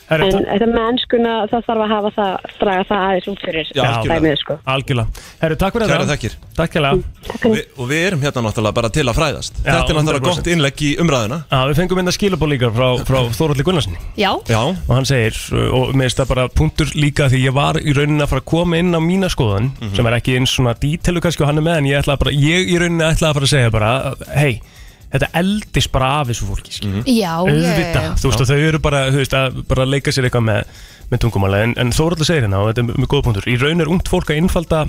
Speaker 3: herri,
Speaker 11: en
Speaker 3: ta-
Speaker 11: þetta mennskuna, það þarf að hafa það draga það aðeins út fyrir
Speaker 4: Já, algjörlega.
Speaker 11: dæmið, sko. Mm,
Speaker 3: algjörlega Herri, takk fyrir
Speaker 4: Kæra
Speaker 3: þetta
Speaker 4: þakkir
Speaker 3: Takk hérlega
Speaker 4: Vi, og við erum hérna náttúrulega bara til að fræðast
Speaker 3: Já,
Speaker 4: Þetta er náttúrulega
Speaker 3: 100%.
Speaker 4: gott innlegg í umræðuna
Speaker 3: Já, við fengum inn að skilabóð líka frá, frá Þóralli Gunnarsinni
Speaker 2: Já,
Speaker 4: Já,
Speaker 3: og hann segir, uh, og mér finnst það bara punktur líka því ég var í rauninni að fara að koma inn á mína skoðun, sem er ekki eins svona dítilu kannski og hann er með, en ég ætlaði bara ég í rauninni ætlaði að fara að segja bara hei, þetta eldist bara af þessu fólki mm -hmm.
Speaker 2: já
Speaker 3: auðvitað, þú veist að þau eru bara, þú veist, að bara leika sér eitthvað með, með tungumála, en, en Þóraldur segir hérna og þetta er mjög góð punktur, í raun er ungt fólk að innfalda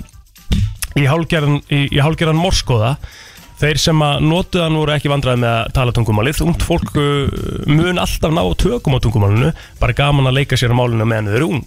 Speaker 3: í hálgerðan, í, í hálgerðan morskoða þeir sem að notuðan voru ekki vandræði með að tala tungumálið ungt fólk uh, mun alltaf ná tökum á tungumálinu bara gaman að leika sér á málinu meðan þau eru ung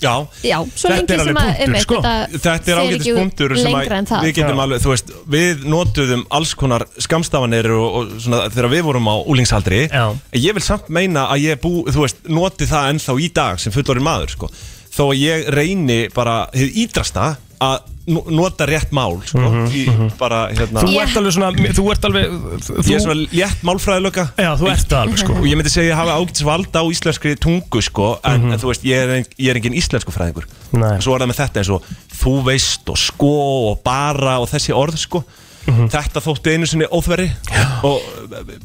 Speaker 4: Já,
Speaker 2: Já, svo lengi sem að einmitt, þetta
Speaker 4: sko. Þetta er
Speaker 2: fer
Speaker 4: ágætis
Speaker 2: ekki
Speaker 4: punktur sem
Speaker 2: lengra en
Speaker 4: að
Speaker 2: það.
Speaker 4: við getum alveg, þú veist, við notuðum alls konar skamstafanir og, og svona þegar við vorum á úlingsaldri
Speaker 3: Já.
Speaker 4: Ég vil samt meina að ég bú, þú veist, noti það ennþá í dag sem fullorinn maður, sko Þó að ég reyni bara, hið ídrasta, að no- nota rétt mál, sko í, Bara, hérna
Speaker 3: Mhm, Þú ert alveg svona, þú ert alveg þú,
Speaker 4: Ég er svona létt málfræðilöka
Speaker 3: Já, þú ert það alveg sko
Speaker 4: og ég myndi segja að ég hafa ágætis vald á íslenskri tungu sko, en mm þú veist, ég er, ein, ég er engin íslensku fræðingur
Speaker 3: Mhm. Nei.
Speaker 4: En svo er það með þetta eins og þú veist og sko og bara og þessi orð sko
Speaker 3: Mhm.
Speaker 4: þetta þótti einu sinni óþveri og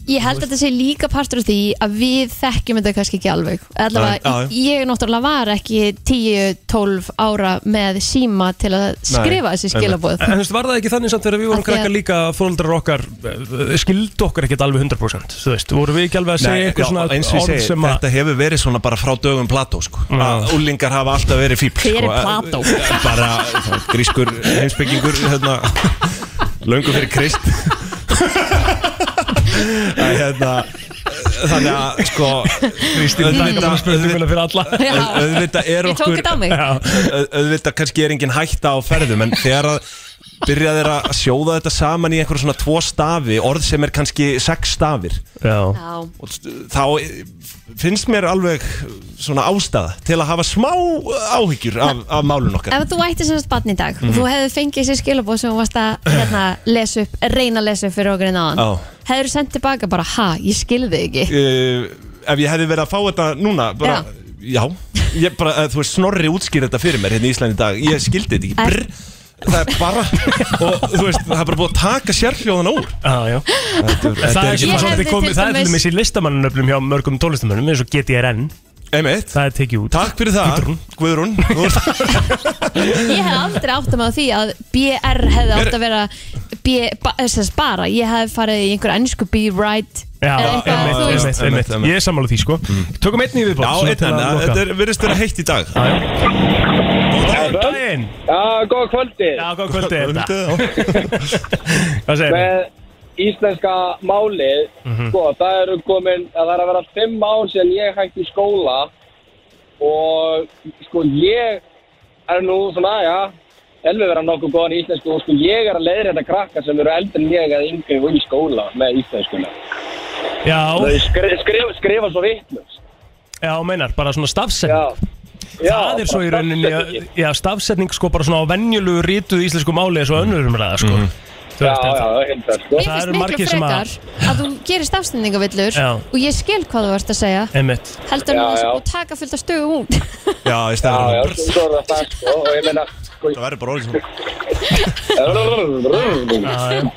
Speaker 2: Ég held að þetta sé líka partur af því að við þekkjum þetta kannski ekki alveg
Speaker 4: Nei,
Speaker 2: allavega,
Speaker 4: já, já.
Speaker 2: ég náttúrulega var ekki 10-12 ára með síma til að skrifa þessi skilabóð
Speaker 3: En þú veist, var það ekki þannig samt þegar við vorum
Speaker 2: Af því að-
Speaker 3: krakkar líka fóldrar okkar eh, skildu okkur ekkert alveg 100% þú veist, voru við ekki alveg að segja
Speaker 4: Nei,
Speaker 3: eitthvað
Speaker 4: já,
Speaker 3: svona
Speaker 4: eins og ég
Speaker 3: orð
Speaker 4: segi,
Speaker 3: sem að
Speaker 4: þetta hefur verið svona bara frá dögum Plató sko, að úlingar hafa alltaf verið fíbl
Speaker 2: Hver er
Speaker 4: sko,
Speaker 2: Plató?
Speaker 4: eh, bara það, grískur heimsbyggingur hérna, löngu fyrir krist að hérna þannig að sko Kristín
Speaker 3: Þetta spurninguna fyrir alla
Speaker 2: Já.
Speaker 4: auðvitað er
Speaker 2: Ég tók
Speaker 4: okkur
Speaker 2: þetta á mig.
Speaker 4: auð- auðvitað kannski er engin hætta á ferðum en þegar að byrja þeir að sjóða þetta saman í einhverja svona tvo stafi orð sem er kannski sex stafir
Speaker 3: Já,
Speaker 2: Já,
Speaker 4: og st- þá e, finnst mér alveg svona ástæða til að hafa smá áhyggjur af, af málun okkar
Speaker 2: ef þú ættir semast barn í dag og þú hefði fengið þessi skilabóð sem þú varst að hérna, lesa upp, reyna að lesa upp fyrir okkur hérna en aðan,
Speaker 4: Já.
Speaker 2: hefur þú sendt tilbaka bara, ha, ég skilði ekki
Speaker 4: uh, ef ég hefði verið að fá þetta núna bara, já, ég bara, uh, þú veist snorri útskýr þetta fyrir mér hérna í Íslandi í dag ég skildi þetta ekki,
Speaker 2: Æ.
Speaker 4: brr það er bara, og þú veist það er bara búið að taka sérhljóðan úr
Speaker 3: já, já
Speaker 4: þetta er,
Speaker 3: Það
Speaker 4: þetta
Speaker 2: Ég
Speaker 4: er ekki
Speaker 3: er ekki bara
Speaker 2: hefði
Speaker 3: svolítið komið,
Speaker 2: til
Speaker 3: það er til
Speaker 2: dæmis-
Speaker 3: dæmis í listamannunöflum hjá mörgum tólistamönnum eins og GTRN,
Speaker 4: einmitt,
Speaker 3: það er tekið út
Speaker 4: takk fyrir það Guðrún, þú ert
Speaker 2: Ég hef aldrei átt að maður því að BR hefði átt að vera B, ba, sess, bara, ég hefði farið í einhver ennsku Be Right
Speaker 3: Já,
Speaker 2: eða
Speaker 3: einmitt,
Speaker 2: eitthvað, þú
Speaker 4: já,
Speaker 3: einmitt,
Speaker 2: veist.
Speaker 3: einmitt, einmitt,
Speaker 4: einmitt. Mm.
Speaker 3: Ég er sammála því sko Tökum einn í viðbótt
Speaker 4: Já,
Speaker 3: svona til
Speaker 4: einnig,
Speaker 3: að loka.
Speaker 4: þetta er- virðist vera heitt í dag
Speaker 3: Já, já. Góðan daginn
Speaker 13: Já, góða kvöldi
Speaker 3: Já, góð kvöldi er þetta
Speaker 4: Já.
Speaker 3: Hvað Mhm. segir þið?
Speaker 13: Með íslenska málið sko, það eru komin að það er að vera fimm án sem ég hætti í skóla og sko ég er nú svona, já elvi vera nokkuð góðan í íslensku og sko ég er að leiðri þetta krakka sem eru eldri en ég að yngri og í skóla með íslenskuna
Speaker 3: Já,
Speaker 13: þau skri, skrifa, skrifa svo vittlust
Speaker 3: já, meinar, bara svona stafsetning
Speaker 13: já, já
Speaker 3: Það er svo í
Speaker 13: bara
Speaker 3: rauninni að-
Speaker 13: stafsetningin.
Speaker 3: Já, stafsetning sko bara svona á venjulegu rítuð íslensku máli eins og önnurum ræða sko
Speaker 4: Mhm.
Speaker 3: Þú
Speaker 13: já,
Speaker 3: veist,
Speaker 13: já,
Speaker 3: en-
Speaker 13: hildar sko
Speaker 2: Mér
Speaker 3: Það eru
Speaker 2: finnst miklu
Speaker 3: margir sem að-
Speaker 2: frekar að þú gerir stafstendingavillur
Speaker 3: Já.
Speaker 2: og ég skil hvað þú ert að segja
Speaker 3: Einmitt
Speaker 2: heldur
Speaker 13: Já,
Speaker 2: hann að
Speaker 13: já.
Speaker 2: þú taka fullt af stöðu út
Speaker 4: Já,
Speaker 13: já,
Speaker 4: í
Speaker 13: já,
Speaker 4: staðar
Speaker 13: svo er það það sko og ég meina sko,
Speaker 4: Það verður bara orðið svona
Speaker 13: en,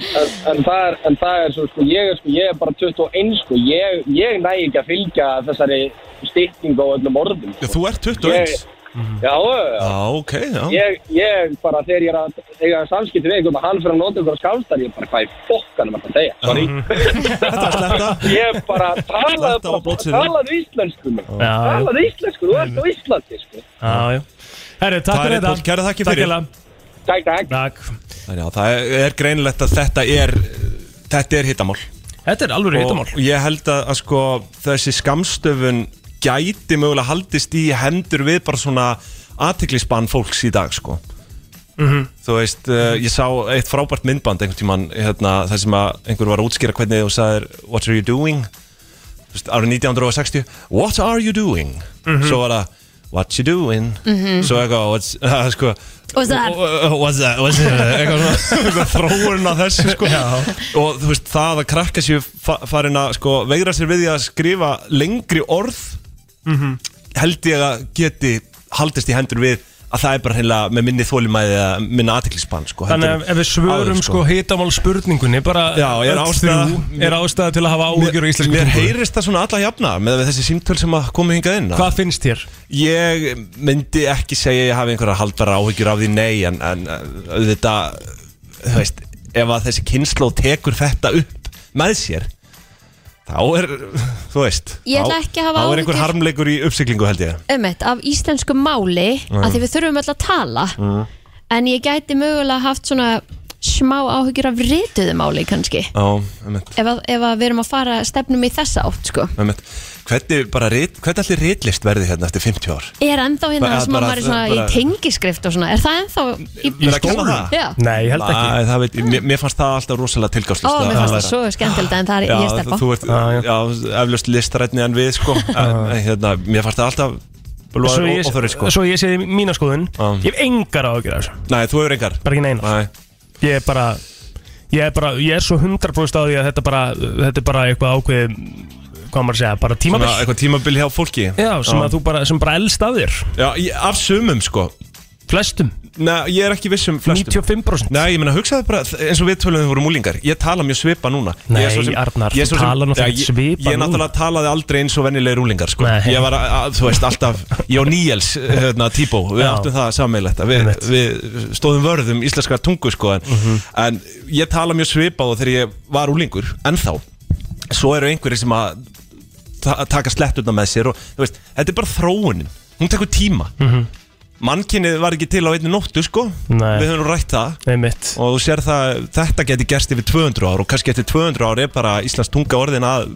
Speaker 13: en, það er, en það er svo sko ég, er, sko, ég er bara 21 sko ég, ég næ ekki að fylgja þessari styttingu á öllum orðum
Speaker 4: Já,
Speaker 13: sko.
Speaker 4: Þú ert 21
Speaker 13: já, já,
Speaker 4: Já, ok, já
Speaker 13: ég, ég bara þegar ég er að eiga samskipt við einhvern og hann fyrir að nota einhverja skálstar ég bara hvað í fokkanum er þetta að segja Sorry.
Speaker 4: Þetta er sletta
Speaker 13: ég bara talaði
Speaker 4: Þetta var
Speaker 13: bara
Speaker 4: bótsið.
Speaker 13: talaði íslensku maður.
Speaker 3: Já, já,
Speaker 13: talaði íslensku, þú ert á Íslandi sko
Speaker 3: já, já Herri, takk
Speaker 4: Það er
Speaker 3: fyrir
Speaker 4: Páll,
Speaker 3: þetta
Speaker 4: kæra þakkir fyrir.
Speaker 3: hérlega.
Speaker 13: takk, takk
Speaker 3: Takk
Speaker 4: Þannig að það er greinilegt að þetta er þetta er hittamál
Speaker 3: Þetta er alveg
Speaker 4: og
Speaker 3: reytamál
Speaker 4: ég held að, að sko, þessi skamstöfun gæti mögulega haldist í hendur við bara svona aðtiklisbann fólks í dag sko.
Speaker 3: Mhm.
Speaker 4: þú veist, uh, ég sá eitt frábært myndband einhvern tímann hérna, þar sem að einhver var að útskýra hvernig þú sagðir what are you doing Þú veist, árið 1960 what are you doing svo var það what you doing
Speaker 15: Mhm.
Speaker 4: svo eitthvað what's, uh, sko,
Speaker 2: Mhm. What's that?
Speaker 4: what's that, what's that eitthvað svona eitthvað þróun að þessu sko. og þú veist það að krakka sér fa farin að sko, veigra sér við því að skrifa lengri orð Mhm. held ég að geti haldist í hendur við að það er bara heila með minni þólimæði eða minna aðtiklisbann sko, heldur
Speaker 3: Þannig að ef við
Speaker 4: en
Speaker 3: svörum
Speaker 4: áður,
Speaker 3: sko hitamál spurningunni bara
Speaker 4: Já, er
Speaker 3: öll
Speaker 4: ástæða-
Speaker 3: þrjú er ástæða til að hafa áhugjur á íslensku
Speaker 4: Mér
Speaker 3: tungu.
Speaker 4: heyrist það svona alla jafna með þessi símtöl sem að komu hingað inn að-
Speaker 3: Hvað finnst þér?
Speaker 4: Ég myndi ekki segja að ég hafi einhverja haldara áhyggjur af því nei en, en uh, auðvitað, þú veist, ef að þessi kynnslóð tekur þetta upp með sér þá er, þú veist
Speaker 2: Ég ætla
Speaker 4: þá-
Speaker 2: ekki að hafa
Speaker 4: Þá er einhver
Speaker 2: áhyggjur.
Speaker 4: harmleikur í uppsiglingu held ég Mm.
Speaker 2: um af íslensku máli, af því við þurfum öll að tala en ég gæti mögulega haft svona smá áhyggjur af rituðumáli kannski
Speaker 4: Já, einmitt,
Speaker 2: ef, að, ef að við erum að fara stefnum í þessa átt sko.
Speaker 4: einmitt. Hvernig, bara, rit, hvernig allir ritlist verði hérna eftir 50 ár?
Speaker 2: er ennþá hérna
Speaker 4: Bara-
Speaker 2: það sem að
Speaker 4: bara-
Speaker 2: maður er svona
Speaker 4: bara-
Speaker 2: í tengiskrift og svona er það ennþá í,
Speaker 4: Verið að kenna það?
Speaker 2: Já.
Speaker 3: Nei, ég held ekki
Speaker 4: Æ, það veit, mér, mér fannst það alltaf rosalega tilgáðslist
Speaker 2: Ó, mér fannst það svo skemmtilegt en það er ég
Speaker 4: Já,
Speaker 2: stelpa
Speaker 4: þú ert
Speaker 3: já.
Speaker 4: já, eflaust listrætni en við sko en, hérna, Mér fannst það alltaf
Speaker 3: Svo
Speaker 4: Blóður
Speaker 3: ég,
Speaker 4: og þorri sko
Speaker 3: svo ég segi mína skoðun
Speaker 4: Já.
Speaker 3: Ég hef engar á að gera þessu
Speaker 4: Nei, þú hefur engar
Speaker 3: Bara ekki neina
Speaker 4: Ah. Nei,
Speaker 3: Ég er bara Ég er, bara, ég er svo 100% á því að þetta bara Þetta er bara eitthvað ákveðið Hvað maður að segja, bara
Speaker 4: svona
Speaker 3: tímabill
Speaker 4: eitthvað tímabil hjá fólki
Speaker 3: Já, sem að þú bara, sem bara elst af þér
Speaker 4: Já, ég, af sumum sko
Speaker 3: Flestum,
Speaker 4: Nei, ég er ekki viss um flestum
Speaker 3: 95%
Speaker 4: Nei, ég meina, hugsaðu bara, eins og við tölum við vorum úlingar Ég tala mjög svipa núna Ég er
Speaker 3: Nei,
Speaker 4: svo
Speaker 3: Arnar,
Speaker 4: ég er
Speaker 3: þú
Speaker 4: svo sem-
Speaker 3: talar náttúrulega
Speaker 4: Já,
Speaker 3: ekki
Speaker 4: ég-
Speaker 3: svipað
Speaker 4: Ég
Speaker 3: núna.
Speaker 4: náttúrulega talaði aldrei eins og venjulegir úlingar sko.
Speaker 3: Nei.
Speaker 4: Ég var, að, að- þú veist, alltaf Ég og Níels, hérna, Tíbó Við
Speaker 3: Já.
Speaker 4: áttum það sammeilegt við,
Speaker 3: Einmitt. Mhm.
Speaker 4: við stóðum vörð um íslenska tungu sko, en, en ég tala mjög svipað og þegar ég var úlingur Ennþá Svo eru einhverjir sem að ta taka sletturna með sér og, þú veist, Þetta er bara þróunin Hún tekur tíma
Speaker 3: Mhm.
Speaker 4: Mannkynnið var ekki til á einni nóttu sko
Speaker 3: Nei.
Speaker 4: Við höfum nú rætt það
Speaker 3: Nei mitt
Speaker 4: og þú sér það, þetta geti gerst yfir 200 ár og kannski eftir 200 ár er bara Íslands tunga orðin að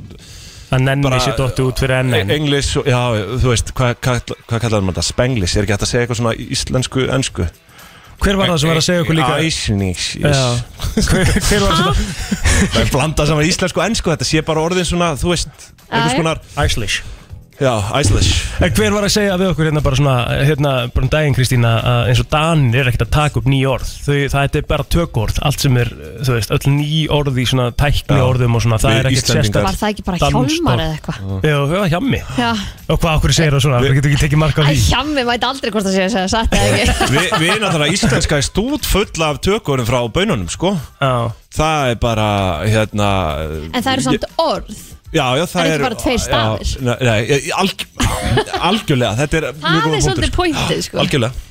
Speaker 3: Að nenni
Speaker 4: bara
Speaker 3: sér dottu út fyrir enn
Speaker 4: englis, E- og- já, þú veist, hvað hva, hva kallar maður þetta, spenglis, er ekki hægt að segja eitthvað svona íslensku, önsku
Speaker 3: Hver var það sem var að segja okkur líka?
Speaker 4: Æsnings,
Speaker 3: Já.
Speaker 4: yes.
Speaker 3: Hver, hver var það?
Speaker 4: það er blanda saman íslensku, og önsku, þetta sé bara orðin svona, þú veist, einhvers
Speaker 2: já.
Speaker 4: konar
Speaker 3: Æslish
Speaker 4: já, æslish,
Speaker 3: En hver var að segja við okkur hérna bara svona hérna bara um daginn Kristína að eins og Danir er ekkert að taka upp ný orð Þau, það er bara tökorð, allt sem er þú veist, öll ný orð í svona tækni orðum og svona, það
Speaker 4: Við
Speaker 3: er ekkert
Speaker 4: Íslendingar.
Speaker 2: var
Speaker 3: sérstætt
Speaker 2: það ekki bara
Speaker 3: Dansdór.
Speaker 2: hjálmar eða eitthvað
Speaker 3: Já, það var hjammi
Speaker 2: Já.
Speaker 3: Og hvað okkur segir það svona, það getur ekki tekið mark á
Speaker 2: Æ,
Speaker 3: því
Speaker 2: hjammi mæti aldrei hvort það sé að segja satt eða ekki
Speaker 4: Vi, við erum náttúrulega íslenska er stút full af tökurum frá bönunum, sko
Speaker 3: Já,
Speaker 4: það er bara, hérna
Speaker 2: En það eru samt orð
Speaker 4: Já, já, það
Speaker 2: Það er ekki
Speaker 4: eru-
Speaker 2: bara tveir staðir.
Speaker 4: Já, Nei, nei ég- ég- alg, algjörlega, þetta er mjög
Speaker 2: Það
Speaker 4: góða
Speaker 2: er
Speaker 4: punktur
Speaker 2: svolítið pointið sko
Speaker 4: Algjörlega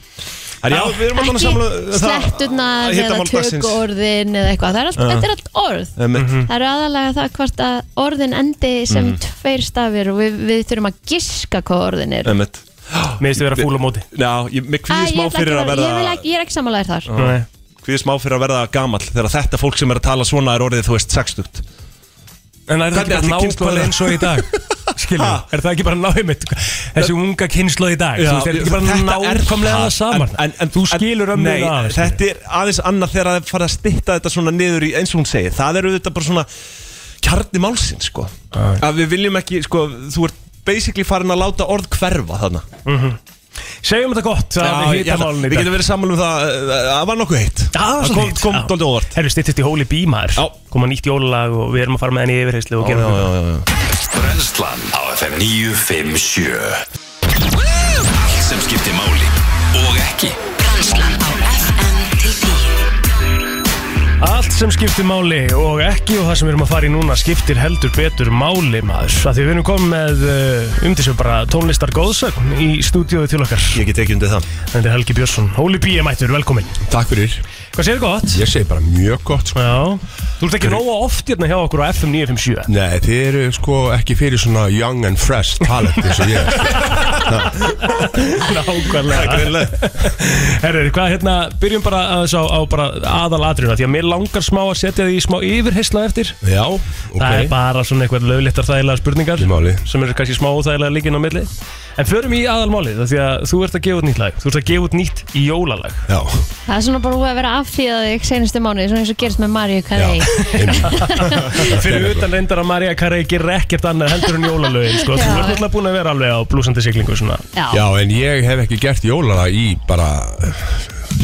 Speaker 4: Það er já, við erum alveg að samla
Speaker 2: Ekki sletturnar
Speaker 4: hitta
Speaker 2: eða
Speaker 4: mál dagsins.
Speaker 2: tökorðin eða eitthvað Það er allt, Þetta er allt orð
Speaker 4: Einmitt.
Speaker 3: Mhm.
Speaker 2: Það eru aðalega það hvort að orðin endi sem
Speaker 4: Mhm.
Speaker 2: tveir stafir og við, við þurfum að giska hvað orðin er Æ,
Speaker 4: Einmitt.
Speaker 3: mér finnst þið vera fúl á móti
Speaker 4: Já, ég, mér
Speaker 2: ég,
Speaker 4: kvíði smá
Speaker 2: ætla ekki
Speaker 4: fyrir
Speaker 2: að
Speaker 4: að
Speaker 2: vera- ég, vil
Speaker 4: verða
Speaker 2: ekki, ég er ekki samanlega þar
Speaker 3: Nei.
Speaker 4: Kvíði smá fyrir að verða gamall Þegar þetta fólk sem er að tala svona er orðið, þú veist, 60
Speaker 3: En er það
Speaker 4: Hvernig
Speaker 3: ekki bara
Speaker 4: ætli kynslóðin-
Speaker 3: nákvæmlega eins og í dag? Skiljum, er það ekki bara nákvæmlega Þessi unga kynnslóð í dag, þú veist, er þetta ekki bara
Speaker 4: þetta er
Speaker 3: nákvæmlega
Speaker 4: það.
Speaker 3: það saman?
Speaker 4: En- en- en-
Speaker 3: Þú
Speaker 4: en-
Speaker 3: skilur ömmu
Speaker 4: Nei,
Speaker 3: það sko. aðeins, skilur.
Speaker 4: þetta er aðeins annað þegar það fara að stytta þetta svona niður í eins og hún segir Það eru þetta bara svona kjarni málsinn sko
Speaker 15: Ah.
Speaker 4: Að við viljum ekki, sko, þú ert basically farin að láta orð hverfa þarna
Speaker 3: Mhm. Segjum þetta gott,
Speaker 4: Já,
Speaker 3: það er
Speaker 4: ég ætla-
Speaker 3: hitamálun í
Speaker 4: Við
Speaker 3: dag
Speaker 4: getum verið saman um það uh, uh, Það var nokkuð heitt
Speaker 3: Það
Speaker 4: kom, kom doldið óvart
Speaker 3: Herru, styttist í hóli bímaður
Speaker 4: Já.
Speaker 3: Koma nýtt jólalag og við erum að fara með henni í yfirheyslu og
Speaker 4: Já,
Speaker 3: gerum
Speaker 4: já,
Speaker 3: þetta.
Speaker 4: já, já.
Speaker 1: Brennslan á FM 957 Allt sem skiptir máli og ekki
Speaker 16: Brænslan á FM til 10
Speaker 3: Allt sem skiptir máli og ekki og það sem við erum að fara í núna skiptir heldur betur máli maður Það því við erum komið með uh, um þessu bara tónlistar góðsögn í stúdíói til okkar
Speaker 4: Ég get ekki undir það
Speaker 3: Þetta er Helgi Björnsson, Hóli Bíi mættur, velkomin
Speaker 17: Takk fyrir,
Speaker 3: Hvað séð gott?
Speaker 17: ég segi bara mjög gott sko.
Speaker 3: Já, þú ert ekki nóga oft hérna hjá okkur á FM 957
Speaker 17: Nei, þið eru sko ekki fyrir svona young and fresh talent eins og ég er, sko.
Speaker 3: Nákvæmlega Herru, hvað hérna, byrjum bara aðeins á, á bara aðalatruna Því að mér langar smá að setja því smá yfirheysla eftir
Speaker 17: Já, ok
Speaker 3: Það er bara svona eitthvað löglettar þægilega spurningar
Speaker 17: Í máli.
Speaker 3: sem eru kannski smá þægilega líkin á milli En förum í aðalmálið af því að þú ert að gefa út nýtt lag Þú ert að gefa út nýtt jólalag
Speaker 17: Já,
Speaker 2: Það er svona bara búið að vera affíðað í senustu mánuði, svona eins og gerist með Maríu Karei
Speaker 17: einmitt
Speaker 3: Fyrir utan reyndar að Maria Carey gerir ekkert annað heldur en jólalögin sko. Þú
Speaker 2: Já.
Speaker 3: ert alltaf búin að vera alveg á blúsandi siglingu svona.
Speaker 2: Já,
Speaker 17: Já, en ég hef ekki gert jólana í bara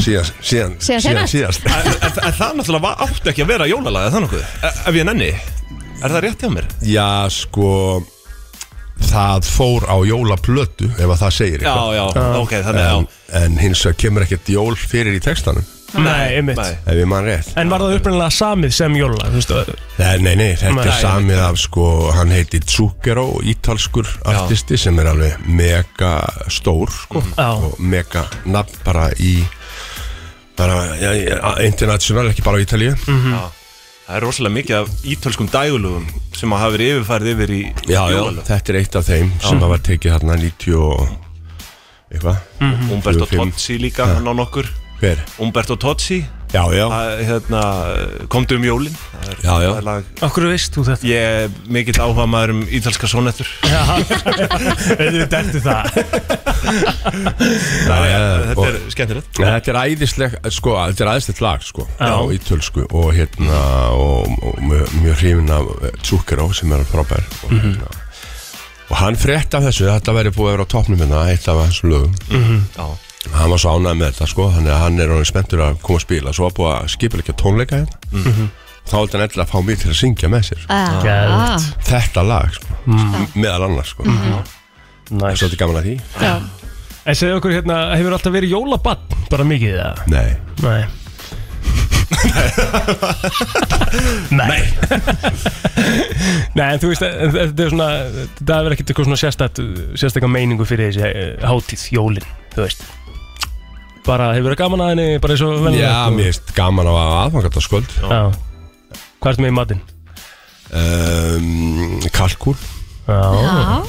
Speaker 17: síðan, síðan,
Speaker 2: Síðan seinast?
Speaker 17: síðast
Speaker 4: En en- en það náttúrulega var- átti ekki að vera jólalaga Það nokkuð E- Ef ég nenni Er það rétt hjá mér?
Speaker 17: Já, sko það fór á jólaplötu ef að það segir
Speaker 4: Já,
Speaker 17: eitthvað
Speaker 4: já, ok, þannig já
Speaker 17: En, en hins vegar kemur ekkert jól fyrir í textanum
Speaker 3: Nei, einmitt
Speaker 4: Nei.
Speaker 17: ef ég mann rétt
Speaker 3: En var það upprænilega samið sem jólalag, þú veist
Speaker 17: Nei, nei, nei, þetta
Speaker 3: Nei.
Speaker 17: er samið af sko, hann heitir Zucchero, ítalskur artisti sem er alveg mega stór sko,
Speaker 3: Já.
Speaker 17: og mega nafn bara í bara, ja, ja, international, ekki bara á Ítalíu
Speaker 4: Mhm.
Speaker 3: Mhm.
Speaker 4: Það er rosalega mikið af ítölskum dægulugum sem að hafa verið yfirfærið yfir í
Speaker 17: Já, já,
Speaker 4: jólalög
Speaker 17: þetta er eitt af þeim sem að var tekið hérna 90 og eitthvað
Speaker 4: Umberto
Speaker 3: Mhm.
Speaker 4: Mhm.
Speaker 17: Fjögur, fimm.
Speaker 4: Tozzi líka, hann á nokkur
Speaker 17: Hver?
Speaker 4: Umberto Tozzi
Speaker 17: Já, já
Speaker 4: hérna, Komdu um jólin það er,
Speaker 17: Já, já.
Speaker 4: það er lag-
Speaker 3: Akkur veist þú þetta?
Speaker 4: Ég er mikill áhuga maður um ítalska sónettur
Speaker 3: Þetta er það
Speaker 4: Það er-
Speaker 17: já,
Speaker 4: Þetta
Speaker 17: og-
Speaker 4: er skemmtilegt
Speaker 17: Nei, Þetta er æðisleg, sko, þetta er æðislegt lag, sko,
Speaker 4: Já.
Speaker 17: á ítölsku og hérna, og, og mjög, mjög hrifin af Tsukero sem er frábær og,
Speaker 4: Mhm.
Speaker 17: mm hérna,
Speaker 3: Mhm.
Speaker 17: og hann frétt af þessu, þetta væri búið að vera á topnum hérna, eitt af hans lögum
Speaker 4: Já
Speaker 17: hann var svo ánægð með þetta, sko, þannig að hann er orðin spenntur að koma að spila, svo var búið að skipilegja tónleika hérna,
Speaker 4: Mhm.
Speaker 17: þá vildi hann eitthvað að fá mig til að syngja með sér, sko.
Speaker 2: Ah. Geðvegt.
Speaker 17: þetta lag, sko,
Speaker 3: Mm.
Speaker 17: meðal annars, sko,
Speaker 2: Mhm.
Speaker 17: nice. svolítið gaman að því,
Speaker 2: Já.
Speaker 3: En segðu okkur hérna, hefur alltaf verið jólabann bara mikið það?
Speaker 17: nei,
Speaker 3: Nei Nei Nei, en þú veist, en þetta er svona það er verið ekkert eitthvað svona sérstætt sérstakka meiningu fyrir þessi eh, hátíð jólin, þú veist bara, hefur verið gaman að henni, bara eins og venjulegt
Speaker 17: já,
Speaker 3: og-
Speaker 17: mér finnst gaman að aðfangata sköld
Speaker 3: Já Hvað ertu með í matinn?
Speaker 17: um, kalkún
Speaker 3: Já.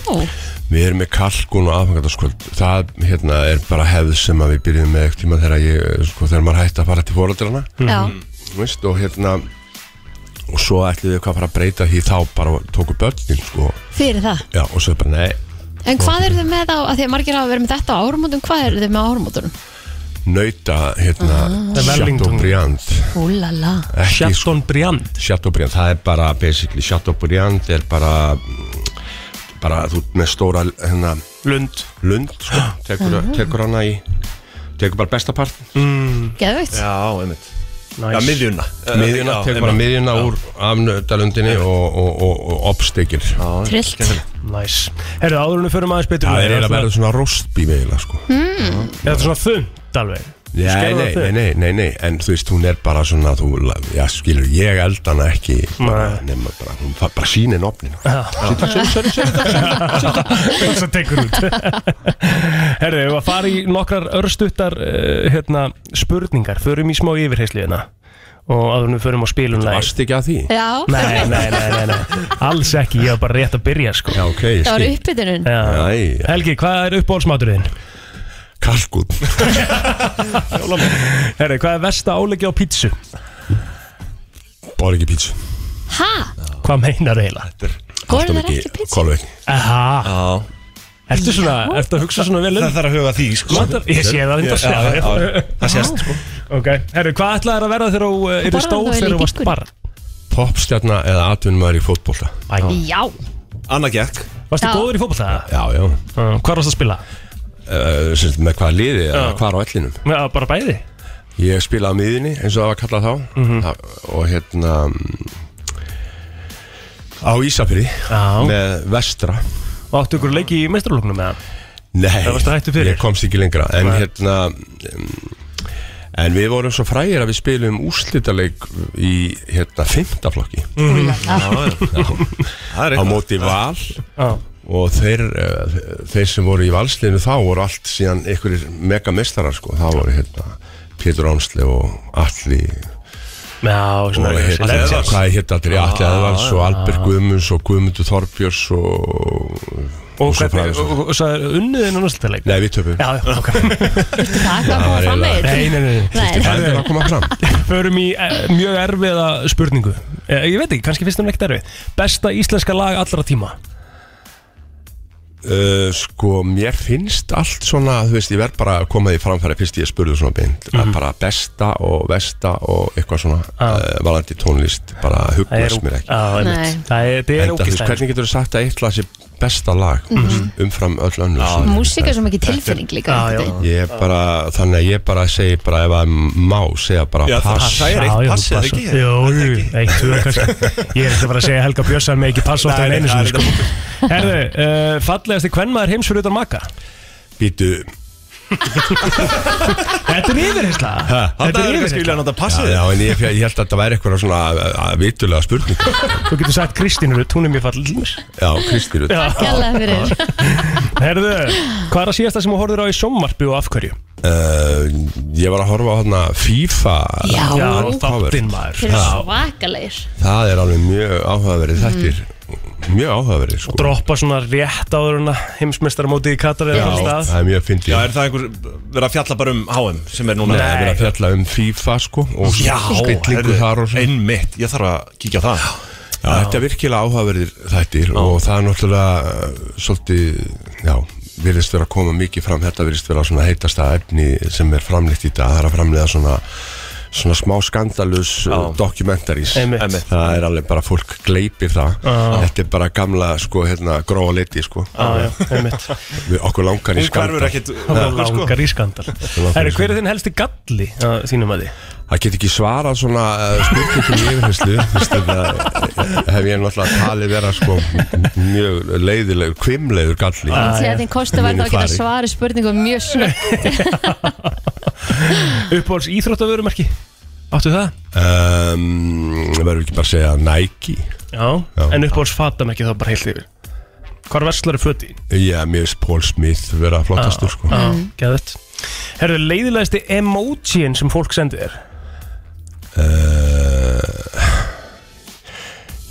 Speaker 17: Við erum með kalkún og aðfangandarskvöld Það hérna, er bara hefð sem að við byrjum með ekkert tíma þegar, ég, sko, þegar maður hætti að fara til fóröldrana
Speaker 2: Já.
Speaker 3: Mhm.
Speaker 17: veist, og hérna og svo ætlum við eitthvað að fara að breyta því þá bara tóku börnin sko.
Speaker 2: Fyrir það
Speaker 17: Já, og svo bara nei
Speaker 2: En hvað eru þið með á, að því að margir hafa verið með þetta á árumótum, hvað eru þið með á árumótunum?
Speaker 17: nauta hérna,
Speaker 3: Það er Wellington.
Speaker 17: Chateaubriand
Speaker 2: Úlala
Speaker 3: Chateaubriand
Speaker 17: Chateaubriand, sko. það er bara basically Chateaubriand er bara bara þú ert með stóra hérna,
Speaker 3: Lund,
Speaker 17: Lund sko, tekur,
Speaker 2: Ah.
Speaker 17: tekur hana í tekur bara besta part
Speaker 3: mm.
Speaker 2: Geðveikt
Speaker 4: Já, einmitt
Speaker 3: Nice.
Speaker 4: Já, miðjuna
Speaker 17: Eh, miðjuna,
Speaker 4: Já,
Speaker 17: tekur
Speaker 4: einmitt.
Speaker 17: bara miðjuna
Speaker 4: Já.
Speaker 17: úr afnöðalundinni og, og, og, og obstekir það
Speaker 2: Trillt
Speaker 3: Næs Herðu, áðurinn fyrir maður spytur
Speaker 17: er eiginlega verið svona rostbím eiginlega sko
Speaker 2: mm.
Speaker 3: Þetta er svona þund alveg
Speaker 17: Nei, nei,
Speaker 3: Skerðu það
Speaker 17: nei,
Speaker 3: þig?
Speaker 17: nei, nei, nei, en þú veist, hún er bara svona, þú, la- já, skilur, ég eldana ekki, bara, nema bara, hún fa- bara sýnir nofnin.
Speaker 3: og svo tekur út Herðu, við varum að fara í nokkrar örstuttar uh, hérna, spurningar, förum í smá yfirheysliðina og áður en við förum á spilunlega
Speaker 17: Varst ekki að því?
Speaker 2: Já
Speaker 3: Nei, nei, nei, nei, nei. alls ekki, ég var bara rétt að byrja sko.
Speaker 17: Já, ok,
Speaker 2: Það var uppbytunum
Speaker 3: Já.
Speaker 17: Æ,
Speaker 3: Helgi, hvað er uppbólsmaturinn?
Speaker 17: kalkun.
Speaker 3: Herðu, hvað er versta áleggi á pítsu?
Speaker 17: Bár ekki pítsu.
Speaker 2: Ha?
Speaker 3: Hvað meinar eiginlega?
Speaker 2: Góður þær ekki pizza?
Speaker 17: Kolveik.
Speaker 3: Aha,
Speaker 4: Já
Speaker 3: ertu svona, ertu að hugsa svona vel um?
Speaker 4: Það þarf að huga að því, sko
Speaker 3: Matar- Ég sé
Speaker 4: Já,
Speaker 3: það reyndar
Speaker 4: já, já, já. Það sést, sko
Speaker 3: Ok, herru, hvað ætlaði að verða þegar þú eru
Speaker 2: borðaði þú
Speaker 3: stór
Speaker 2: eiginlega
Speaker 3: þegar
Speaker 2: í
Speaker 3: þú varst
Speaker 2: bílskúrnum?
Speaker 3: barn?
Speaker 17: Popstjarna eða atvinnumæður í fótbolta.
Speaker 3: Æ,
Speaker 2: Já
Speaker 4: Anna gekk
Speaker 3: Varstu
Speaker 2: Já.
Speaker 3: góður í fótbolta?
Speaker 17: Já, já.
Speaker 3: Uh, Hvað varst að spila?
Speaker 17: Uh, sem, með hvaða liði, eða hvar á ellinum.
Speaker 3: Já, bara bæði
Speaker 17: Ég spilaði á miðinni eins og það var kallað þá
Speaker 3: Mhm.
Speaker 17: Það- og hérna mm, á Ísafyrði
Speaker 3: Já.
Speaker 17: með vestra
Speaker 3: Og áttu ykkur leiki í mestralóknum með hann
Speaker 17: Nei,
Speaker 3: Það varstu hættur fyrir?
Speaker 17: ég komst ekki lengra en
Speaker 3: Nei.
Speaker 17: hérna mm, en við vorum svo frægir að við spilum úrslitaleik í hérna fymtaflokki
Speaker 4: Mm. Það er
Speaker 17: á
Speaker 4: eitthvað
Speaker 17: móti val
Speaker 3: Já,
Speaker 17: og þeir, eh, þeir sem voru í valsliðinu þá voru allt síðan einhverjir megamestarar sko, þá voru hérna Pétur Ánsli og Alli
Speaker 3: Já, svona
Speaker 17: og
Speaker 3: Ah,
Speaker 17: hérna, hvað
Speaker 3: Legends.
Speaker 17: er hérna allir í Atli Aðvals og
Speaker 3: ah.
Speaker 17: Albert Guðmunds og Guðmundur Þorbjörns og, svo
Speaker 3: Og
Speaker 17: sko. framvegis.
Speaker 3: hvernig, og- og- og svo er unnið þinn á náttúrulega
Speaker 17: Nei, við töfum
Speaker 3: Já, já, ok
Speaker 2: Það kom
Speaker 17: var
Speaker 2: að fram með
Speaker 3: Nei, nei, nei, nei.
Speaker 2: Nei,
Speaker 17: Það er að koma fram
Speaker 3: Förum í eh, mjög erfiða spurningu eh, Ég veit ekki, kannski finnst hún ekkert erfið Besta íslenska lag allra tíma
Speaker 17: uh, Sko, mér finnst allt svona, þú veist, ég verð bara að koma því framfæri fyrst ég spurði svona beint
Speaker 3: Mhm.
Speaker 17: mm bara besta og vesta og eitthvað svona
Speaker 3: Ah.
Speaker 17: uh, valandi tónlist, bara hugnast mér ekki
Speaker 3: Já,
Speaker 2: Nei.
Speaker 3: einmitt. Það er- þetta er
Speaker 17: Enda, þú veist,
Speaker 3: ógist
Speaker 17: hvernig getur þú sagt að eitthvað sé besta lag mm umfram öll önnur sem mér finnst
Speaker 2: Mhm. Músík er svo mikið tilfinning líka
Speaker 3: Já, já.
Speaker 2: einhvern veginn.
Speaker 17: Ég er bara, þannig að ég bara segi bara ef að má segja bara
Speaker 4: Já, það-
Speaker 17: pass
Speaker 4: það er eitt pass, eða ekki?
Speaker 3: Jó, eitt, tvö, kannski Ég er ekki bara að segja Helga Björnsson með ekki pass ofta en
Speaker 4: Nei, nei,
Speaker 3: einu
Speaker 4: það er
Speaker 3: sinni sko. Herðu, uh, fallegasti kvennmaður heims fyrir utan maka
Speaker 17: Býtu,
Speaker 3: Þetta er yfirheysla
Speaker 4: Þetta
Speaker 3: Þetta
Speaker 4: er kannski
Speaker 3: er
Speaker 4: vilja
Speaker 3: yfirheysla
Speaker 4: að nota
Speaker 17: já,
Speaker 4: passið
Speaker 17: já, en ég, ég held að þetta væri eitthvað svona uh, vitulega spurning
Speaker 3: Þú getur sagt Kristín Rutt, hún er mjög falleg til mér
Speaker 17: Já, Kristi Rut
Speaker 3: Já.
Speaker 2: Gælega fyrir
Speaker 3: Herðu, hvað er að síðasta sem þú horfir á í sjómmarpi og af hverju?
Speaker 17: uh, Ég var að horfa á þarna FIFA
Speaker 2: Já.
Speaker 3: Já,
Speaker 17: cover.
Speaker 3: þáttinn maður
Speaker 2: Þeir eru svakalegir Mm.
Speaker 17: Það er alveg mjög áhugaverið þettir mjög áhugaverið sko.
Speaker 3: droppa svona rétt áður en að heimsmeistaramótið í Katar
Speaker 17: Já,
Speaker 3: eða einhvers stað.
Speaker 17: það er mjög fyndið
Speaker 5: Já, er það einhver verið að fjalla bara um HM sem er
Speaker 17: Nei,
Speaker 5: núna
Speaker 17: það er verið að fjalla um FIFA sko og
Speaker 5: Já,
Speaker 17: stillingu
Speaker 5: herðu,
Speaker 17: þar og svona
Speaker 5: Einmitt, ég þarf að kíkja á það
Speaker 17: Já, þetta er virkilega áhugaverðir þættir og það er náttúrulega uh, svolítið, já, virðist vera að koma mikið fram, þetta virðist vera svona heitasta efni sem er framleitt í dag, það er að framleiða svona svona smá skandalus dokumentaris
Speaker 3: Einmitt. Einmitt.
Speaker 17: það er alveg bara fólk gleipir það
Speaker 3: Já.
Speaker 17: þetta er bara gamla sko hérna gróa liti sko
Speaker 3: Já, já, einmitt.
Speaker 17: Við- okkur langar í
Speaker 3: Hún hverfur
Speaker 17: skandal
Speaker 3: ekkit Það úr okkur, sko. langar í skandal. Herri, hver er þinn helsti galli að þínum að því?
Speaker 17: Það get ekki svarað svona uh, spurningum í yfirherslu Það eh, hef ég náttúrulega talið vera sko mjög leiðilegur, kvimleiður galli
Speaker 2: Því að þinn kosti var þá
Speaker 17: Mínu
Speaker 2: að geta
Speaker 17: fari.
Speaker 2: svari spurningum mjög snögg
Speaker 3: Uppáhalds íþróttavörumarki? Áttu það?
Speaker 17: Um, verður ekki bara að segja Nike
Speaker 3: Já, en uppáhalds fatam ekki þá bara heilt yfir Hvar verslar er föti?
Speaker 17: Já, mér finnst Paul Smith vera flottastur sko
Speaker 3: Já, gæðvett Herðu, leiðilegasti emojín sem fólk sendi þér
Speaker 17: uh,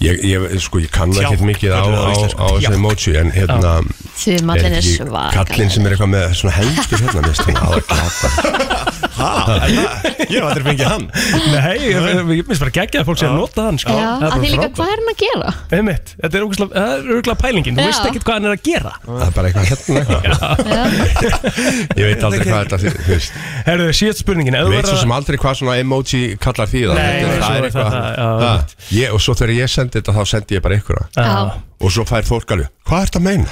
Speaker 17: ég, ég, sko, ég kann
Speaker 3: Tjá,
Speaker 17: ekki mikið á,
Speaker 3: hvernig er
Speaker 17: á,
Speaker 3: það á
Speaker 17: á
Speaker 3: íslensku?
Speaker 17: þessu
Speaker 3: Tjá.
Speaker 17: emoji en hérna
Speaker 2: Því mallin er
Speaker 17: ekki
Speaker 2: svakalegur.
Speaker 17: kallinn sem er eitthvað með svona hendur hérna mér finnst hann aðgata
Speaker 5: Ég hef aldrei fengið hann
Speaker 3: Nei, ég ég- ég minnst bara geggja að fólk sé að nota hann sko.
Speaker 2: Já,
Speaker 3: Það
Speaker 2: að
Speaker 3: er bara
Speaker 2: því líka
Speaker 3: frábært.
Speaker 2: hvað er hann að gera?
Speaker 3: Einmitt, þetta er ógeðslega- það er örgulega pælingin Þú
Speaker 2: Já.
Speaker 3: veist ekkert hvað hann er að gera
Speaker 17: það er bara eitthvað hérna eitthvað. ég veit aldrei hvað þetta þýðir, þú veist
Speaker 3: Herðu, síðast spurningin ef
Speaker 17: Ég
Speaker 3: þú
Speaker 17: veit
Speaker 3: verður
Speaker 17: svo
Speaker 3: að-
Speaker 17: sem aldrei hvað svona emoji kallar því það,
Speaker 3: Nei,
Speaker 17: Þetta er- það
Speaker 3: nei, svo
Speaker 17: er
Speaker 3: er það
Speaker 17: eitthvað
Speaker 3: það, já,
Speaker 17: Ha, ég- og svo þegar ég sendi þetta þá sendi ég bara ykkur
Speaker 3: Já.
Speaker 17: og svo fær fólk alveg hvað ert að meina?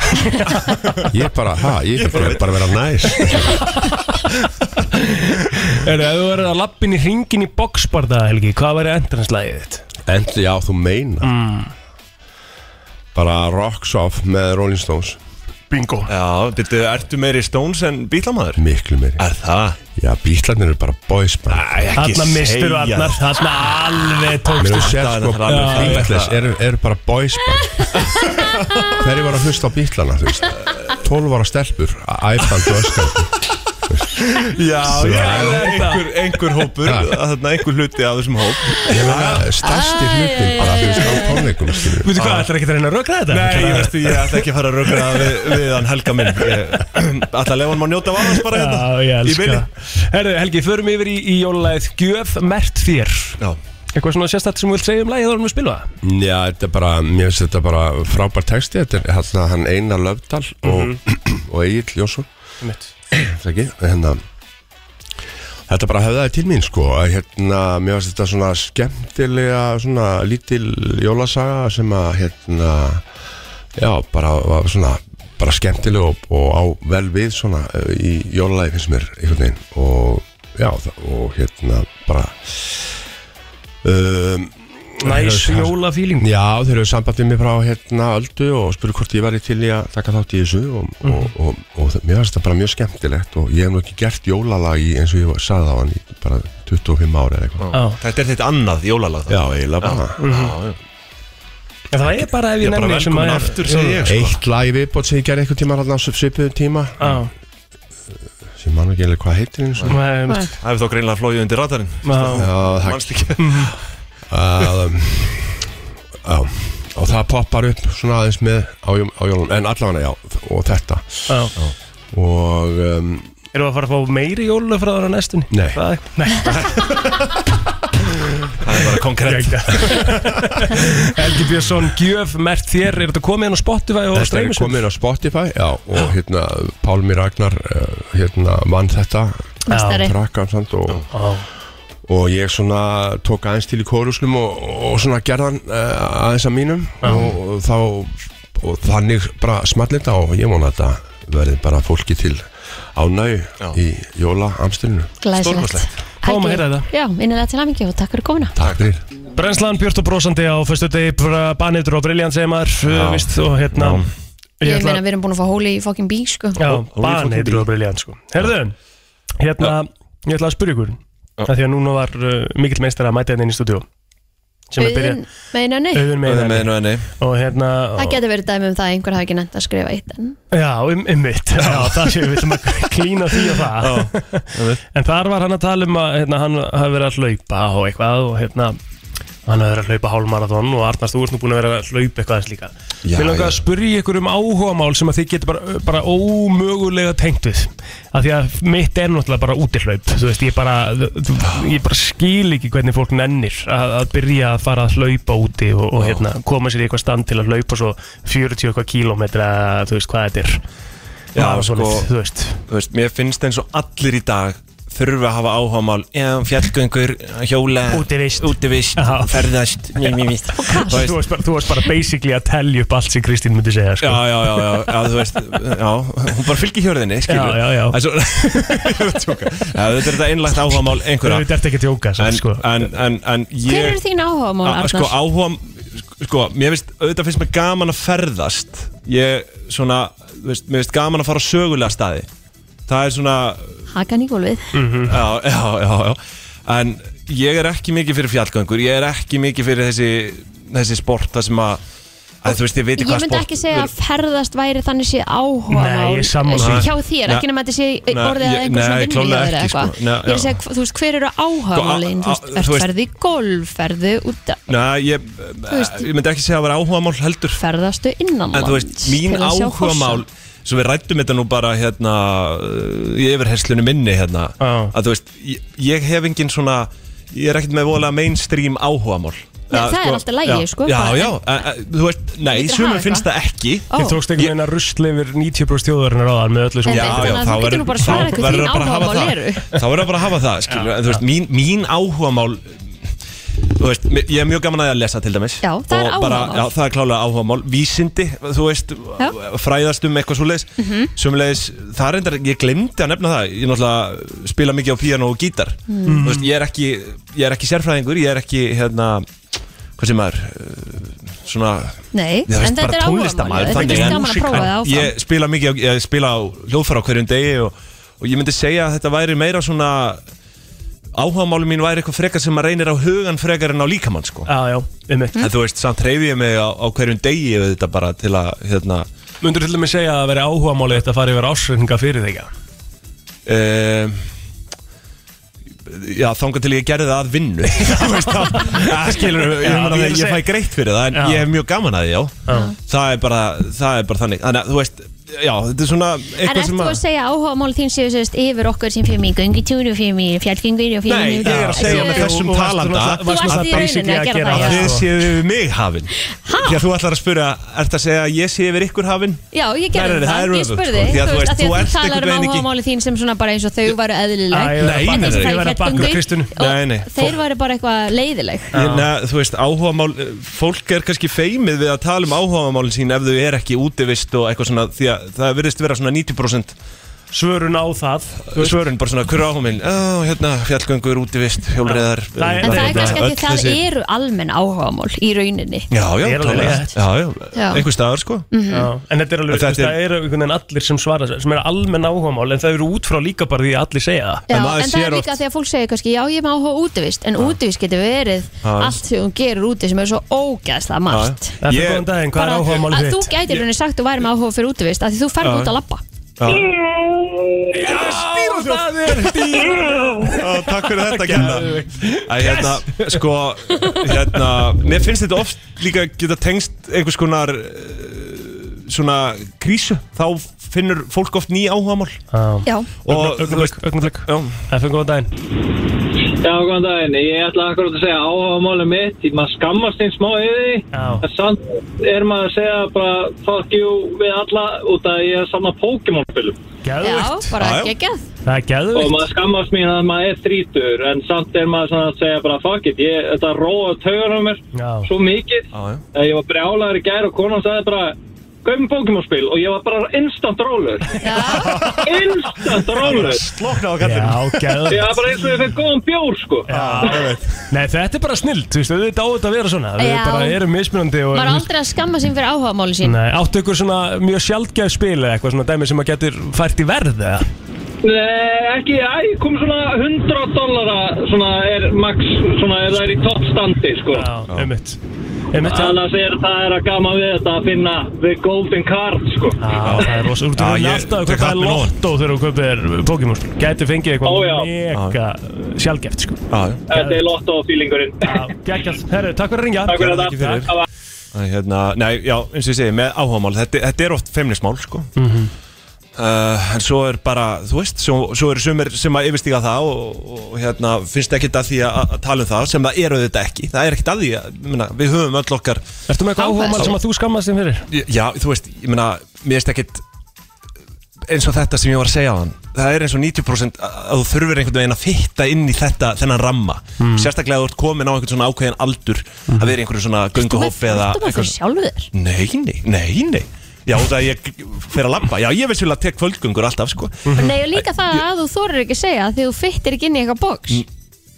Speaker 17: ég bara, ha, ég er bara, bara að vera næs
Speaker 3: Herðu, ef þú verður að lappin í ringin í boxbarda, Helgi Hvað væri endranslægið þitt?
Speaker 17: Endli, já, þú meina Bara Rocks Off með Rolling Stones
Speaker 3: Bingo
Speaker 5: Já, byrju, ertu meiri Stones en Bílamaður?
Speaker 17: Miklu meiri
Speaker 5: Er það?
Speaker 17: Já, bítlarnir eru bara boys bara
Speaker 3: Þarna mistur og Arnar, þarna alveg
Speaker 17: Mér
Speaker 3: tókstu
Speaker 17: þú sér
Speaker 5: það er
Speaker 17: sko,
Speaker 5: það alveg
Speaker 17: já,
Speaker 5: fínt.
Speaker 17: Beatles eru, eru bara boys bara Hverju var að hlusta á bítlana, þú veist 12 ára stelpur, æfand og öskar
Speaker 5: Já, já, einhver,
Speaker 3: einhver-
Speaker 5: einhver hópur Þannig einhver hluti af þessum hóp
Speaker 17: Ég meina, stærsti hlutin bara, þú veist, á tónleikum skilur.
Speaker 3: Veitu hvað, ætlar ekki að reyna að rökra þetta?
Speaker 5: Nei, ég veistu, ég ætla ekki að fara að rögra við, við hann Helga minn Alltaf lefa hann má njóta varans bara
Speaker 3: Já, ég
Speaker 5: hérna Í
Speaker 3: elska
Speaker 5: beinni.
Speaker 3: Herru, Helgi, förum yfir í, í jólalæð Gjöf mert þér
Speaker 5: Já.
Speaker 3: Eitthvað svona sérstætt sem þú vilt segja um lægið árum við spilum það?
Speaker 17: Já, þetta er bara, mér finnst þetta bara frábær texti, þetta er hérna hann Einar Löfdal og, og Egil Jónsson
Speaker 3: Einmitt.
Speaker 17: Það ekki, hérna Þetta bara höfðaði til mín sko að hérna, mér finnst þetta svona skemmtilega svona lítil jólasaga sem að hérna já, bara var svona bara skemmtileg og, og á vel við svona eh, í jólalagi finnst mér einhvern veginn og já, það- og hérna bara um,
Speaker 3: Næs
Speaker 17: hérna,
Speaker 3: jólafíling
Speaker 17: Já, þeir eru sambandið mér frá hérna öldu og spurðu hvort ég væri til í að taka þátt í þessu og, og, og, og, það- mér finnst þetta bara mjög skemmtilegt og ég hef nú ekki gert jólalag í eins og ég sagði á hann í bara 25 ára eða eitthvað.
Speaker 3: Já.
Speaker 5: Þetta er þitt annað jólalag
Speaker 17: Já, eiginlega bara.
Speaker 3: En það er bara ef
Speaker 5: Ég
Speaker 3: ég
Speaker 5: er bara
Speaker 3: nefni sem
Speaker 5: velkomin
Speaker 3: að er-
Speaker 5: aftur, segi ég sko.
Speaker 17: Eitt lag í viðbót sem ég gerði eitthvað tíma hérna á svipuðum tíma
Speaker 3: Já,
Speaker 17: sem mann ekki eiginlega hvað heitir eins og
Speaker 3: nei, einmitt.
Speaker 5: Það hefur þó greinlega flóið undir radarinn
Speaker 3: Mhm. Já.
Speaker 17: Já, það
Speaker 5: Manst ekki
Speaker 17: að, um, já, og það poppar upp svona aðeins með á, jól- á jólum en allavega já, og þetta
Speaker 3: Já.
Speaker 17: og um,
Speaker 3: Erum við að fara að fá meiri jólu frá þarna næstunni?
Speaker 17: Nei.
Speaker 3: Það er- Nei,
Speaker 5: Það er bara konkrétt
Speaker 3: geggjað. Helgi Björnsson, gjöf, mert þér Er þetta komið inn á Spotify og
Speaker 17: Þetta er
Speaker 3: streymisum?
Speaker 17: komin á Spotify já, og hérna Pálmi Ragnar uh, hérna vann þetta
Speaker 2: Meistari.
Speaker 17: krakkan samt og, og ég svona tók aðeins til í kóruslum og, og svona gerðan uh, aðeins að mínum og, og þá og þannig bara smallinda og ég vona að þetta verði bara fólki til ánæg í jóla amstilinu
Speaker 2: Glæsilegt
Speaker 5: Stórkostlegt.
Speaker 3: Fáum að heyra þetta.
Speaker 2: Já, innilega til hamingi og takk fyrir komuna
Speaker 17: Takk fyrir
Speaker 3: Brennslan Björn og Brósandi á föstu degi Banitur og Brilliant segir maður uh, víst, og hérna
Speaker 2: Ég,
Speaker 3: ætla-
Speaker 2: meina, við erum búin að fá hóli í fokkin bíl, sko
Speaker 3: Já,
Speaker 5: Ó,
Speaker 3: Bani heitir það briljant sko Herðu, hérna Ég ætla að spyrja ykkur að Því að núna var uh, mikill meistar að mæta hérna inn í stúdíu Sem er byrjað
Speaker 2: Auðun, meina nei
Speaker 3: Auðun meina
Speaker 5: Með nú enni
Speaker 3: Og hérna
Speaker 2: Það getur verið dæmi um það að einhver hafi ekki nefnt að skrifa eitt en
Speaker 3: Já, um, um mitt Já, það sé við ætlum að klína því og það En þar var hann að tala um að hérna, hann hafi verið að hlaupa og eitthvað og hérna hann hefur verið að hlaupa hálmarathon og Arnars, þú ert nú búin að vera að hlaupa eitthvað þess líka
Speaker 4: Já,
Speaker 3: Mér langar
Speaker 4: já.
Speaker 3: að spyrja ykkur um áhugamál sem að þið getur bara, bara ómögulega tengt við af því að mitt er náttúrulega bara útihlaup þú veist, ég bara, þú, ég bara skil ekki hvernig fólk nennir að, að byrja að fara að hlaupa úti og, og hérna, koma sér í eitthvað stand til að hlaupa svo 40 eitthvað kílómetra, þú veist hvað þetta er
Speaker 4: Já,
Speaker 3: Og
Speaker 4: sko,
Speaker 3: svoleiðis, þú veist
Speaker 4: Mér finnst eins og allir í dag þurfa að hafa áhagamál Já, fjallgöngur, hjóla
Speaker 3: Útivist,
Speaker 4: útivist ferðast mjö, mjö, mjö.
Speaker 3: Þú veist, bara- þú veist bara basically að telja upp allt sem Kristín myndi segja sko.
Speaker 4: Já, já, já, já, já, þú veist Já, hún bara fylgir hjörðinni, skilur
Speaker 3: Já, já, já.
Speaker 4: Þessu, ja, Þetta er þetta einlagt áhagamál einhverja
Speaker 3: Þetta er þetta ekki að tjóka
Speaker 4: en, sko. en, en, en ég
Speaker 2: Hver eru þín áhugamál,
Speaker 4: Að- að
Speaker 2: Arnar?
Speaker 4: Sko áhuga Sko, mér finnst, auðvitað finnst mér gaman að ferðast Ég, svona þú veist, Mér finnst gaman að fara á sögulega staði Það er svona
Speaker 2: Hakan í gólfið
Speaker 4: já, já, já, já En ég er ekki mikið fyrir fjallgöngur Ég er ekki mikið fyrir þessi Þessi sport, það sem að, að Þú veist, ég veit
Speaker 2: Ég
Speaker 4: ekki hvað
Speaker 2: myndi ekki segja að ferðast væri þannig sé
Speaker 4: Nei,
Speaker 2: áhugamál
Speaker 4: ég er sammála.
Speaker 2: eins og hjá
Speaker 4: Nei.
Speaker 2: þér, ekki nema þetta sé
Speaker 4: Nei,
Speaker 2: orðið að
Speaker 4: ég-
Speaker 2: einhver svona
Speaker 4: nei,
Speaker 2: vinnu hjá
Speaker 4: klárlega
Speaker 2: þér eða
Speaker 4: ekki, sko.
Speaker 2: eitthvað
Speaker 4: Nei,
Speaker 2: Ég er að
Speaker 4: já.
Speaker 2: segja, þú veist, hver eru áhugamálin? Þú
Speaker 4: Sko, á-
Speaker 2: veist,
Speaker 4: á- þú
Speaker 2: ert
Speaker 4: veist-
Speaker 2: ferði í golf, ferði út að
Speaker 4: Nei, ég,
Speaker 2: veist-
Speaker 4: ég myndi ekki segja að vera áhugamál heldur
Speaker 2: ferðastu innanlands
Speaker 4: En þú veist, mín
Speaker 2: til að sjá
Speaker 4: áhugamál Svo við rættum þetta nú bara hérna uh, Í yfirherslunum minni hérna Að þú veist, ég, ég hef engin svona Ég er ekkert með voðalega mainstream áhugamál
Speaker 2: Nei,
Speaker 4: Að,
Speaker 2: það er alltaf lagi,
Speaker 4: já,
Speaker 2: sko,
Speaker 4: Já,
Speaker 2: bara-
Speaker 4: já, en, en, þú veist, nei,
Speaker 2: Þú hlýtur að hafa
Speaker 4: sumum finnst það ekki
Speaker 3: Ég tókst einhvern veginn að rusli yfir 90% þjóðarinnar á með öllu
Speaker 4: Já, já, þá verður- þá verður að bara hafa það. Þá verður að bara að hafa það, skilur En þú veist, mín, mín áhugamál Þú veist, mi- ég er mjög gaman að ég að lesa til dæmis
Speaker 2: Já, það er
Speaker 4: Og bara,
Speaker 2: áhugamál.
Speaker 4: Já, það er klálega áhugamál Vísindi, þú veist,
Speaker 2: Já.
Speaker 4: fræðast um eitthvað svoleiðis
Speaker 2: Mhm.
Speaker 4: Sumleiðis, það er reyndar, ég glemdi að nefna það Ég náttúrulega spila mikið á píano og gítar
Speaker 17: Mm.
Speaker 4: Þú veist, ég er ekki, ég er ekki sérfræðingur Ég er ekki, hérna, hvað sem maður uh, Svona
Speaker 2: Nei,
Speaker 4: Ég veist,
Speaker 2: en þetta
Speaker 4: bara
Speaker 2: er
Speaker 4: tónlistarmaður,
Speaker 2: áhugamál Þetta
Speaker 4: þannig
Speaker 2: er
Speaker 4: en-
Speaker 2: gaman að prófa það
Speaker 4: en
Speaker 2: áfram
Speaker 4: Ég spila mikið, á- ég spila á hljóðfara á hverjum degi og, og ég myndi segja að þetta væri meira svona áhugamálum mín væri eitthvað frekar sem að reynir á hugan frekar en á líkamann sko
Speaker 3: Já, já, um mitt
Speaker 4: En þú veist, samt hreyfi ég mig á, á hverjum degi við þetta bara til að, hérna
Speaker 3: Mundur til dæmis segja að vera áhugamálið þetta að fara yfir ásreikninga fyrir þig já?
Speaker 4: um, Já, þangað til ég gerði það að vinnu Þú veist það ja, Skilur, ég, meina
Speaker 3: Já, ég er
Speaker 4: ég,
Speaker 3: að
Speaker 4: ég
Speaker 3: segja-
Speaker 4: fæ greitt fyrir það En
Speaker 3: Já.
Speaker 4: ég hef mjög gaman að því, já, Það, er bara, það er bara þannig Þannig að þú veist, já, þetta er svona
Speaker 2: En ert þú að segja áhugamál þín séu sérst yfir okkur sem fyrir mig göngutúru, fyrir mig fjallgengur og fyrir
Speaker 4: Nei,
Speaker 2: mig
Speaker 4: ég er að segja með þessum
Speaker 3: og- og-
Speaker 4: talanda
Speaker 3: og- varst náttúrulega Þú varst í basically rauninni að að gera
Speaker 2: sko.
Speaker 3: gera það, það,
Speaker 4: Þið
Speaker 3: já.
Speaker 4: séu yfir mig hafin Því að þú ætlar að spura, ert að segja að ég sé yfir ykkur hafin?
Speaker 2: Já, ég
Speaker 4: Nei, nei,
Speaker 2: gerði
Speaker 4: nei, það er
Speaker 2: það, ég
Speaker 4: öfugt,
Speaker 2: spurði
Speaker 4: sko.
Speaker 2: Þú veist, af því að þú
Speaker 4: ert
Speaker 2: talar
Speaker 4: einhvern
Speaker 2: um
Speaker 4: veginn ekki-
Speaker 2: áhugamálið þín sem svona bara eins og þau væru eðlileg
Speaker 4: Æ, ég verð að bakka
Speaker 2: Þeir sem fara í
Speaker 4: þér. Ég verð að bakka
Speaker 2: fjallgöngu
Speaker 4: Kristínu. Nei, nei,
Speaker 2: og Þeir
Speaker 4: fólk-
Speaker 2: væru bara eitthvað leiðileg
Speaker 4: Ég, neð, þú veist, áhugamál, fólk er kannski feimið við að tala um áhugamálin sín ef þau er ekki útivist og eitthvað svona því að það virðist vera svona 90%
Speaker 3: Svörun á það
Speaker 4: Svörun bara svona, hver er áhugamálin? Ó, hérna, fjallgöngur, útivist, hérna, hjólreðar
Speaker 2: En það er kannski að það eru almenn áhugamál í rauninni
Speaker 4: Já, já,
Speaker 3: Það er alveg
Speaker 4: klálega.
Speaker 3: rétt.
Speaker 4: já, já,
Speaker 2: Já.
Speaker 4: einhver staðar sko
Speaker 2: Mhm.
Speaker 3: Já, en þetta er alveg,
Speaker 4: Þetta
Speaker 3: þetta,
Speaker 4: er-
Speaker 3: þetta eru einhvern veginn allir sem svara sem eru almenn áhugamál en það eru út frá líka bara því að allir segja það
Speaker 2: Já, en það er líka því að fólk segir kannski já ég má áhuga á útivist en útivist getur verið
Speaker 3: Já.
Speaker 2: allt sem hún gerur úti sem er svo ógæðslega margt
Speaker 3: Þetta er góðan daginn, hvað er áhugamál
Speaker 2: að þú
Speaker 3: þitt?
Speaker 2: gætir henni sagt þú væri með áhuga fyrir útivist að því þú ferð
Speaker 3: Já.
Speaker 2: út að lappa
Speaker 3: það er
Speaker 4: Já, takk fyrir þetta Kjarna Æ, hérna, sko, hérna Mér finnst þetta oft líka geta tengst einhvers konar eh, svona krísu þá finnur fólk oft ný áhugamál
Speaker 2: Já.
Speaker 4: og þú veist
Speaker 3: augnablik Það fyrir góðan daginn
Speaker 13: Já, góðan daginn. Ég ætla akkur að segja áhagamálum mitt. Ég- Maður skammast einn smá yfir því. En samt er maður að segja bara fuck you við alla út af að ég er saman Pokémon-spilum.
Speaker 2: Já, bara geggjað
Speaker 3: Það er
Speaker 13: Og
Speaker 3: geðvikt
Speaker 13: maður skammast mín að maður er þrítur en samt er maður svona að segja bara fuck it. Ég, þetta róa taugan á mér
Speaker 3: Já.
Speaker 13: svo mikið.
Speaker 4: Já,
Speaker 13: að Ég var brjálaður í gær og konan sagði bara Gauð mér Pokémon-spil og ég var bara instant rólur. instant rólur.
Speaker 4: Slokna á
Speaker 3: Já, geðvikt
Speaker 13: Ég var bara eins og ég fekk góðan bjór sko.
Speaker 3: Já, Nei, þetta er bara snilt, þú veist, auðvitað á þetta að vera svona Við
Speaker 2: Já.
Speaker 3: bara erum mismunandi og
Speaker 2: maður er aldrei að skamma sín fyrir áhugamáli sín
Speaker 3: Nei, áttu ykkur svona mjög sjaldgæð spil eða eitthvað svona dæmi sem maður getur fært í verð eða?
Speaker 18: sko, eh,
Speaker 13: Nei, ekki, æ, kom svona 100 dollara, svona er max, svona er það er í toppstandi, sko.
Speaker 3: Já, einmitt Einmitt, já.
Speaker 18: Annars er það er að gama við þetta að finna the golden card sko
Speaker 3: Já, það er rosa, úr þú
Speaker 18: Já,
Speaker 3: verður
Speaker 18: ég
Speaker 3: alltaf að
Speaker 18: tek
Speaker 3: kaupa þér
Speaker 18: happy lóan.
Speaker 3: lottó þegar þú kaupir Pokémon spil. Gæti fengið
Speaker 18: Ó, já.
Speaker 3: eitthvað mega sjálfgeft sko.
Speaker 18: Þetta er lotto feelingurinn
Speaker 3: Gækjast, herru, takk fyrir að ringja
Speaker 18: Takk fyrir þetta.
Speaker 4: Takk fyrir.
Speaker 18: Takk.
Speaker 4: Æ, hérna, Nei, já, eins og ég segi, með áhugamál Þetta, þetta er oft femnismál, sko
Speaker 3: Mhm.
Speaker 4: uh, En svo er bara, þú veist Svo, svo eru sumir sem að yfirstíga það Og, og hérna, finnst ekkert að því að, að tala um það Sem það eru þetta ekki Það er ekkert að því, að, ég meina, við höfum öll okkar
Speaker 3: Ertu með eitthvað áhugamál sem að þú skammast þín fyrir?
Speaker 4: Já, þú veist, ég meina, mér finnst ekkert eins og þetta sem ég var að segja á hann það er eins og 90% að þú þurfir einhvern veginn að fitta inn í þetta, þennan ramma
Speaker 3: Mm.
Speaker 4: sérstaklega að þú ert komin á einhvern svona ákveðin aldur
Speaker 3: Hmm.
Speaker 4: að vera í einhverju svona gönguhoffi eða
Speaker 2: Þetta maður fyrir
Speaker 4: eitthvað-
Speaker 2: sjálfu þér
Speaker 4: Nei, nei, nei, nei Já, það að ég fer að labba Já, ég veist vel að tek kvöldgöngur alltaf, sko
Speaker 2: Nei, og líka það að þú þorir ekki að segja að því þú fyttir ekki inn í eitthvað bóks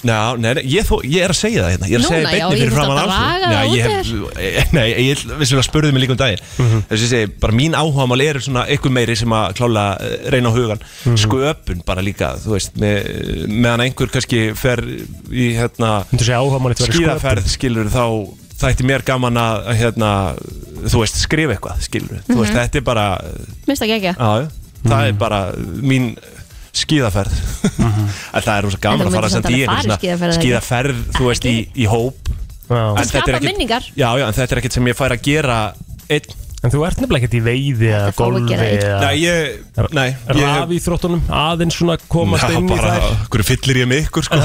Speaker 4: Já, nei, nei, ég, þó, ég er að segja það hérna Ég er að segja
Speaker 2: Núna, já,
Speaker 4: beinni
Speaker 2: ég
Speaker 4: fyrir
Speaker 2: þurfti
Speaker 4: framann
Speaker 2: að draga það
Speaker 4: Nei, ég
Speaker 2: út
Speaker 4: hef, eh, nei, ég vissulega spurði mig líka um daginn
Speaker 2: Mhm.
Speaker 4: Þess að ég segi, bara mín áhugamál eru svona eitthvað meiri sem að klála eh, reyna á hugan
Speaker 2: Mhm.
Speaker 4: Sköpun bara líka, þú veist með, meðan einhver kannski fer í hérna
Speaker 3: Þú segja áhugamál þetta verið
Speaker 4: skíðaferð skilur þá þætti mér gaman að hérna, þú veist, skrifa eitthvað skilur, þú veist,
Speaker 2: Mhm.
Speaker 4: þetta er bara
Speaker 2: Minnst það ekki ekki
Speaker 4: Já, já. það er
Speaker 2: Mhm.
Speaker 4: bara mín skíðaferð en það er rosa gaman
Speaker 2: En þú
Speaker 4: að fara
Speaker 2: myndir
Speaker 4: að senda í
Speaker 2: samt alveg
Speaker 4: einhvern
Speaker 2: fara í skíðaferð, eða
Speaker 4: svona skíðaferð, þú veist, í, í hóp
Speaker 3: En
Speaker 2: Það
Speaker 4: þetta er
Speaker 2: skapa
Speaker 4: ekkit-
Speaker 2: minningar
Speaker 4: Já, já, en þetta er ekkert sem ég fær að gera einn
Speaker 3: En þú ert nefnilega ekkert í veiði eða
Speaker 4: fá að
Speaker 3: golfi
Speaker 4: gera eitt.
Speaker 3: eða
Speaker 4: Nei, ég, nei
Speaker 3: Rafi í þróttunum, aðeins svona komast
Speaker 4: Já,
Speaker 3: inn í
Speaker 4: bara,
Speaker 3: þær
Speaker 4: Hverju fyllir ég með ykkur sko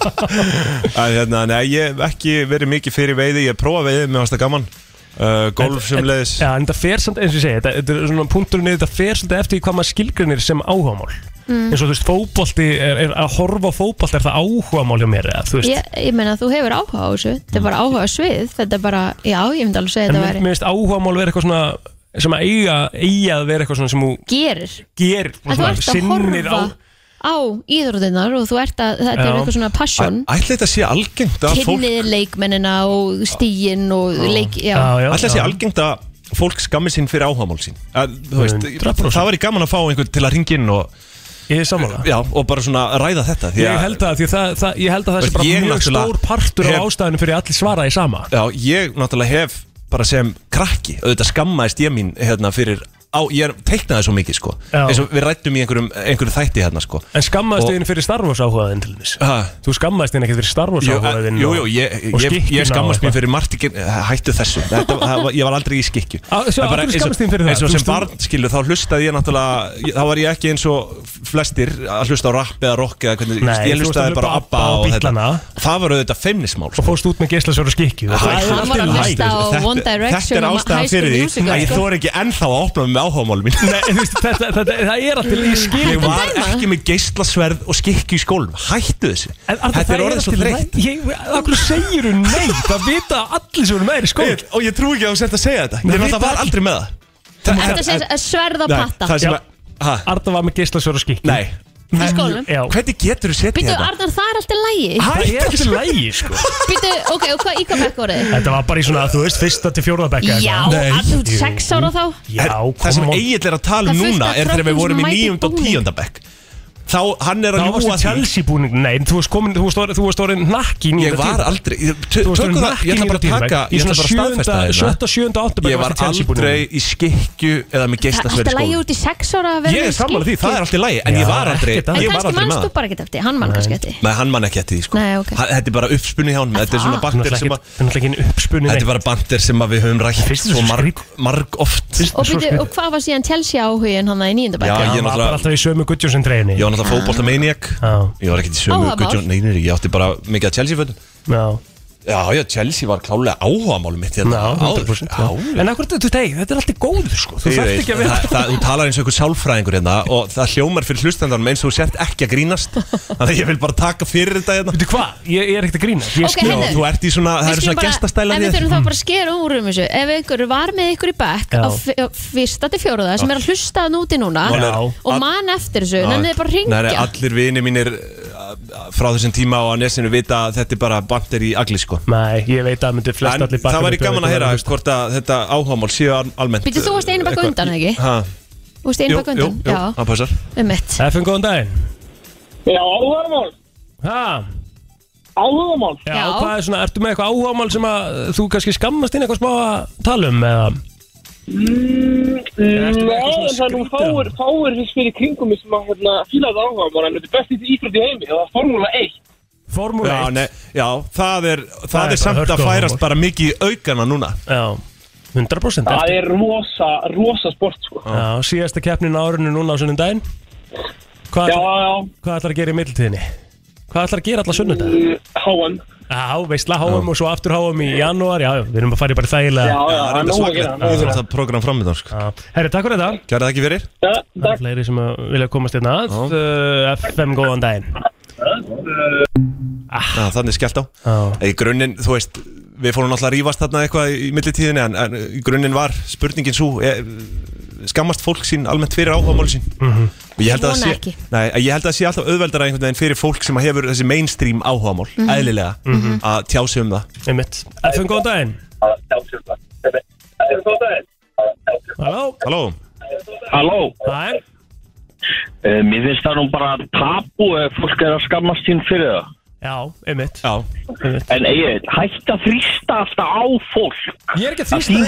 Speaker 4: að, hérna, Nei, ég hef ekki verið mikið fyrir veiði Ég prófa veiði, mér varst það gaman uh, Golf sem leið
Speaker 3: leiðis Já, en þetta fer samt, eins og ég segi, þetta, þetta er svona punkturinn þetta fer svolítið eftir því hvað maður skilgrinir sem áhugamál
Speaker 2: Mm.
Speaker 3: eins og þú veist, fótbolti, er, er, að horfa á fótbolti er það áhugamál hjá mér eða, þú veist
Speaker 2: Ég, ég meina að þú hefur áhuga á þessu Þetta er bara áhuga svið Þetta er bara, já, ég myndi alveg segja
Speaker 3: En
Speaker 2: þetta
Speaker 3: mér
Speaker 2: væri
Speaker 3: mér finnst áhugamál vera eitthvað svona sem að eiga, eiga að vera eitthvað svona sem þú
Speaker 2: Gerir
Speaker 3: gerir
Speaker 2: En þú ert að horfa á, íþróttinnar og þú ert að, þetta er
Speaker 4: Já.
Speaker 2: eitthvað svona passion
Speaker 4: Ætli þetta sé algengt að fólk
Speaker 2: Kynnið leikmennina og stíin og leik, já,
Speaker 4: Ætli það sé algengt að fólk skammi sín fyrir áhugamál sín að, þú veist,
Speaker 3: 100%.
Speaker 4: Það væri gaman að fá einhvern til að ringa inn og,
Speaker 3: Ég er sammála
Speaker 4: Já, og bara svona ræða þetta því að-
Speaker 3: Ég held að, því það, það, ég held að það sé
Speaker 4: Veist,
Speaker 3: bara
Speaker 4: ég
Speaker 3: mjög
Speaker 4: náttúrulega
Speaker 3: stór partur
Speaker 4: hef-
Speaker 3: af ástæðinu fyrir að allir svaraði sama
Speaker 4: Já, ég náttúrulega hef bara sem krakki, auðvitað skammaðist ég mín hérna fyrir, á, ég teiknaði svo mikið sko,
Speaker 3: Já.
Speaker 4: eins og við rættum í einhverjum, einhverjum þætti hérna sko
Speaker 3: En skammaðist
Speaker 4: Og-
Speaker 3: þín fyrir Star Wars áhugaðin til þess
Speaker 4: Ha?
Speaker 3: Þú skammaðist þín ekkert fyrir Star Wars
Speaker 4: Jú,
Speaker 3: áhugaðin
Speaker 4: jú, jú, ég,
Speaker 3: og
Speaker 4: ég,
Speaker 3: skikkjuna
Speaker 4: ég skammast
Speaker 3: og
Speaker 4: mér
Speaker 3: eitthvað.
Speaker 4: fyrir margt ekki, hættu þessu þetta, það var- Ég var aldrei í skikju
Speaker 3: Á, svo
Speaker 4: Það er bara
Speaker 3: af hverju
Speaker 4: eins og-
Speaker 3: skammast þín fyrir það?
Speaker 4: Eins og
Speaker 3: Þú
Speaker 4: sem
Speaker 3: veist, þú-
Speaker 4: barn skilu, þá hlustaði ég náttúrulega ég- Þá var ég ekki eins og flestir að hlusta á rap eða rock eða hvernig
Speaker 3: Nei,
Speaker 4: Ég
Speaker 3: þú varst
Speaker 4: hlustaði
Speaker 3: að hlusta
Speaker 4: bara á
Speaker 3: á
Speaker 4: Abba
Speaker 3: ABBA og
Speaker 4: og hérna. þetta
Speaker 3: Bíllana.
Speaker 4: Það var auðvitað feimnismál sko.
Speaker 3: Og fórst út með geislasjóru skikju
Speaker 4: Hæ,
Speaker 3: Það er
Speaker 4: hann
Speaker 3: allt
Speaker 4: var
Speaker 3: í
Speaker 4: að
Speaker 3: lagi.
Speaker 2: hlusta á One Direction
Speaker 4: Þetta er
Speaker 2: og
Speaker 4: ástæðan
Speaker 2: High School
Speaker 4: fyrir því
Speaker 2: Musical,
Speaker 4: að ég
Speaker 2: sko.
Speaker 4: þóri ekki ennþá að opna mig með áhugamálum mín
Speaker 3: Nei, þú veist, þetta, þetta, það er alltaf í skil
Speaker 4: Ég var ekki með geislasverð og skikki í skólum Hættu þessu Þetta er orðið svo þreytt
Speaker 3: Akkur segir hún nei, það vita allir sem eru með þér í skóla
Speaker 4: Og ég trú ekki að þú sért að segja þetta
Speaker 3: Nei,
Speaker 4: Ég náttúrulega
Speaker 3: vita
Speaker 4: var aldrei með það Það-
Speaker 2: Þetta sé að sverða
Speaker 4: Nei,
Speaker 2: patta
Speaker 4: það sem að- Ha?
Speaker 3: Arda var með geislasjóru skikju
Speaker 4: Nei
Speaker 2: Í skólanum?
Speaker 3: Já
Speaker 4: Hvernig getur þú setið hérna?
Speaker 2: Býtu,
Speaker 4: þetta?
Speaker 2: Arnar, það er alltaf lægi
Speaker 3: Það er alltaf í lagi, sko
Speaker 2: Býtu, ok, og hvað, í hvað bekk voruð þið?
Speaker 3: Þetta var bara í svona, þú veist, fyrsta til fjórða bekka
Speaker 2: Já, að þú ert sex ára þá
Speaker 3: Já,
Speaker 4: Það sem
Speaker 3: come on.
Speaker 4: Egil er að tala um
Speaker 2: Það er fullt
Speaker 4: núna
Speaker 2: af
Speaker 4: er þegar
Speaker 2: krökkum
Speaker 4: við vorum í
Speaker 2: sem mæta í
Speaker 4: 9. og 10. bekk Þá, hann er að
Speaker 3: Það
Speaker 4: ljúa
Speaker 3: varst í Chelsea búning Nei, en þú varst komin, þú varst orðin- þú varst orðin nakki í
Speaker 4: Ég
Speaker 3: nýjunda
Speaker 4: var
Speaker 3: tíma.
Speaker 4: aldrei ég-
Speaker 3: Þú varst
Speaker 4: Tökum
Speaker 3: orðin
Speaker 4: það, ég
Speaker 3: nakki
Speaker 4: ætla
Speaker 3: í nýjunda
Speaker 4: bara að
Speaker 3: tíma
Speaker 4: taka Ég
Speaker 3: Í
Speaker 4: ætla bara
Speaker 3: svona
Speaker 4: að staðfesta
Speaker 3: sjöunda, sjötta, sjöunda, átta
Speaker 4: Ég var aldrei í skikju Eða með
Speaker 2: Það er alltaf lægi
Speaker 4: geistasverðskólu
Speaker 2: út í sex ára að vera
Speaker 4: sko.
Speaker 2: með
Speaker 4: Ég er sammála því,
Speaker 2: skikki.
Speaker 4: það er alltaf lægi En ég var aldrei
Speaker 2: En
Speaker 4: Ég var
Speaker 2: kannski
Speaker 4: aldrei
Speaker 2: mannst
Speaker 4: með
Speaker 2: þú bara ekkert eftir, hann mann kannski eftir
Speaker 4: Nei, hann man ekki eftir því sko
Speaker 2: Nei, ok.
Speaker 4: Ha- Þetta er bara uppspunni hjá hann Þetta er svona
Speaker 2: það?
Speaker 4: bandir sem að
Speaker 3: Þetta er náttúrulega ekki uppspunni
Speaker 4: Þetta er bara bandir sem að við höfum rætt Svo marg, marg oft
Speaker 2: Og, byrju, og hvað var síðan Chelsea áhugin hann í nýjönda
Speaker 4: Já,
Speaker 2: bekk?
Speaker 4: ég
Speaker 3: Ég var
Speaker 4: náttúrulega
Speaker 3: bara alltaf í sömu Gudjónsson treyjunni
Speaker 4: Ég var náttúrulega fótboltamaniac Ég var ekkert í sömu
Speaker 2: Áhugamál.
Speaker 4: Guðjón Nei, nei, nei, ég átti bara mikið að Chelsea fötum
Speaker 3: Já,
Speaker 4: Já, já, Chelsea var klálega áhugamálum mitt hérna
Speaker 3: Já,
Speaker 4: áður.
Speaker 3: 100%,
Speaker 4: Já,
Speaker 3: En akkur, þú veist, hey, þetta er alltaf góður, sko Þú
Speaker 4: Ég
Speaker 3: þarft
Speaker 4: veit,
Speaker 3: ekki að vera
Speaker 4: það- það- Þú talar eins og einhver sálfræðingur hérna og það hljómar fyrir hlustandarum eins og þú sért ekki að grínast Þannig að ég vil bara taka fyrir þetta hérna
Speaker 3: Þú veit hvað, ég, ég er ekkert að grína Ég
Speaker 2: Ok, heyrðu.
Speaker 4: Þú ert í svona, það eru svona gestastæla
Speaker 2: En við þurfum þá bara að skera úr um þessu Ef einhver var með ykkur í bekk
Speaker 4: Já.
Speaker 2: á f- á fyrsta til fjóruða sem er að hlusta hann úti núna
Speaker 4: Já.
Speaker 2: og man eftir þessu,
Speaker 4: Já.
Speaker 2: nennið þið bara að
Speaker 4: Nei, nei,
Speaker 2: ringja
Speaker 4: allir vini mínir uh, frá þessum tíma og á nesinu vita að þetta er bara bandir í agli sko
Speaker 3: Nei, ég veit að myndi flest
Speaker 4: En
Speaker 3: allir
Speaker 4: það væri gaman að heyra hvort að þetta áhugamál séu al- almennt
Speaker 2: Býtu, þú varst einu bak undan, ekki? Þú veist einu bak undan, já,
Speaker 4: það passar
Speaker 2: um mitt
Speaker 3: FN, góðan daginn
Speaker 18: Já, áhugamál
Speaker 3: Ha,
Speaker 18: Áhugamál?
Speaker 3: Já, hvað er svona, ertu með eitthvað áhugamál sem að uh, þú kannski skammast inn eitthvað smá að tala um eða
Speaker 18: Mm,
Speaker 3: ertu með
Speaker 18: Nei,
Speaker 3: eitthvað svona
Speaker 18: en það er nú
Speaker 3: skrítið
Speaker 18: fáir, fáir fyrst fyrir kringum mig sem að hérna, fíla það áhugamál en þetta er bestið íþrótt í heimi, það er Formúla 1
Speaker 3: Formúla
Speaker 4: já, nei, já, það er, það
Speaker 3: Það er
Speaker 4: er samt
Speaker 3: bara
Speaker 4: að
Speaker 3: hörku
Speaker 4: færast
Speaker 3: áhugamál.
Speaker 4: bara mikið í aukana núna
Speaker 3: Já, 100%
Speaker 18: Það
Speaker 3: eftir.
Speaker 18: er rosa, rosa sport sko
Speaker 3: Já, síðasta keppnin á árinu núna á sunnundaginn Hvað, já,
Speaker 18: já.
Speaker 3: hvað ætlar að gera í middiltíðinni? Hvað ætlar að gera allar sunnundaginn?
Speaker 18: HM
Speaker 3: Já, veistla HM og svo aftur HM í janúar Já, já, við erum að fara í bara þægilega
Speaker 4: það er enda svakalegt Það er það program framöndan sko.
Speaker 3: Herri, takk fyrir þetta
Speaker 4: Kæra þakki fyrir
Speaker 3: Það er fleiri sem að vilja komast hérna að uh, FM, góðan daginn
Speaker 4: Já, þannig skellt á Í grunninn, þú veist, við fórum alltaf að rífast þarna eitthvað í millitíðinni en, en í grunninn var spurningin svo er, skammast fólk sín almennt fyrir áhugamáli sín
Speaker 3: Mhm.
Speaker 4: og ég held að það
Speaker 3: Vona
Speaker 4: sé,
Speaker 3: ekki.
Speaker 4: nei, að ég held að það sé alltaf auðveldara einhvern veginn fyrir fólk sem hefur þessi mainstream áhugamál
Speaker 3: Mhm.
Speaker 4: eðlilega
Speaker 3: Mhm.
Speaker 4: að tjá sig um það
Speaker 3: Einmitt. FM, góðan daginn Halló
Speaker 4: Halló
Speaker 6: Halló
Speaker 3: Hæ
Speaker 6: uh, Mér finnst það nú bara tabu ef fólk er að skammast sín fyrir það
Speaker 3: Já, einmitt
Speaker 4: Já
Speaker 6: En Egil, hætt að þrýsta alltaf á fólk
Speaker 3: Ég er ekki að þrýsta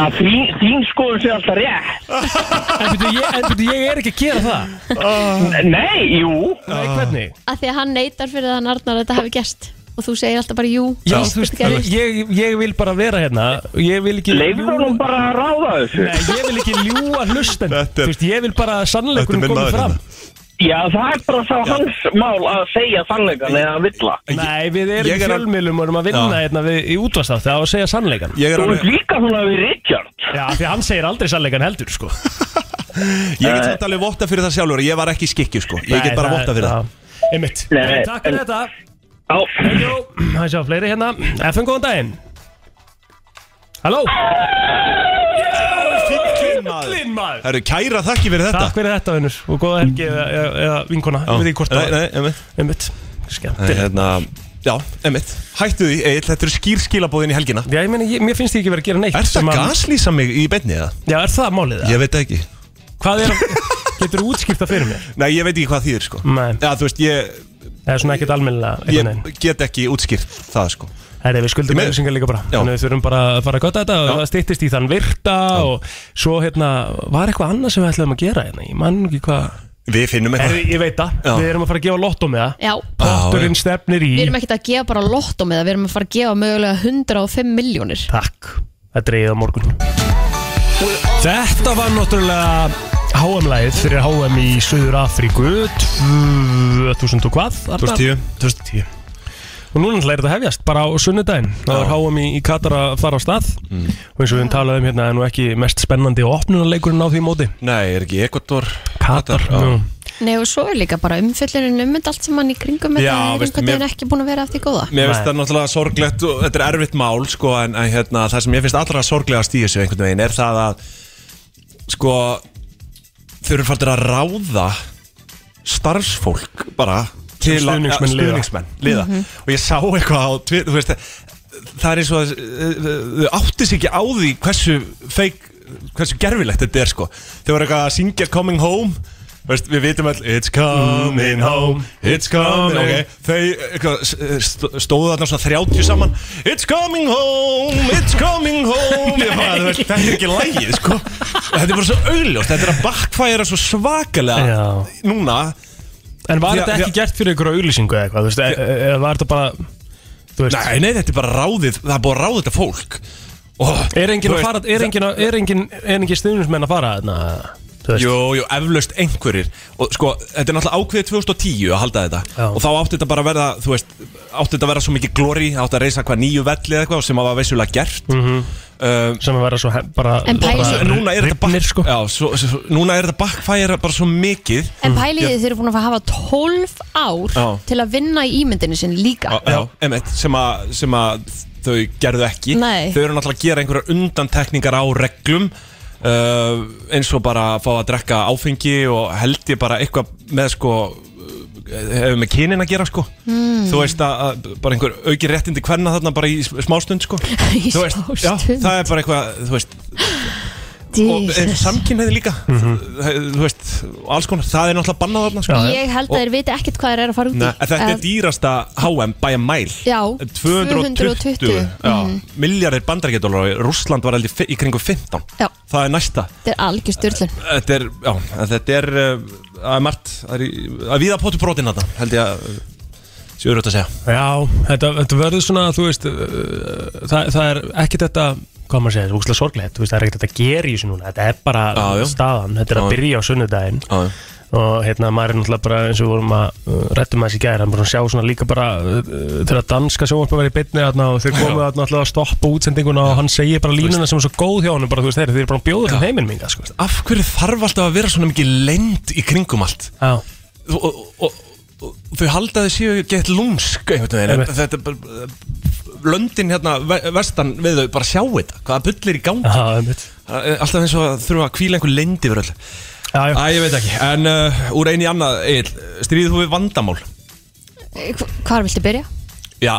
Speaker 6: Að þín, þín skoðun sé alltaf rétt
Speaker 3: En byrju, ég, en byrju, ég er ekki að gera það
Speaker 12: Ah.
Speaker 6: Nei, jú
Speaker 3: Nei, hvernig?
Speaker 2: Af því að hann neytar fyrir það að Arnar að þetta hafi gerst og þú segir alltaf bara jú
Speaker 3: Já,
Speaker 2: víst
Speaker 3: þú veist,
Speaker 2: þetta gerðist.
Speaker 3: ég, ég vil bara vera hérna og Ég vil ekki
Speaker 6: Leyfðu honum bara að ráða þessu.
Speaker 3: Nei, ég vil ekki ljúa hlusten Þú veist, ég vil bara að sannleikurinn komi fram
Speaker 4: hérna.
Speaker 6: Já, það er bara þá hans mál að segja sannleikan eða að villa
Speaker 3: Nei, við erum
Speaker 6: Ég
Speaker 3: í
Speaker 6: er al-
Speaker 3: fjölmiðlum og erum að vinna
Speaker 6: Já.
Speaker 3: hérna við, í útvarstátt Það á að segja sannleikan
Speaker 4: Ég er
Speaker 6: Þú ert líka svona við Richard
Speaker 3: Já, því hann segir aldrei sannleikan heldur, sko
Speaker 4: Ég get samt alveg votta fyrir það sjálfur ég var ekki skikki sko, ég get
Speaker 3: Eh, Nei,
Speaker 4: bara
Speaker 3: það-
Speaker 4: votta fyrir það
Speaker 3: Einmitt
Speaker 4: Nei,
Speaker 3: Takk fyrir
Speaker 4: en-
Speaker 3: þetta Jó, það er sjá fleiri hérna FM, góðan daginn Halló
Speaker 4: Fyllir maður Það eru kæra þakki fyrir þetta
Speaker 3: Takk fyrir þetta, Unnur Og góða helgi eða, eða, eða vinkona
Speaker 4: Já.
Speaker 3: Ég veit ekki hvort
Speaker 4: Nei, nei, einmitt
Speaker 3: Einmitt
Speaker 4: Það er
Speaker 3: Skemmtilegt
Speaker 4: hérna, já, emitt Hættu því, Egil, þetta eru skýr skilabóðin í helgina
Speaker 3: Já, ég meni, ég, mér finnst ég ekki verið að gera neitt
Speaker 4: Er
Speaker 3: sem
Speaker 4: það
Speaker 3: að-
Speaker 4: gaslýsa mig í beinni eða?
Speaker 3: Já, er það málið það?
Speaker 4: Ég veit það ekki
Speaker 3: Hvað er að, getur þú útskýrt það fyrir mér?
Speaker 4: Nei, ég veit ekki hvað þýðir sko
Speaker 3: Nei
Speaker 4: Já, þú veist, ég
Speaker 3: Það er svona ekkert almennilega
Speaker 4: Ég get ekki útskýrt það sko
Speaker 3: Herri, við skuldum
Speaker 4: Því miður.
Speaker 3: auðvisingar líka bara Þannig að við þurfum bara að fara að gota þetta og það styttist í þann virta og svo hérna, var eitthvað annað sem við ætlum að gera hérna, ég man ekki hvað
Speaker 4: Við finnum
Speaker 3: Herri, ég veit það,
Speaker 4: Já.
Speaker 3: við erum að fara að gefa lotto með það
Speaker 2: Já,
Speaker 3: Potturinn stefnir í
Speaker 2: við erum ekkert að gefa bara lott með það, við erum að fara að gefa mögulega 105 miljónir
Speaker 3: Takk, það dreigði á morgun Þetta var náttúrulega HM-læð fyrir HM í Suður Afríku 2000 og hvað? Arnar?
Speaker 4: 2010.
Speaker 3: 2010 Og núna ætla er þetta að hefjast, bara á sunnudaginn Það var HM í, í Katar að fara á stað Og eins og við höfum talað um hérna er nú ekki mest spennandi opnunaleikurinn á því móti
Speaker 4: Nei, er ekki Ekotor
Speaker 3: Katar,
Speaker 4: já.
Speaker 3: já.
Speaker 2: Nei og svo er líka bara umfyllunin um þetta allt sem hann í kringum
Speaker 4: Já,
Speaker 2: þetta er
Speaker 4: veistu,
Speaker 2: einhvern veginn
Speaker 4: mér-
Speaker 2: ekki búin að vera eftir góða
Speaker 4: Mér finnst það náttúrulega sorglegt og þetta er erfitt mál sko en, en hérna, það sem ég finnst allra sorglegast í þessu einhvern veginn er það að sko þau eru fartir að ráða starfsfólk bara til að-
Speaker 3: Stuðningsmenn liða.
Speaker 4: stuðningsmenn liða
Speaker 3: Mhm.
Speaker 4: og ég sá eitthvað á Twitter þú veist það er eins og að eh, þau átti sig ekki á því hversu feik hversu gerfilegt þetta er sko þau voru eitthvað að syngja Coming Home Veist, við vitum all, it's coming home, it's coming home Þau eitthvað, s- eh, st- stóðu þarna svona 30 saman It's coming home, it's coming home Ég bara, þú veist, Þetta er ekki lægið sko Þetta er bara svo augljóst, þetta er að backfæra svo svakalega Núna
Speaker 3: En var
Speaker 4: Því að-
Speaker 3: þetta ekki gert fyrir ykkur á auglýsingu eða eitthvað, þú veist, e- e- eða var þetta bara, þú veist
Speaker 4: Nei, nei, þetta er bara ráðið, það er búið að ráða þetta fólk oh,
Speaker 3: Er engin
Speaker 4: þú
Speaker 3: að
Speaker 4: veist,
Speaker 3: fara, er engin, að- er engin, er engin stuðnismenn að fara þarna?
Speaker 4: Jú, jú, eflaust einhverjir Og sko, þetta er náttúrulega ákveðið 2010 að halda þetta Og þá átti þetta bara að verða, þú veist Átti þetta að verða svo mikið glóri Átti að reysa hvað nýju velli eða eitthvað Sem að var vissulega gert
Speaker 3: Mm
Speaker 4: um,
Speaker 3: Sem að vera svo he- bara
Speaker 2: En pæli-
Speaker 3: bara-
Speaker 4: Núna er þetta bakk sko. Já, svo, svo, svo, núna er þetta bakkfæra bara svo mikið
Speaker 2: En
Speaker 3: Mhm.
Speaker 2: pæliðið þeir eru búin að fara að hafa 12 ár
Speaker 4: Já.
Speaker 2: til að vinna í ímyndinu sinni líka
Speaker 4: Já, emitt, sem, að- sem að þau gerðu ekki
Speaker 2: Nei.
Speaker 4: Þau eru náttúrulega að gera einhverjar undantekningar á reglum uh, eins og bara að fá að drekka áfengi og held ég bara eitthvað með sko eh, hefur með kynin að gera sko
Speaker 2: Mm.
Speaker 4: þú veist að, að bara einhver auki réttindi hverna þarna bara í sm- smástund sko
Speaker 2: Í
Speaker 4: Þú veist,
Speaker 2: smástund.
Speaker 4: já, það er bara eitthvað þú veist og eh, samkynhneigð líka þú veist, og alls konar, það er náttúrulega bannað þarna sko.
Speaker 2: Ég held að
Speaker 4: Og-
Speaker 2: þeir viti ekkert hvað þeir eru að fara út í
Speaker 4: Nei, en þetta er
Speaker 2: Að-
Speaker 4: dýrasta HM by a mile
Speaker 2: Já,
Speaker 4: 220
Speaker 2: 220, mhm.
Speaker 4: mm. miljardir bandarækjadólar og Rússland var aldrei í kringu 15
Speaker 2: Já.
Speaker 4: það er næsta
Speaker 2: Þetta er algjör styrlun
Speaker 4: þetta er, já, en þetta er uh, að margt, það er í- að viða pótu brotin þetta, held ég að séu auðvitað að segja
Speaker 3: Já, þetta, þetta verður svona, þú veist, uh, það, það er ekki þetta, hvað maður segja, úkslega sorglegt, þú veist, það er ekkert þetta að gera í þessu núna, þetta er bara staðan, þetta er
Speaker 4: Já,
Speaker 3: að
Speaker 4: já.
Speaker 3: byrja á sunnudaginn og hérna maður er náttúrulega bara eins og við vorum að uh, rættum aðeins í gæri, hann bara að sjá svona líka bara uh, þegar að danska sjónvarpa verið í beinni þarna og þeir komu þarna alltaf að stoppa útsendinguna og hann segir bara línuna sem er svo góð hjá hann bara þú veist þeir, þeir eru bara að bjóða til heiminn minga sko.
Speaker 4: af hverju þarf alltaf að vera svona mikið lend í kringum allt
Speaker 3: og,
Speaker 4: og, og, og þau halda að þau séu gett lúnsk einhvern veginn,
Speaker 3: Einmitt.
Speaker 4: en þetta er bara eh, löndin hérna ve- vestan við þau bara sjá þetta, hvaða bullir í gangi
Speaker 3: Já, einmitt
Speaker 4: Alltaf eins og að þurfa að kvíla einhver lendi yfir öll
Speaker 3: Já, já
Speaker 4: Æ, ég veit ekki, en uh, úr einu í annað Egil, stríðið þú við vandamál?
Speaker 2: Eh, Hvar viltu byrja?
Speaker 4: Já,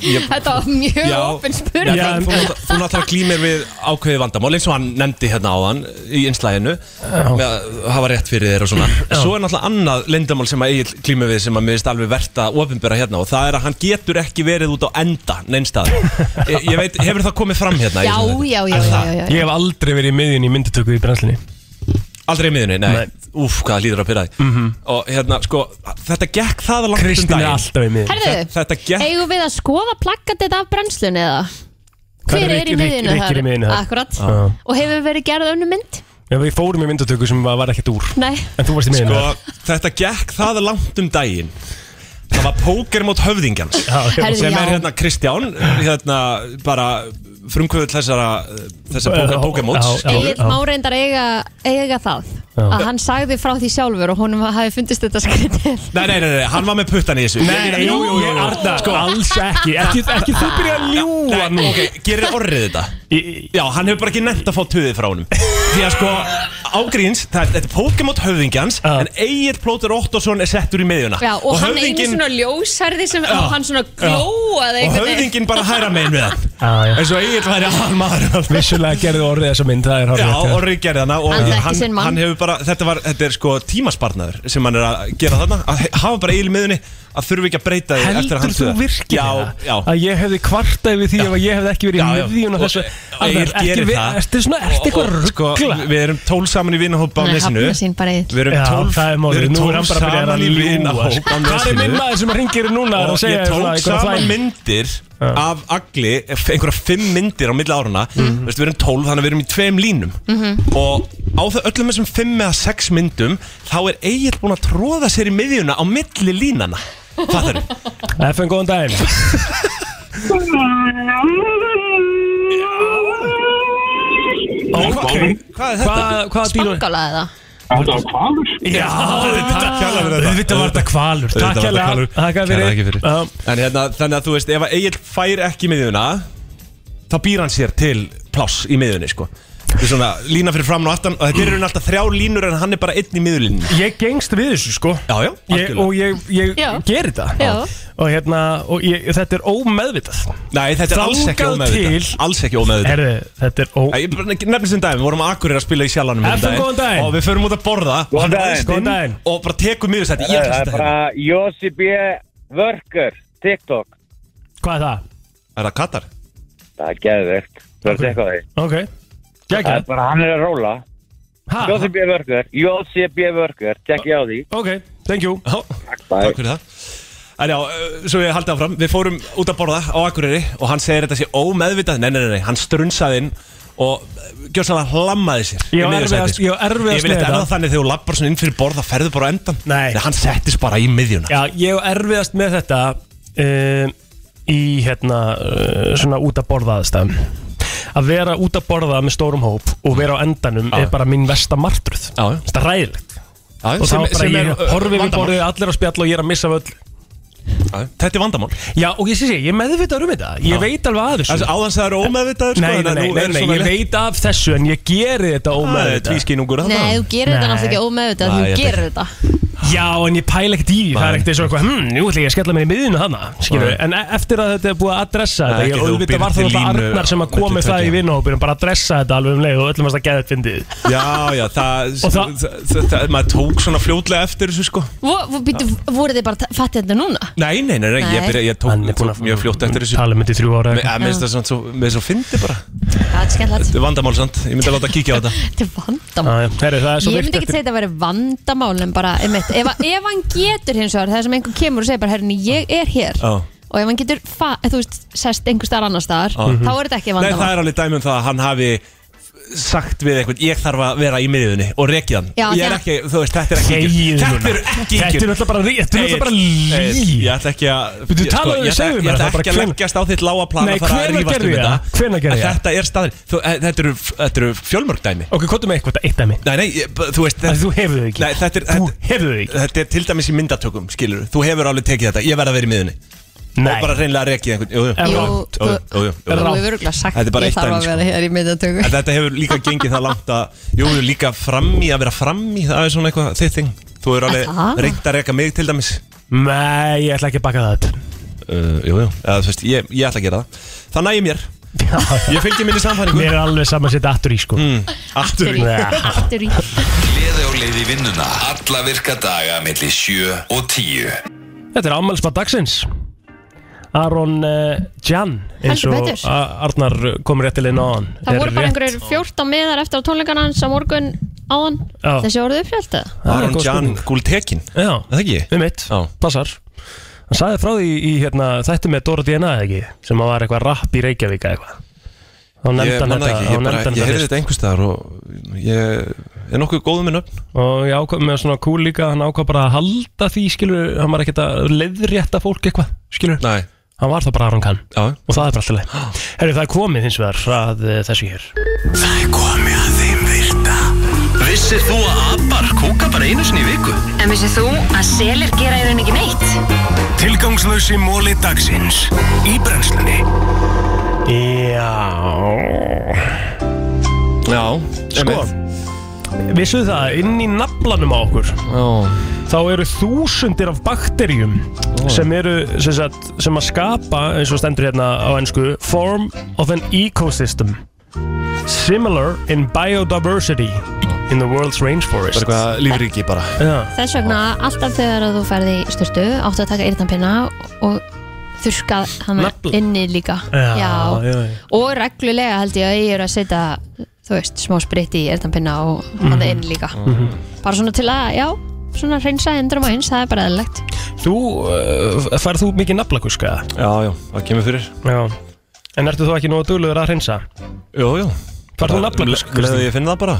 Speaker 4: ég,
Speaker 2: Þetta var mjög
Speaker 4: Já.
Speaker 2: ofin
Speaker 4: Já,
Speaker 2: spurning
Speaker 4: þú, náttúrulega- þú náttúrulega glýmir við ákveðið vandamál eins og hann nefndi hérna áðan í einslæðinu með að hafa rétt fyrir þér og svona Svo er náttúrulega annað leyndamál sem að Egil glýmir við sem að mér finnst alveg verðt að ofinbera hérna og það er að hann getur ekki verið út á enda neinstað ég, ég veit, hefur það komið fram hérna? í
Speaker 2: Já,
Speaker 4: svona-
Speaker 2: já, já,
Speaker 4: Er
Speaker 2: já,
Speaker 4: það?
Speaker 2: já,
Speaker 3: Ég
Speaker 2: já.
Speaker 3: hef aldrei verið í miðjun í myndutöku í brennslinni
Speaker 4: Aldrei í miðunni, nei, Úf, hvað það líður að pyrra þig Og hérna, sko, þetta gekk það langt
Speaker 3: Mhm. Kristín er
Speaker 4: um daginn
Speaker 3: alltaf í miðjunni.
Speaker 2: Herðu,
Speaker 4: Þetta gekk
Speaker 2: eigum við að skoða plakkatið af brennslun eða?
Speaker 3: Hvað
Speaker 2: Hver
Speaker 3: er
Speaker 2: er í
Speaker 3: Rikki-
Speaker 2: miðinu
Speaker 3: Rikki- Rikki er í miðjunni þar?
Speaker 2: Akkurat
Speaker 3: Já.
Speaker 2: Og hefur verið gerð önnu mynd?
Speaker 3: Já, við fórum í myndutöku sem var ekkert úr
Speaker 2: Nei
Speaker 3: En þú varst í miðjunni
Speaker 4: Sko, þetta gekk það langt um daginn Það var póker mót höfðingjans
Speaker 2: Herðu,
Speaker 4: Sem
Speaker 2: já.
Speaker 4: er hérna Kristján Hérna bara frumkvöðul þessara Þessar póker móts
Speaker 2: Egil má reyndar eiga, eiga það
Speaker 4: Já.
Speaker 2: að hann sagði frá því sjálfur og honum hafi fundist þetta skrítið
Speaker 4: Nei, nei, nei, nei, hann var með puttan í þessu
Speaker 3: Nei, nei, jú, jú, jú, Arnar, alls ekki Ekki, ekki þú byrja að ljúa
Speaker 4: Nei, ok, gerir orrið þetta Já, hann hefur bara ekki nefnt að fá töðið frá honum Því að sko, ágríns það er- Þetta er Pokémon höfðingjans En Egil Plóter Ottosson er settur í miðjuna
Speaker 2: Já, og, hann einu
Speaker 4: höfðinginn-
Speaker 2: svona ljósarði sem
Speaker 4: Já.
Speaker 2: og hann svona
Speaker 4: Já.
Speaker 2: glóaði
Speaker 4: Og
Speaker 2: einhvern veginn.
Speaker 4: höfðinginn bara hæra megin við hann
Speaker 3: Ah,
Speaker 4: En svo Egil væri aðal maður
Speaker 3: Vissulega gerði orðið þessa mynd, það er
Speaker 4: Já,
Speaker 3: hárrétt,
Speaker 4: Orri gerði hana og
Speaker 2: Hann
Speaker 4: hann,
Speaker 2: þekki sinn
Speaker 4: hann,
Speaker 2: mann.
Speaker 4: hefur bara, þetta, var, þetta er sko tímaspartnaður sem hann er að gera þarna að he- hafa bara Egil í miðunni að þurfi ekki að breyta því eftir að
Speaker 3: Heldur
Speaker 4: hann
Speaker 3: þú
Speaker 4: dauðar.
Speaker 3: virkilega
Speaker 4: Já, já
Speaker 3: að ég hefði kvartað yfir því ef að ég hefði ekki verið í miðjun og þessu
Speaker 4: Egil gerir það
Speaker 3: Ertu svona, ertu
Speaker 4: Og-
Speaker 3: eitthvað
Speaker 4: og, sko,
Speaker 3: ruggla?
Speaker 4: Við erum tól saman í vinahópa á
Speaker 2: Hann er
Speaker 4: nesinu
Speaker 2: hafna sín bara í
Speaker 4: Við erum
Speaker 3: Já,
Speaker 4: tól,
Speaker 3: það er málið,
Speaker 4: við erum
Speaker 3: nú er
Speaker 4: tól
Speaker 3: hann bara að byrja
Speaker 4: saman
Speaker 3: að
Speaker 4: í
Speaker 3: ljúga
Speaker 4: vinahóp á
Speaker 3: Hvað er minn
Speaker 4: nesinu
Speaker 3: maður sem hringir núna er
Speaker 4: Og
Speaker 3: að segja
Speaker 4: ég
Speaker 3: svona
Speaker 4: tók
Speaker 3: eitthvað
Speaker 4: saman
Speaker 3: þvæl?
Speaker 4: myndir af agli, einhverja fimm myndir á milli árana
Speaker 3: Mhm.
Speaker 4: Veistu, Við erum tólf, þannig að við erum í tveim línum Og á þau öllum þessum fimm eða sex myndum Þá er Egil búinn að tróða sér í miðjuna á milli línana Fattar þú?
Speaker 3: FN, góðan daginn Ok,
Speaker 4: hvað er
Speaker 3: Hvað- hvaða dýr
Speaker 2: Spangalaði það
Speaker 3: Þetta var kvalur Já, takk
Speaker 4: kærlega fyrir þetta.
Speaker 3: Þetta var þetta kvalur Takk
Speaker 4: Auðvitað var þetta
Speaker 3: hérlega
Speaker 4: Hvalur.
Speaker 3: Takk
Speaker 4: Kæra þakkir
Speaker 3: fyrir
Speaker 4: fyrir. En hérna, þannig að þú veist, ef að Egil fær ekki miðjuna Þá býr hann sér til pláss í miðjunni, sko Þetta er svona lína fyrir fram og aftan Og þetta eru hann alltaf þrjá línur en hann er bara einn í miðjulínu
Speaker 3: Ég gengst við þessu sko
Speaker 4: Já, já,
Speaker 3: ég,
Speaker 4: algjörlega
Speaker 3: Og ég, ég
Speaker 2: Já.
Speaker 3: gerir það
Speaker 2: Já.
Speaker 3: Og hérna, og ég, þetta er ómeðvitað
Speaker 4: Nei, þetta er alls ekki
Speaker 3: Þangað
Speaker 4: ómeðvitað
Speaker 3: til-
Speaker 4: Alls ekki ómeðvitað
Speaker 3: Herðu, þetta er ó
Speaker 4: Æ, Ég bara nefnir sem dæmi, við vorum að akkurir að spila í sjalanum hérna
Speaker 3: FM, góðan daginn.
Speaker 4: Og við förum út að borða og hann
Speaker 18: daginn.
Speaker 4: ræðst
Speaker 3: Góðan
Speaker 4: inn
Speaker 3: daginn.
Speaker 4: Og bara tekum miður sætti, ég
Speaker 18: Það
Speaker 4: ætla
Speaker 18: er
Speaker 4: þetta
Speaker 18: bara Jósi B. Vörkur, TikTok
Speaker 3: Hvað er það?
Speaker 4: Er það Katar?
Speaker 18: Það er geðvegt, þú verður eitthvað því
Speaker 3: Ok
Speaker 18: Það er
Speaker 3: Gekka
Speaker 18: bara, hann er að róla
Speaker 3: Ha?
Speaker 18: Jósi B. Vörkur, Jósi B. Vörkur, tekki á því
Speaker 3: Ok, thank you
Speaker 4: Já, takk fyrir það En já, uh, svo ég haldið áfram Við fórum út að borða á Akureyri Og hann segir þetta sé ómeðvitað Nei, nei, nei, nei, hann strunsaði inn Og gjör sann að hlammaði sér
Speaker 3: Ég á erfiðast- ég á
Speaker 4: sko.
Speaker 3: erfiðast
Speaker 4: Ég vil
Speaker 3: með
Speaker 4: eitthvað
Speaker 3: þetta.
Speaker 4: annað þannig þegar þú lappar svona inn fyrir borð Það ferðu bara á endan
Speaker 3: Nei.
Speaker 4: hann settist bara í miðjuna
Speaker 3: Já, ég er erfiðast með þetta um, Í hérna uh, Svona út að borða aðstæðum Að vera út að borða með stórum hóp Og vera á endanum
Speaker 4: Já.
Speaker 3: er bara mín versta martruð
Speaker 4: Já, já.
Speaker 3: Þetta er ræðilegt
Speaker 4: Já,
Speaker 3: Og þá
Speaker 4: sem-
Speaker 3: bara
Speaker 4: sem er,
Speaker 3: ég
Speaker 4: uh,
Speaker 3: horfið við
Speaker 4: vandamál.
Speaker 3: borðið Allir á spjall og ég er að missa af öll
Speaker 4: Já, Þetta er vandamál
Speaker 3: Já, og ég sé sé, ég er meðvitaður um þetta Ég
Speaker 4: Já.
Speaker 3: veit alveg að
Speaker 4: Þessi
Speaker 3: þessu
Speaker 4: áðans það eru ómeðvitaður sko,
Speaker 3: Nei,
Speaker 4: þannig að
Speaker 3: nei, nei,
Speaker 4: nú
Speaker 3: nei,
Speaker 4: er
Speaker 3: nei,
Speaker 4: svona
Speaker 3: ég
Speaker 4: létt-
Speaker 3: veit af þessu En ég geri þetta
Speaker 4: Það er
Speaker 3: ómeðvitað
Speaker 4: tvískinungur
Speaker 2: Nei, þú gerir þetta
Speaker 3: Nei.
Speaker 2: náttúrulega ekki ómeðvitað
Speaker 4: Nei,
Speaker 2: Þú
Speaker 4: ég
Speaker 2: gerir þetta
Speaker 3: Já, en ég pæla ekkert í því, það er ekkert eins og eitthvað Hm, nú ætla ég að skella mér í miðinu hana skilur,
Speaker 4: Nei.
Speaker 3: En e- eftir að þetta er búið að adressa
Speaker 4: Nei,
Speaker 3: þetta
Speaker 4: ekki
Speaker 3: Ég
Speaker 4: þú
Speaker 3: auðvitað
Speaker 4: býrð
Speaker 3: var það
Speaker 4: til
Speaker 3: alltaf
Speaker 4: línu
Speaker 3: Arnar sem að kom
Speaker 4: milli
Speaker 3: með það í
Speaker 4: tveggja.
Speaker 3: vinahópin Bara að adressa þetta alveg um leið og öllum varst að geða þetta fyndið
Speaker 4: Já, já, það,
Speaker 3: Og
Speaker 4: það, það, það maður tók svona fljótlega eftir þessu sko
Speaker 2: Vo- vo- býttu, Voruð þið bara fattið þetta núna?
Speaker 4: Nei, nei, nei, nei, ég,
Speaker 2: Nei.
Speaker 4: byrja, ég tók, tók mjög fljótt eftir þessu
Speaker 3: Talið myndi um þrjú ára
Speaker 4: Mér finnst það svona svo, mér finnst það fyndi bara
Speaker 2: Það er skemmtilegt
Speaker 4: Þetta er vandamál samt, ég myndi að láta kíkja á þetta
Speaker 2: Þetta er vandamál
Speaker 4: Ég
Speaker 2: Ég myndi ekki segja þetta að vera vandamál en bara, einmitt, ef, ef hann getur hins vegar það sem einhver kemur og segir bara, herrni, ég er hér og ef hann getur, fa- þú veist, sest einhver starf annar staðar, þá er þetta ekki
Speaker 4: Ah. Mhm. Nei, það
Speaker 2: vandamál
Speaker 4: er alveg dæmi um það að hann hafi sagt við einhvern, ég þarf að vera í miðjunni og rekið hann
Speaker 2: Já,
Speaker 4: Ég er
Speaker 2: já.
Speaker 4: ekki, þú veist, þetta er ekki
Speaker 3: Þegiðu
Speaker 4: ykkur
Speaker 3: núna.
Speaker 4: Þetta er ekki ykkur
Speaker 3: Þetta er náttúrulega bara rí- þetta er náttúrulega bara lí.
Speaker 4: Ég ætla ekki að
Speaker 3: Veitu,
Speaker 4: ég-
Speaker 3: talaðu
Speaker 4: sko,
Speaker 3: við,
Speaker 4: ég ætla-
Speaker 3: segðu mér
Speaker 4: Ég ætla
Speaker 3: það bara
Speaker 4: ekki að
Speaker 3: hvenær-
Speaker 4: leggjast á þitt lága plan
Speaker 3: Nei,
Speaker 4: að fara að
Speaker 3: hvenær
Speaker 4: rífast
Speaker 3: gerði
Speaker 4: um
Speaker 3: ég
Speaker 4: þetta
Speaker 3: það? Hvenær gerði
Speaker 4: En
Speaker 3: ég það?
Speaker 4: Þetta er staðir, Þú- eh, þetta eru- þetta eru fjölmörg dæmi
Speaker 3: Ok, hvað er með eitthvað, eitt dæmi?
Speaker 4: Nei, nei, ég- b- þú veist Þú
Speaker 3: hefur þau ekki
Speaker 4: Nei, þetta er Þú
Speaker 3: hefur þau ekki
Speaker 4: Þetta er til dæmis í myndatökum, skilur Þú hefur alveg tekið þetta, ég verð að vera í miðunni
Speaker 3: Nei
Speaker 4: Og bara reynilega rekið einhvern Jú,
Speaker 2: Jú,
Speaker 4: jú, jú, jú, jú.
Speaker 2: Þú hefur örugglega sagt,
Speaker 4: Þetta er bara
Speaker 2: ég
Speaker 4: eitt
Speaker 2: þarf
Speaker 4: dæmi,
Speaker 2: að
Speaker 4: sko.
Speaker 2: vera hér í middatöku
Speaker 4: En þetta hefur líka gengið það langt að Jú, jú, líka fram í, að vera fram í Það er svona eitthvað þitt þing Þú er
Speaker 3: Það?
Speaker 4: alveg reynd að reka mig til dæmis
Speaker 3: Nei, ég ætla ekki að baka það upp.
Speaker 4: uh, Jú, jú, eða, þú veist, ég, ég ætla að gera það Það nægir mér Ég fylgir minni Mm. samfæringu
Speaker 3: Mér er alveg saman að setja aftur í sko
Speaker 4: Aftur
Speaker 3: í
Speaker 2: Aftur í
Speaker 1: Gleði á leið í vinnuna Alla virka daga millir 7 og 10
Speaker 3: Þetta er ámælsmann dagsins Aron uh, Jan eins og
Speaker 2: Heldur betur.
Speaker 3: A- Arnar kom réttilegin á hann
Speaker 2: Það
Speaker 3: Er
Speaker 2: voru bara
Speaker 3: rétt.
Speaker 2: einhverjir 14 meðar eftir á tónleikana hans á morgun áðan
Speaker 3: Já.
Speaker 2: þessi voruð uppfjöld eða?
Speaker 3: Það er
Speaker 4: Aron
Speaker 3: góð
Speaker 4: Jan
Speaker 3: spurning.
Speaker 4: Gultekin
Speaker 3: Já,
Speaker 4: það ekki?
Speaker 3: Við mitt, passar Hann sagði frá því í hérna, þætti með Dóra DNA eða ekki sem að var eitthvað rapp í Reykjavík eða eitthvað Þá nefndi
Speaker 4: Ég
Speaker 3: hann
Speaker 4: man það
Speaker 3: þetta
Speaker 4: ekki,
Speaker 3: þá
Speaker 4: ég, bara,
Speaker 3: nefndi hann
Speaker 4: ég heyrði
Speaker 3: fyrst.
Speaker 4: þetta einhverstaðar og ég er nokkuð góð með nöfn
Speaker 3: og ég ákvað með svona cool líka hann ákvað bara að halda því skilur hann var ekkert að leiðrétta fólk eitthvað skilur
Speaker 4: Nei.
Speaker 3: hann var það bara Aron Kahn
Speaker 4: Já.
Speaker 3: og það er bara alltaf leið herru það er komið hins vegar að eh, þessu hér
Speaker 1: Það er komið að þeim virta Vissir þú að abar kúka bara einu sinni í viku?
Speaker 16: En vissið þú að selir gera í rauninni ekki neitt?
Speaker 1: Tilgangslösi móli dagsins Í brennslunni
Speaker 3: já
Speaker 4: já
Speaker 3: sko vissuð það inn í naflanum á okkur
Speaker 4: já.
Speaker 3: þá eru þúsundir af bakterjum sem eru sem, sagt, sem að skapa eins og stendur hérna á ennsku form of an ecosystem similar in biodiversity in the world's
Speaker 4: Bara
Speaker 3: rainforest
Speaker 4: eitthvað lífríki bara
Speaker 3: Já.
Speaker 2: Þess vegna alltaf þegar að þú ferði í styrtu áttu að taka eyrnapinna og þurrka hana
Speaker 3: Nafla.
Speaker 2: inni líka
Speaker 3: Já, já, já.
Speaker 2: og reglulega held ég að ég er að setja þú veist, smá spritt í eyrnapinna og hana
Speaker 3: Mhm.
Speaker 2: inni líka
Speaker 4: Mm.
Speaker 3: Mhm.
Speaker 2: bara svona til að, já, svona reynsa endrum á eins, það er bara eðlilegt
Speaker 3: Þú, uh, færð þú mikið
Speaker 4: Já,
Speaker 3: naflakuska?
Speaker 4: já, það kemur fyrir
Speaker 3: Já En ertu þú ekki nógu duglegur að hreinsa?
Speaker 4: Jú, jú
Speaker 3: Færð þú naflakusk?
Speaker 4: Le- leðu ég finna það bara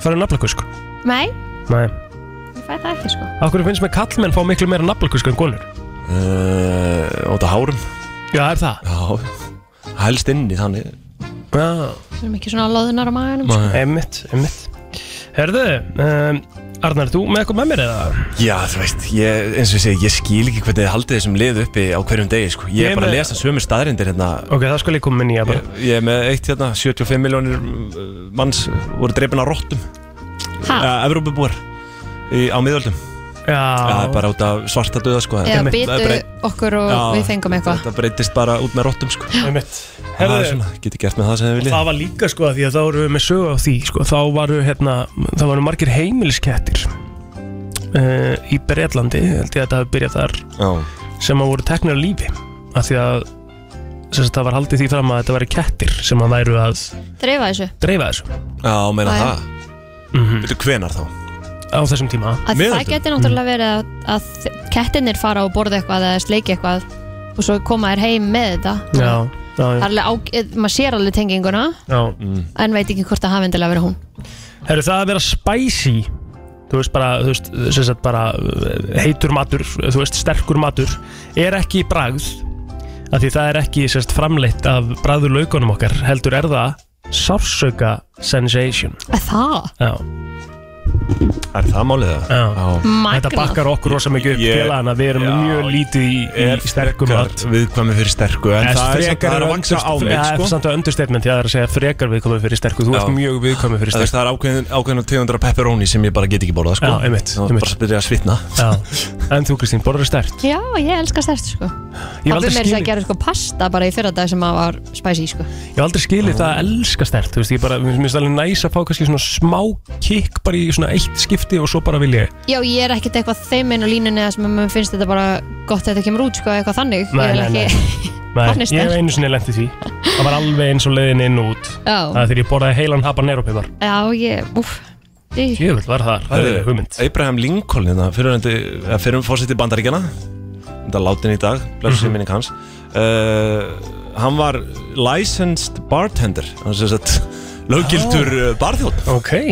Speaker 3: Færðu naflakusk?
Speaker 2: Nei,
Speaker 3: Nei
Speaker 2: ég fæ það ekki sko
Speaker 3: Akkur finnst með kallmenn fá miklu meira naflakusk en konur?
Speaker 4: uh, Óta hárum
Speaker 3: Já, er það?
Speaker 4: Já, helst inn í þannig
Speaker 3: Já
Speaker 2: við erum ekki svona loðunar á maganum sko.
Speaker 3: Einmitt, einmitt Herðu, um, Arnar, þú með eitthvað með mér eða?
Speaker 4: Já, þú veist, ég, eins og ég segi, ég skil ekki hvernig þið haldið þessum lið uppi á hverjum degi, sko. Ég
Speaker 3: Ég
Speaker 4: er bara að
Speaker 3: með-
Speaker 4: lesa sömu staðrindir hérna.
Speaker 3: Ok, það skal ég koma minni í að bara
Speaker 4: Ég er með eitt hérna, 75 miljónir uh, manns voru dreipin á róttum.
Speaker 2: Ha?
Speaker 4: Uh, Evrópubúar í, á miðöldum. Það
Speaker 3: Já.
Speaker 4: er bara út af svarta döða, sko.
Speaker 2: eða
Speaker 4: Það er
Speaker 2: byttu
Speaker 4: breytt-
Speaker 2: okkur og
Speaker 4: Já,
Speaker 2: við fengum eitthvað
Speaker 4: Þetta breytist bara út með róttum, sko.
Speaker 3: Einmitt
Speaker 4: Það er
Speaker 3: Herðu,
Speaker 4: svona, getur gert með það sem þið viljið.
Speaker 3: Það var líka sko að því að þá voru við með sögu á því sko, þá varu hérna, þá varu margir heimiliskettir uh, í Breitlandi, held ég að þetta hafi byrjað þar
Speaker 4: Já.
Speaker 3: sem að voru teknir á lífi af því að sem sagt, það var haldið því fram að þetta væri kettir sem að væru að
Speaker 2: dreifa þessu
Speaker 3: dreifa þessu Mhm.
Speaker 4: Já, meina
Speaker 2: Já, já.
Speaker 4: það. Veitu hvenar þá?
Speaker 3: á þessum tíma
Speaker 2: að það geti náttúrulega verið að, að kettinir fara og borða eitthvað eða sleiki eitthvað og svo koma þér heim með þetta
Speaker 3: Mm. Já, já,
Speaker 2: Það er
Speaker 3: já,
Speaker 2: alveg á- eh, maður sér alveg tenginguna
Speaker 3: já.
Speaker 4: Mm.
Speaker 2: en veit ekki hvort það hafi endilega verið hún
Speaker 3: Herru, það að vera spicy þú veist bara, þú veist, sem sagt bara eh, heitur matur, þú veist, sterkur matur er ekki bragð af því það er ekki sem sagt framleitt af bragður laukunum okkar, heldur er það sársauka sensation
Speaker 2: að það,
Speaker 3: Já
Speaker 4: Það er það málið það
Speaker 3: Þetta bakkar okkur rosa mikið upp
Speaker 4: Ég-
Speaker 3: félagana Við erum
Speaker 4: já,
Speaker 3: mjög lítið í, í sterkum mat
Speaker 4: Viðkvæmi fyrir sterku En það
Speaker 3: Eða
Speaker 4: er samt-
Speaker 3: frekar
Speaker 4: það er
Speaker 3: er
Speaker 4: að
Speaker 3: under-
Speaker 4: vaksa á mig
Speaker 3: eða
Speaker 4: sko.
Speaker 3: samt að understatement, ég er að segja frekar viðkomið fyrir sterku, þú ert
Speaker 4: Já.
Speaker 3: mjög viðkomið fyrir
Speaker 4: Það veist,
Speaker 3: sterku
Speaker 4: það er ákveðin, ákveðin tegundra pepperoni sem ég bara get ekki borðað sko.
Speaker 3: Já, einmitt,
Speaker 4: Það er
Speaker 3: einmitt.
Speaker 4: bara að byrja að svitna
Speaker 3: En þú Kristín, borður stert
Speaker 2: Já, ég elska stert sko Pappi
Speaker 3: Ég hef aldrei
Speaker 2: mér þess að
Speaker 3: skilið-
Speaker 2: gera sko pasta bara í fyrra dag sem að var spicy sko
Speaker 3: Ég hef aldrei skilið það að elska stert Þú veist, ég bara, mér finnst alveg næs að fá kannski svona smá kikk bara í svona eitt skipti og svo bara vil ég
Speaker 2: Já, ég er ekkert eitthvað þeim einu línunni að sem að mér finnst þetta bara gott að þetta kemur út sko eitthvað þannig
Speaker 3: Nei,
Speaker 2: Ég vil
Speaker 3: nei,
Speaker 2: ekki-
Speaker 3: Nei,
Speaker 2: Hann er
Speaker 3: ég hef
Speaker 2: sterk.
Speaker 3: einu sinni lent í því Það var alveg eins og leiðin inn og út
Speaker 2: Já.
Speaker 3: Það er þegar ég borðaði heilan haban neropipar
Speaker 2: Já, ég, úf
Speaker 3: Jöfull var það, það er hugmynd
Speaker 4: Abraham Lincoln hérna, fyrir, fyrir fórseti bandaríkjana Þetta látin í dag, blessu
Speaker 3: Mhm.
Speaker 4: sem minning hans uh, Hann var licensed bartender Hann sem sagt löggildur oh. barþjótt
Speaker 3: Ok,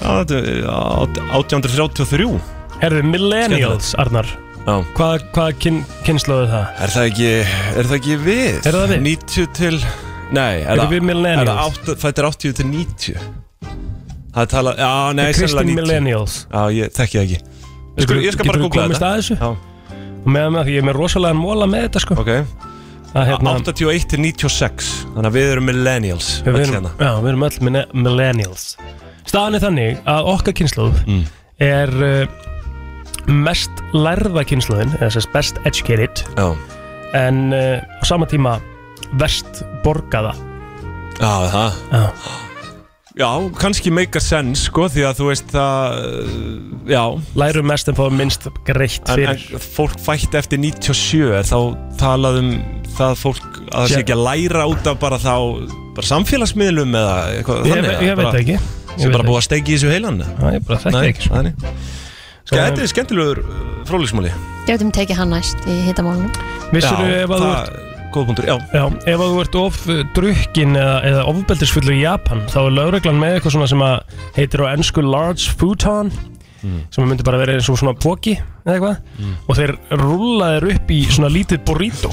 Speaker 4: aðeins 1833
Speaker 3: Herðu, millennials, Arnar
Speaker 4: Já.
Speaker 3: Hvað, hvað kyn, kynnslóðu það?
Speaker 4: Er það ekki, er það ekki við? Er það við? 90 til, nei
Speaker 3: Eru við millennials?
Speaker 4: Þetta er 80 til 90 Það er talað, já, nei,
Speaker 3: Er
Speaker 4: sennilega
Speaker 3: Kristín
Speaker 4: 90
Speaker 3: millennials?
Speaker 4: Já, ég þekki það ekki Ég skal, ég skal bara
Speaker 3: Getur þú
Speaker 4: googla
Speaker 3: komist að þessu? Já Meðan með því ég er með rosalega móla með þetta sko
Speaker 4: Ok
Speaker 3: Að hérna
Speaker 4: 81 til 96 Þannig að við erum millennials
Speaker 3: Við
Speaker 4: öll
Speaker 3: erum,
Speaker 4: hérna.
Speaker 3: já, við erum öll minne- millennials Staðan er þannig að okkar kynnslóð
Speaker 4: Mm.
Speaker 3: er uh, mest lærða kynnslóðin eða sérst best educated
Speaker 4: já.
Speaker 3: en uh, á sama tíma verst borgaða
Speaker 4: Já, það
Speaker 3: Já
Speaker 4: Já, kannski make a sense, sko, því að þú veist það, uh, já
Speaker 3: Lærum mest en fáum minnst greitt
Speaker 4: en,
Speaker 3: fyrir
Speaker 4: en fólk fætt eftir 97 er þá talaðum það fólk að það sé
Speaker 3: Sé-
Speaker 4: ekki að læra út af bara þá bara samfélagsmiðlum eða eitthvað
Speaker 3: Ég-
Speaker 4: þannig,
Speaker 3: ég
Speaker 4: eða
Speaker 3: veit
Speaker 4: bara-
Speaker 3: það ekki. Ég
Speaker 4: sem
Speaker 3: veit
Speaker 4: bara
Speaker 3: það
Speaker 4: búið að steiki í þessu heilan
Speaker 3: Já, ég bara þekki það ekki,
Speaker 4: sko Þetta er skemmtilegur fróliksmáli
Speaker 2: Gætum tekið hann næst í hittamálunum
Speaker 3: Vissirðu ef að þú ert
Speaker 4: Góð punktur, já
Speaker 3: Já, ef að þú ert of uh, drukkin eða, eða ofbeldisfullur í Japan þá er lögreglan með eitthvað svona sem að heitir á ennsku large futon
Speaker 4: Mm.
Speaker 3: sem myndi bara vera eins og svona póki eða eitthvað og þeir rúlla þeir upp í svona lítið burrito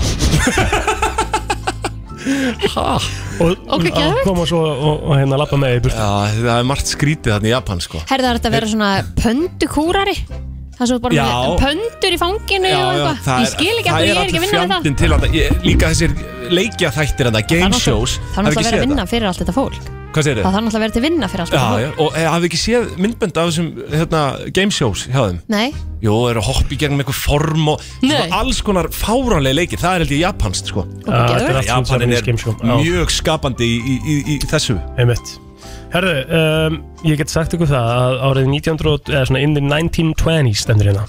Speaker 3: Hæ? Og
Speaker 2: Ok,
Speaker 3: og
Speaker 2: geðveikt.
Speaker 3: koma svo og, og hérna lappa með í burtu
Speaker 4: Já, það er margt skrítið þarna í Japan, sko
Speaker 2: Herðu það er þetta að vera svona pöndukúrari Það sem þú bara
Speaker 4: Já.
Speaker 2: með pöndur í fanginu og eitthvað Ég skil ekki að hverju ég er ekki að vinna við
Speaker 4: það er
Speaker 2: það
Speaker 4: alltaf til þetta Ég- Líka þessir leikja þættir þetta,
Speaker 2: Það er
Speaker 4: game
Speaker 2: náttúrulega-
Speaker 4: shows
Speaker 2: Það er
Speaker 4: Hafið
Speaker 2: náttúrulega að vera
Speaker 4: ekki séð
Speaker 2: að
Speaker 4: þetta?
Speaker 2: vinna fyrir allt þetta fólk
Speaker 4: Hvað segir
Speaker 2: Það þarf náttúrulega að vera til vinna fyrir allt
Speaker 4: Já,
Speaker 2: þetta
Speaker 4: já,
Speaker 2: fólk
Speaker 4: og eh, hafið ekki séð myndbönd af þessum hérna, game shows hjá þeim?
Speaker 2: Nei,
Speaker 4: Jó, eru að hoppa í gegnum eitthvað form og
Speaker 2: Nei.
Speaker 4: og alls konar fáranlega leikir, það er held ég japanst sko
Speaker 3: Já, þetta er allt svona
Speaker 4: Japanin
Speaker 3: japanese
Speaker 4: er
Speaker 3: game show, já.
Speaker 4: mjög skapandi í, í, í, í þessu
Speaker 3: Einmitt Herðu, um, ég get sagt ykkur það að árið 1900, eða svona in the 1920s stendur hérna,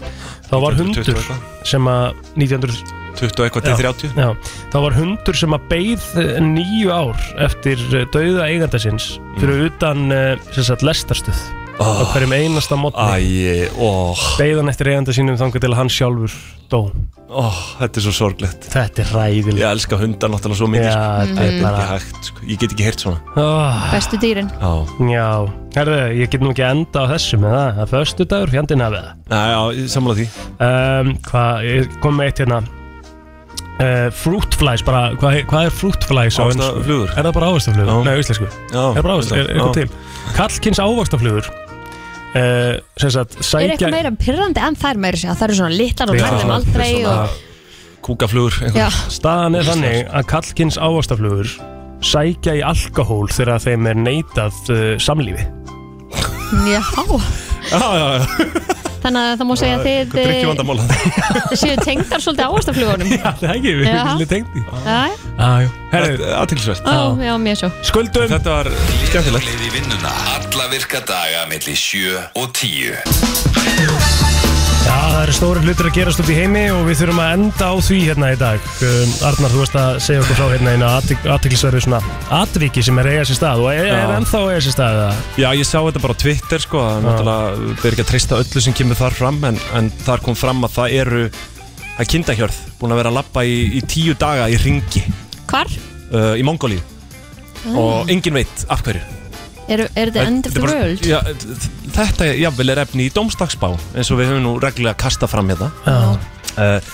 Speaker 3: þá var
Speaker 4: 1920
Speaker 3: hundur
Speaker 4: eitthvað.
Speaker 3: sem að 1900
Speaker 4: 20 eitthvað til 30
Speaker 3: já, þá var hundur sem að beið eh, níu ár eftir eh, dauða eiganda síns fyrir
Speaker 4: Mm.
Speaker 3: utan eh, sem sagt lestarstöð á hverjum einasta mótni
Speaker 4: Ah. Æ, ó,
Speaker 3: beið hann eftir eiganda sínum þangar til að hann sjálfur dó
Speaker 4: ó, þetta er svo sorglegt
Speaker 3: Þetta er ræðilegt
Speaker 4: Ég elska hundar náttúrulega svo mikið
Speaker 3: Já,
Speaker 4: sko.
Speaker 3: þetta er
Speaker 4: er
Speaker 3: bara-
Speaker 4: ekki hægt, sko. ég get ekki heyrt svona
Speaker 3: oh,
Speaker 2: bestu dýrin
Speaker 4: Já,
Speaker 3: Já, herðu, ég get nú ekki enda á þessu með það, það er föstu dagur fjandinn hafið það
Speaker 4: Næ, já, ég samla því
Speaker 3: um, Hvað, ég kom með eitt hérna uh, Fruit flies, bara, hvað, hvað er fruit flies á ensku?
Speaker 4: Ávaxtaflugur.
Speaker 3: Er það bara ávastaflugur?
Speaker 4: Já.
Speaker 3: Nei, íslensku
Speaker 4: Já,
Speaker 3: Er bara ávast,
Speaker 4: já,
Speaker 3: er er
Speaker 4: já.
Speaker 3: eitthvað til Kallkins ávastaflugur uh, Sem sagt,
Speaker 2: það er
Speaker 3: sækja
Speaker 2: eitthvað meira pyrrandi en þær meira sér Það eru svona litlar og
Speaker 3: Já,
Speaker 2: tærðum
Speaker 3: þetta
Speaker 2: aldrei
Speaker 3: er svona-
Speaker 2: og...
Speaker 4: Kúkaflugur
Speaker 2: Já,
Speaker 4: eitthvað.
Speaker 3: Staðan er þannig að kallkins ávastaflugur sækja í alkohól þegar þeim er neitað uh, samlífi
Speaker 2: já
Speaker 4: Já, já, já
Speaker 2: Þannig að það má segja að þið
Speaker 4: Hvað
Speaker 2: eh,
Speaker 4: drikkjum vandamála
Speaker 2: séu tengdar svolítið ávastaflugunum
Speaker 3: Já, það er ekki, við
Speaker 2: Já.
Speaker 3: erum lítið tengt í
Speaker 2: Já,
Speaker 1: Ah,
Speaker 3: Herðu,
Speaker 4: Aðtilsvært
Speaker 2: Ó, já, mér svo
Speaker 3: skuldum
Speaker 4: Þetta var skemmtilegt
Speaker 1: Leið í vinnuna Alla virka daga milli 7 og 10
Speaker 3: Já, það eru stóri hlutir að gerast út í heimi og við þurfum að enda á því hérna í dag. Um, Arnar, þú veist að segja okkur frá hérna eina aðtiklisverðu svona atviki sem er að eiga sér stað og er, er
Speaker 4: Já.
Speaker 3: ennþá að eiga sér stað. eða?
Speaker 4: Já, ég sá þetta bara á Twitter sko að náttúrulega við erum ekki að treysta öllu sem kemur þar fram en, en þar kom fram að það eru það er kindahjörð búin að vera að lappa í, í tíu daga í ringi
Speaker 2: Hvar?
Speaker 4: uh, í Mongóli og engin veit af hverju
Speaker 2: Er, er þetta end of the
Speaker 4: bara-
Speaker 2: world?
Speaker 4: já, þ- Þetta jafnvel er efni í domstagsbá eins og við höfum nú reglulega kastað fram hérna
Speaker 3: Já.
Speaker 4: uh,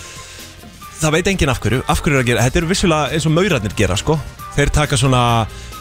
Speaker 4: Það veit enginn af hverju Af hverju er að gera Þetta eru vissulega eins og maurarnir gera sko Þeir taka svona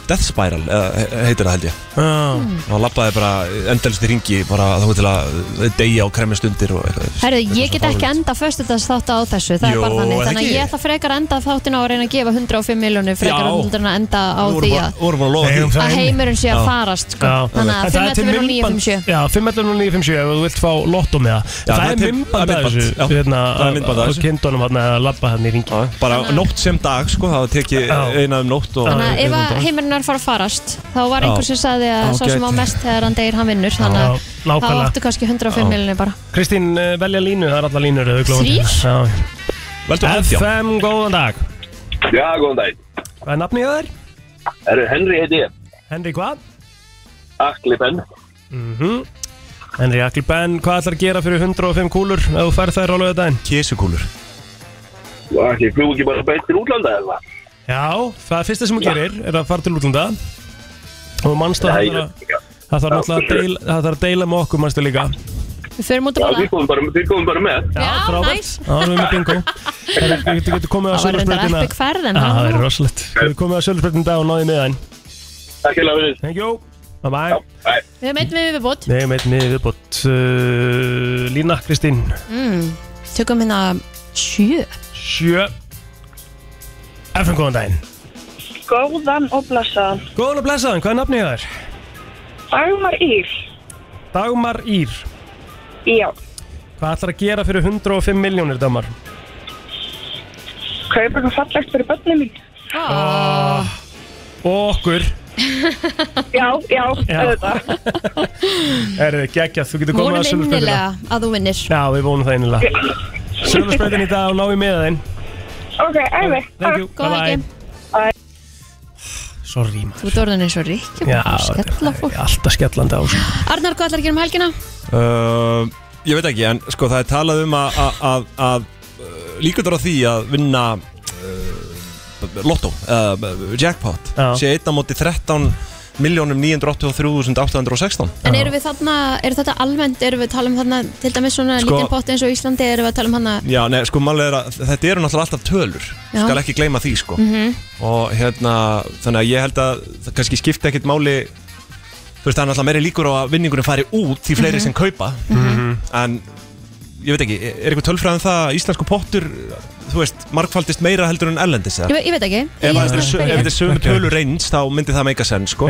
Speaker 4: Death Spiral eða, he- heitir það held ég
Speaker 3: Mm.
Speaker 4: og hann labbaði bara endalist í ringi bara þá til að deyja og kremjast undir og eitthvað
Speaker 2: Herðu, ég get ekki enda föstudags þátt á þessu, það
Speaker 4: Jó,
Speaker 2: er bara þannig,
Speaker 4: er það
Speaker 2: þannig að
Speaker 4: ekki?
Speaker 2: ég ætla frekar að enda þáttin á að reyna að gefa 105 miljónir frekar
Speaker 4: Já.
Speaker 2: heldur en að enda á
Speaker 4: Við
Speaker 2: því
Speaker 4: vorum bara-
Speaker 2: að
Speaker 4: vorum bara að lofa
Speaker 3: Eigum
Speaker 4: því
Speaker 3: það
Speaker 2: að
Speaker 3: inni.
Speaker 2: heimurinn sé að
Speaker 3: Já.
Speaker 2: farast, sko.
Speaker 3: Já.
Speaker 2: Þannig að
Speaker 3: En það er til
Speaker 2: 511 og
Speaker 3: myndband-
Speaker 2: 957.
Speaker 3: Já, 511 og 957 ef þú vilt fá lotto með það
Speaker 4: Já,
Speaker 3: Það
Speaker 4: það er
Speaker 3: er
Speaker 4: til-
Speaker 3: mymband
Speaker 4: það er
Speaker 3: að
Speaker 4: myndband,
Speaker 3: þessu
Speaker 4: já.
Speaker 3: hérna,
Speaker 4: Það er myndband af
Speaker 3: á- á
Speaker 4: þessu.
Speaker 3: kindunum hann að labba hann í ringi
Speaker 4: bara nótt sem dag sko það var tekið eina um nótt og
Speaker 2: Þannig að ef að heimurinn er að fara að farast, þá var
Speaker 4: Já.
Speaker 2: einhver sem sagði að
Speaker 4: Já,
Speaker 2: sá sem á
Speaker 4: gæti.
Speaker 2: mest þegar hann deyr hann vinnur, þannig
Speaker 3: Já,
Speaker 2: að þá
Speaker 3: nákvæmlega.
Speaker 2: áttu kannski 105
Speaker 3: Já.
Speaker 2: miljónir bara.
Speaker 3: Kristín, eh, velja línu, það er alla línur ef þú glóðum til.
Speaker 2: Þrír?
Speaker 3: Já. FM, góðan dag
Speaker 19: Já, góðan dag.
Speaker 3: Hvað er nafnið þér?
Speaker 19: Herru, Henry heiti ég.
Speaker 3: Henry hvað?
Speaker 19: Akli Ben.
Speaker 3: Mhm Henry Akli Ben, hvað ætlar að gera fyrir 105 kúlur ef þú færð þær á lögadaginn?
Speaker 4: Kísukúlur
Speaker 19: Og Akli, fljú ekki bara beint til útlanda eða?
Speaker 3: Já, það er fyrsta sem þú gerir er að fara til útlanda og mannstu
Speaker 19: Nei,
Speaker 3: að það þarf að- það þarf náttúrulega að deila, það þarf að deila með okkur mannstu líka
Speaker 2: Við förum út að
Speaker 19: Já,
Speaker 2: bóla.
Speaker 19: við komum bara, við komum bara með.
Speaker 3: Já, frábært.
Speaker 2: næs.
Speaker 3: Já, við erum með bingo Herri, Við getum getum komið á
Speaker 2: Það var reyndar
Speaker 3: sölusbreytina
Speaker 2: epic ferð, en
Speaker 3: Já,
Speaker 2: hann-
Speaker 3: það er rosalegt Við getum komið á sölusbreytina dag og náðið með hann
Speaker 19: Takk fyrir að við.
Speaker 3: Thank you Bye bye
Speaker 2: Við höfum einn með viðbót.
Speaker 3: Nei, með einni viðbót uh, Lína, Kristín
Speaker 2: Mm, Tökum hérna sjö.
Speaker 3: Sjö FM, góðan daginn
Speaker 12: Góðan og blessaðan.
Speaker 3: Góðan og blessaðan, hvað er nafnið hjá þér?
Speaker 12: Dagmar Ír.
Speaker 3: Dagmar Ír
Speaker 12: Já.
Speaker 3: Hvað ætlar að gera fyrir 105 miljónir, Dagmar?
Speaker 12: Kaupa eitthvað fallegt fyrir börnum mín.
Speaker 3: Ah. Og okkur
Speaker 12: Já, Uh, já,
Speaker 3: Já.
Speaker 12: auðvitað.
Speaker 3: Er þið geggjað, þú getur komið á
Speaker 2: Vonum
Speaker 3: sölusbreytina
Speaker 2: innilega að þú vinnir.
Speaker 3: Já, við vonum það innilega Sölusbreytin í dag og náðið með þeim
Speaker 12: Ok, æfi.
Speaker 3: Thank you,
Speaker 2: Góða
Speaker 3: bye-bye.
Speaker 2: ekki.
Speaker 3: Sorry, maður
Speaker 2: Þú ert orðin eins og ríkjum.
Speaker 3: Já, skella fólk Alltaf skellandi á sko.
Speaker 2: Arnar, hvað ætlar að gera um helgina?
Speaker 4: Uh, ég veit ekki, en sko það er talað um að, að, að, að uh, líkundur á því að vinna uh, lottó, uh, jackpot sé einn á móti 13 miljónum 983.816
Speaker 2: En eru við þarna, eru þetta almennt, eru við að tala um þarna, til dæmis svona
Speaker 4: Sko-
Speaker 2: lítinn pott eins og Íslandi, eru við að tala um hana,
Speaker 4: Já, nei, sko málið er að þetta eru náttúrulega alltaf tölur
Speaker 2: Já.
Speaker 4: skal ekki gleyma því, sko
Speaker 2: Mhm.
Speaker 4: og hérna, þannig að ég held að það kannski skipta ekkit máli þú veist, það er náttúrulega meiri líkur á að vinningurinn fari út því fleiri
Speaker 17: Mhm.
Speaker 4: sem kaupa
Speaker 17: Mhm.
Speaker 4: en ég veit ekki, er eitthvað tölfræðan það að íslensku pottur, þú veist, markfaldist meira heldur en ellendis eða?
Speaker 2: ég, ve- ég veit ekki. Ég
Speaker 4: Ef að þetta
Speaker 2: skal
Speaker 4: er sö-
Speaker 2: spyrja.
Speaker 4: ef þetta er sömu tölur reyns þá myndi það meika senn, sko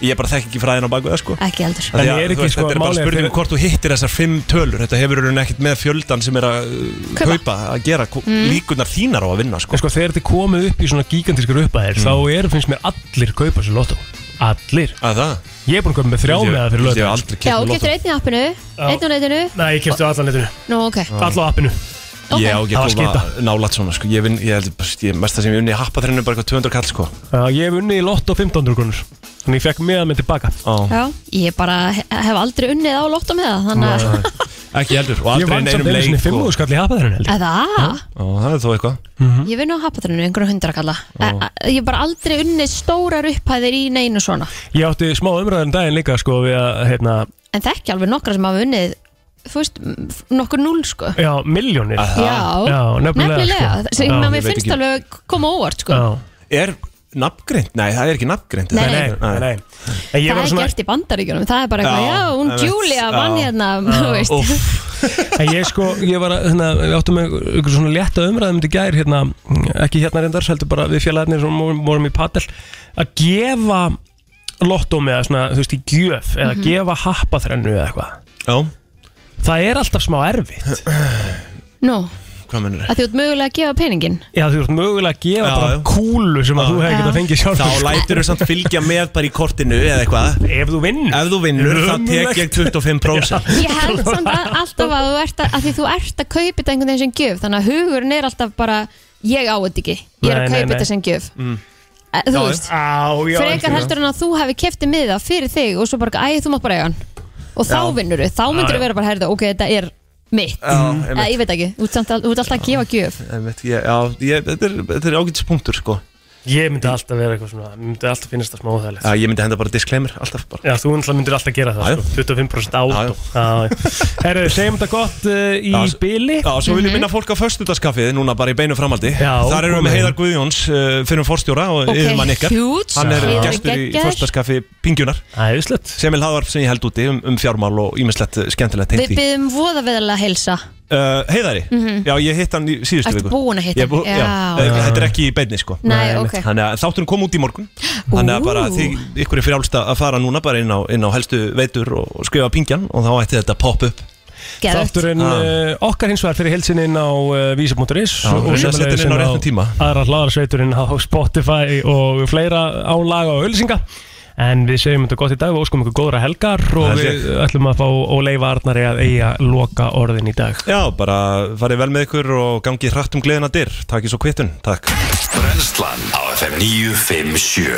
Speaker 4: Ég bara þekki ekki fræðin á baku það, sko
Speaker 2: Ekki heldur.
Speaker 4: Af því
Speaker 3: En
Speaker 4: að,
Speaker 3: er
Speaker 4: þú
Speaker 3: ekki,
Speaker 4: veist,
Speaker 3: sko,
Speaker 4: Þetta er bara
Speaker 3: málið er
Speaker 4: spurning
Speaker 3: fyrir-
Speaker 4: um hvort þú hittir þessar fimm tölur Þetta hefur hún ekkert með fjöldan sem er að uh,
Speaker 3: Kaupa.
Speaker 4: kaupa að gera mm.
Speaker 3: Mm.
Speaker 4: líkunar þínar á að vinna sko.
Speaker 3: En sko þegar þið komið upp í svona gigantískar
Speaker 4: Mm.
Speaker 3: uppæðir þá er, finnst mér, allir kaupa sér lottó Allir
Speaker 4: Að það?
Speaker 3: Ég er búin að kaupa með þrjá
Speaker 4: Ég-
Speaker 3: með það
Speaker 4: ég
Speaker 3: fyrir
Speaker 4: hef
Speaker 3: lögðan
Speaker 4: aldrei
Speaker 2: Já, getur einn í appinu, einn á netinu,
Speaker 3: Nei, ég kefti á allan netinu
Speaker 2: nú ok.
Speaker 3: Alla á appinu
Speaker 2: Ok.
Speaker 4: Ég á ekki
Speaker 3: Það
Speaker 4: að
Speaker 3: var
Speaker 4: koma nálat svona sko. Ég, vinn, ég held bara, ég, mesta sem ég unni í happa þrennu bara eitthvað 200 kall sko.
Speaker 3: Já, Ég hef unnið í lottó 1500 grunur Þannig ég fekk meðan minn tilbaka
Speaker 2: Já, ég bara he- hef aldrei unnið á lottum með það, þannig að,
Speaker 4: Ekki heldur og
Speaker 3: Ég
Speaker 4: aldrei í
Speaker 3: vann samt
Speaker 4: neinum
Speaker 3: einu sinni
Speaker 4: leik
Speaker 3: 500 skall í hapaðarinn heldur
Speaker 2: eða,
Speaker 4: og það er þó eitthvað
Speaker 2: ég vinn á hapatrinu, einhverjum hundrakalla. e, Ég hef bara aldrei unnið stórar upphæðir í neinu svona.
Speaker 3: Ég átti smá umræðan daginn líka sko við að, hérna,
Speaker 2: En þekki alveg nokkra sem hafa unnið, þú veist, m- f- nokkur núl sko.
Speaker 3: já, miljónir
Speaker 2: Já,
Speaker 3: nefnilega,
Speaker 2: nefnilega.
Speaker 3: sko.
Speaker 2: Sem
Speaker 4: Já,
Speaker 2: að
Speaker 4: ég
Speaker 2: mér
Speaker 4: veit
Speaker 2: finnst
Speaker 4: ekki.
Speaker 2: alveg koma óvart sko.
Speaker 4: Er nafngrind? Nei, það er ekki nafngrind
Speaker 2: Nei, nei.
Speaker 4: nei.
Speaker 3: Ég
Speaker 2: það er gert í bandaríkjunum, það er bara eitthvað,
Speaker 4: Já,
Speaker 2: já, hún
Speaker 4: einmitt,
Speaker 2: Julia vann
Speaker 3: já.
Speaker 2: hérna,
Speaker 3: Já,
Speaker 2: þú veist.
Speaker 3: úff. En ég sko, ég var að, hérna, við áttum með ykkur svona létta umræðum til gær, hérna, ekki hérna reyndar, heldur bara við félagarnir sem vorum- vorum í patel, að gefa lottum eða svona, þú veist, í gjöf, eða
Speaker 4: Mhm.
Speaker 3: gefa happaþrennu eða eitthvað.
Speaker 4: Já.
Speaker 3: Það er alltaf smá erfitt.
Speaker 2: Nú,
Speaker 4: Hvað mennur
Speaker 2: að þú ert mögulega að gefa peningin.
Speaker 3: Já, þú ert mögulega að gefa
Speaker 4: Já,
Speaker 3: bara
Speaker 4: já.
Speaker 3: kúlu sem að þú hefði
Speaker 2: Já.
Speaker 3: getað fengið sjálf.
Speaker 4: Þá lætur þú samt fylgja með bara í kortinu eða eitthvað
Speaker 3: Ef þú vinnur
Speaker 4: Ef þú vinnur, þá tek ég 25%
Speaker 2: Ég held samt að, alltaf að þú ert að, að því þú ert að kaupa þetta einhvern veginn sem gjöf, þannig að hugurinn er alltaf bara, ég á þetta ekki, ég er
Speaker 3: Nei,
Speaker 2: að
Speaker 3: nei,
Speaker 2: kaupa
Speaker 3: nei.
Speaker 2: þetta sem gjöf.
Speaker 4: Mm.
Speaker 2: Eh, Þú
Speaker 3: Já,
Speaker 2: veist,
Speaker 3: já, já,
Speaker 2: frekar
Speaker 3: já.
Speaker 2: heldur en að þú hefði keftið miða fyrir þig og svo bara, æ, þú mátt bara eiga hann. Og þá
Speaker 3: Já.
Speaker 2: vinnur þú, þá
Speaker 3: Já,
Speaker 2: myndir
Speaker 3: já.
Speaker 2: þú vera bara, herðu, ok, þetta er mitt. Eh,
Speaker 4: Já,
Speaker 2: Eða,
Speaker 4: einmitt.
Speaker 2: ég veit ekki, þú ert samt al- þú ert alltaf að gefa gjöf.
Speaker 4: Einmitt, ég, já, ég, þetta er, þetta er ágætis punktur sko
Speaker 3: Ég myndi alltaf vera eitthvað svona Mér myndi alltaf finnast það smá óþægilegt
Speaker 4: Já, ég myndi henda bara disclaimer alltaf bara
Speaker 3: Já, þú náttúrulega myndir alltaf gera það, sko, 25% átó Herru, segjum þetta gott uh, í
Speaker 4: Já, s-
Speaker 3: bili
Speaker 4: Já, svo
Speaker 2: Mhm.
Speaker 4: vil ég minna fólk á föstudagskaffið núna bara í beinu framaldi Já, Þar erum við með
Speaker 3: komið.
Speaker 4: Heiðar Guðjóns uh, fyrir forstjóra og
Speaker 3: Ok,
Speaker 4: okay, yfirmann ykkar
Speaker 3: huge.
Speaker 4: Hann er eh,
Speaker 3: Heiðar er
Speaker 4: gestur í
Speaker 3: geggjaður.
Speaker 4: föstudagskaffi Pingjunar
Speaker 3: Æðislegt
Speaker 4: Semil Háðarp sem ég held úti um, um fjármál og ímislegt skemmtilegt tengt
Speaker 2: Við
Speaker 4: í
Speaker 2: byggjum voðaveðalega heilsa
Speaker 4: Uh, heiðari,
Speaker 2: Mhm.
Speaker 4: já ég hitt hann í síðustu
Speaker 2: Ertu
Speaker 4: viku
Speaker 2: búin að hitta
Speaker 4: Ég er bú-
Speaker 2: hann?
Speaker 4: já.
Speaker 2: Já.
Speaker 4: Eh, Þetta er ekki í beinni sko
Speaker 2: Nei, Nei, ok. einmitt.
Speaker 4: Þannig að þátturinn kom út í morgun Þannig að bara þið, ykkur er frjálst að fara núna bara inn á, inn á helstu veitur og, og skrifa pingjan og þá ætti þetta popp upp
Speaker 2: Geðvegt.
Speaker 3: Þátturinn
Speaker 4: Ah.
Speaker 3: uh, okkar hins vegar fyrir heilsininn á uh, vísa.is
Speaker 4: Já,
Speaker 3: og
Speaker 4: við
Speaker 3: sömuleiðis
Speaker 4: setjum inn á
Speaker 3: inn
Speaker 4: réttum tíma.
Speaker 3: Aðra hlaðarsveiturinn á Spotify og fleira álaga og ölsinga En við segjum þetta gott í dag og óskum ykkur góðra helgar og
Speaker 4: Það sé.
Speaker 3: við ætlum að fá Óleifa Arnari að eiga loka orðin í dag
Speaker 4: Já, bara farið vel með ykkur og gangið hratt um gleðina dyr Takk í svo kvittun, takk
Speaker 1: Brennslan á FM 957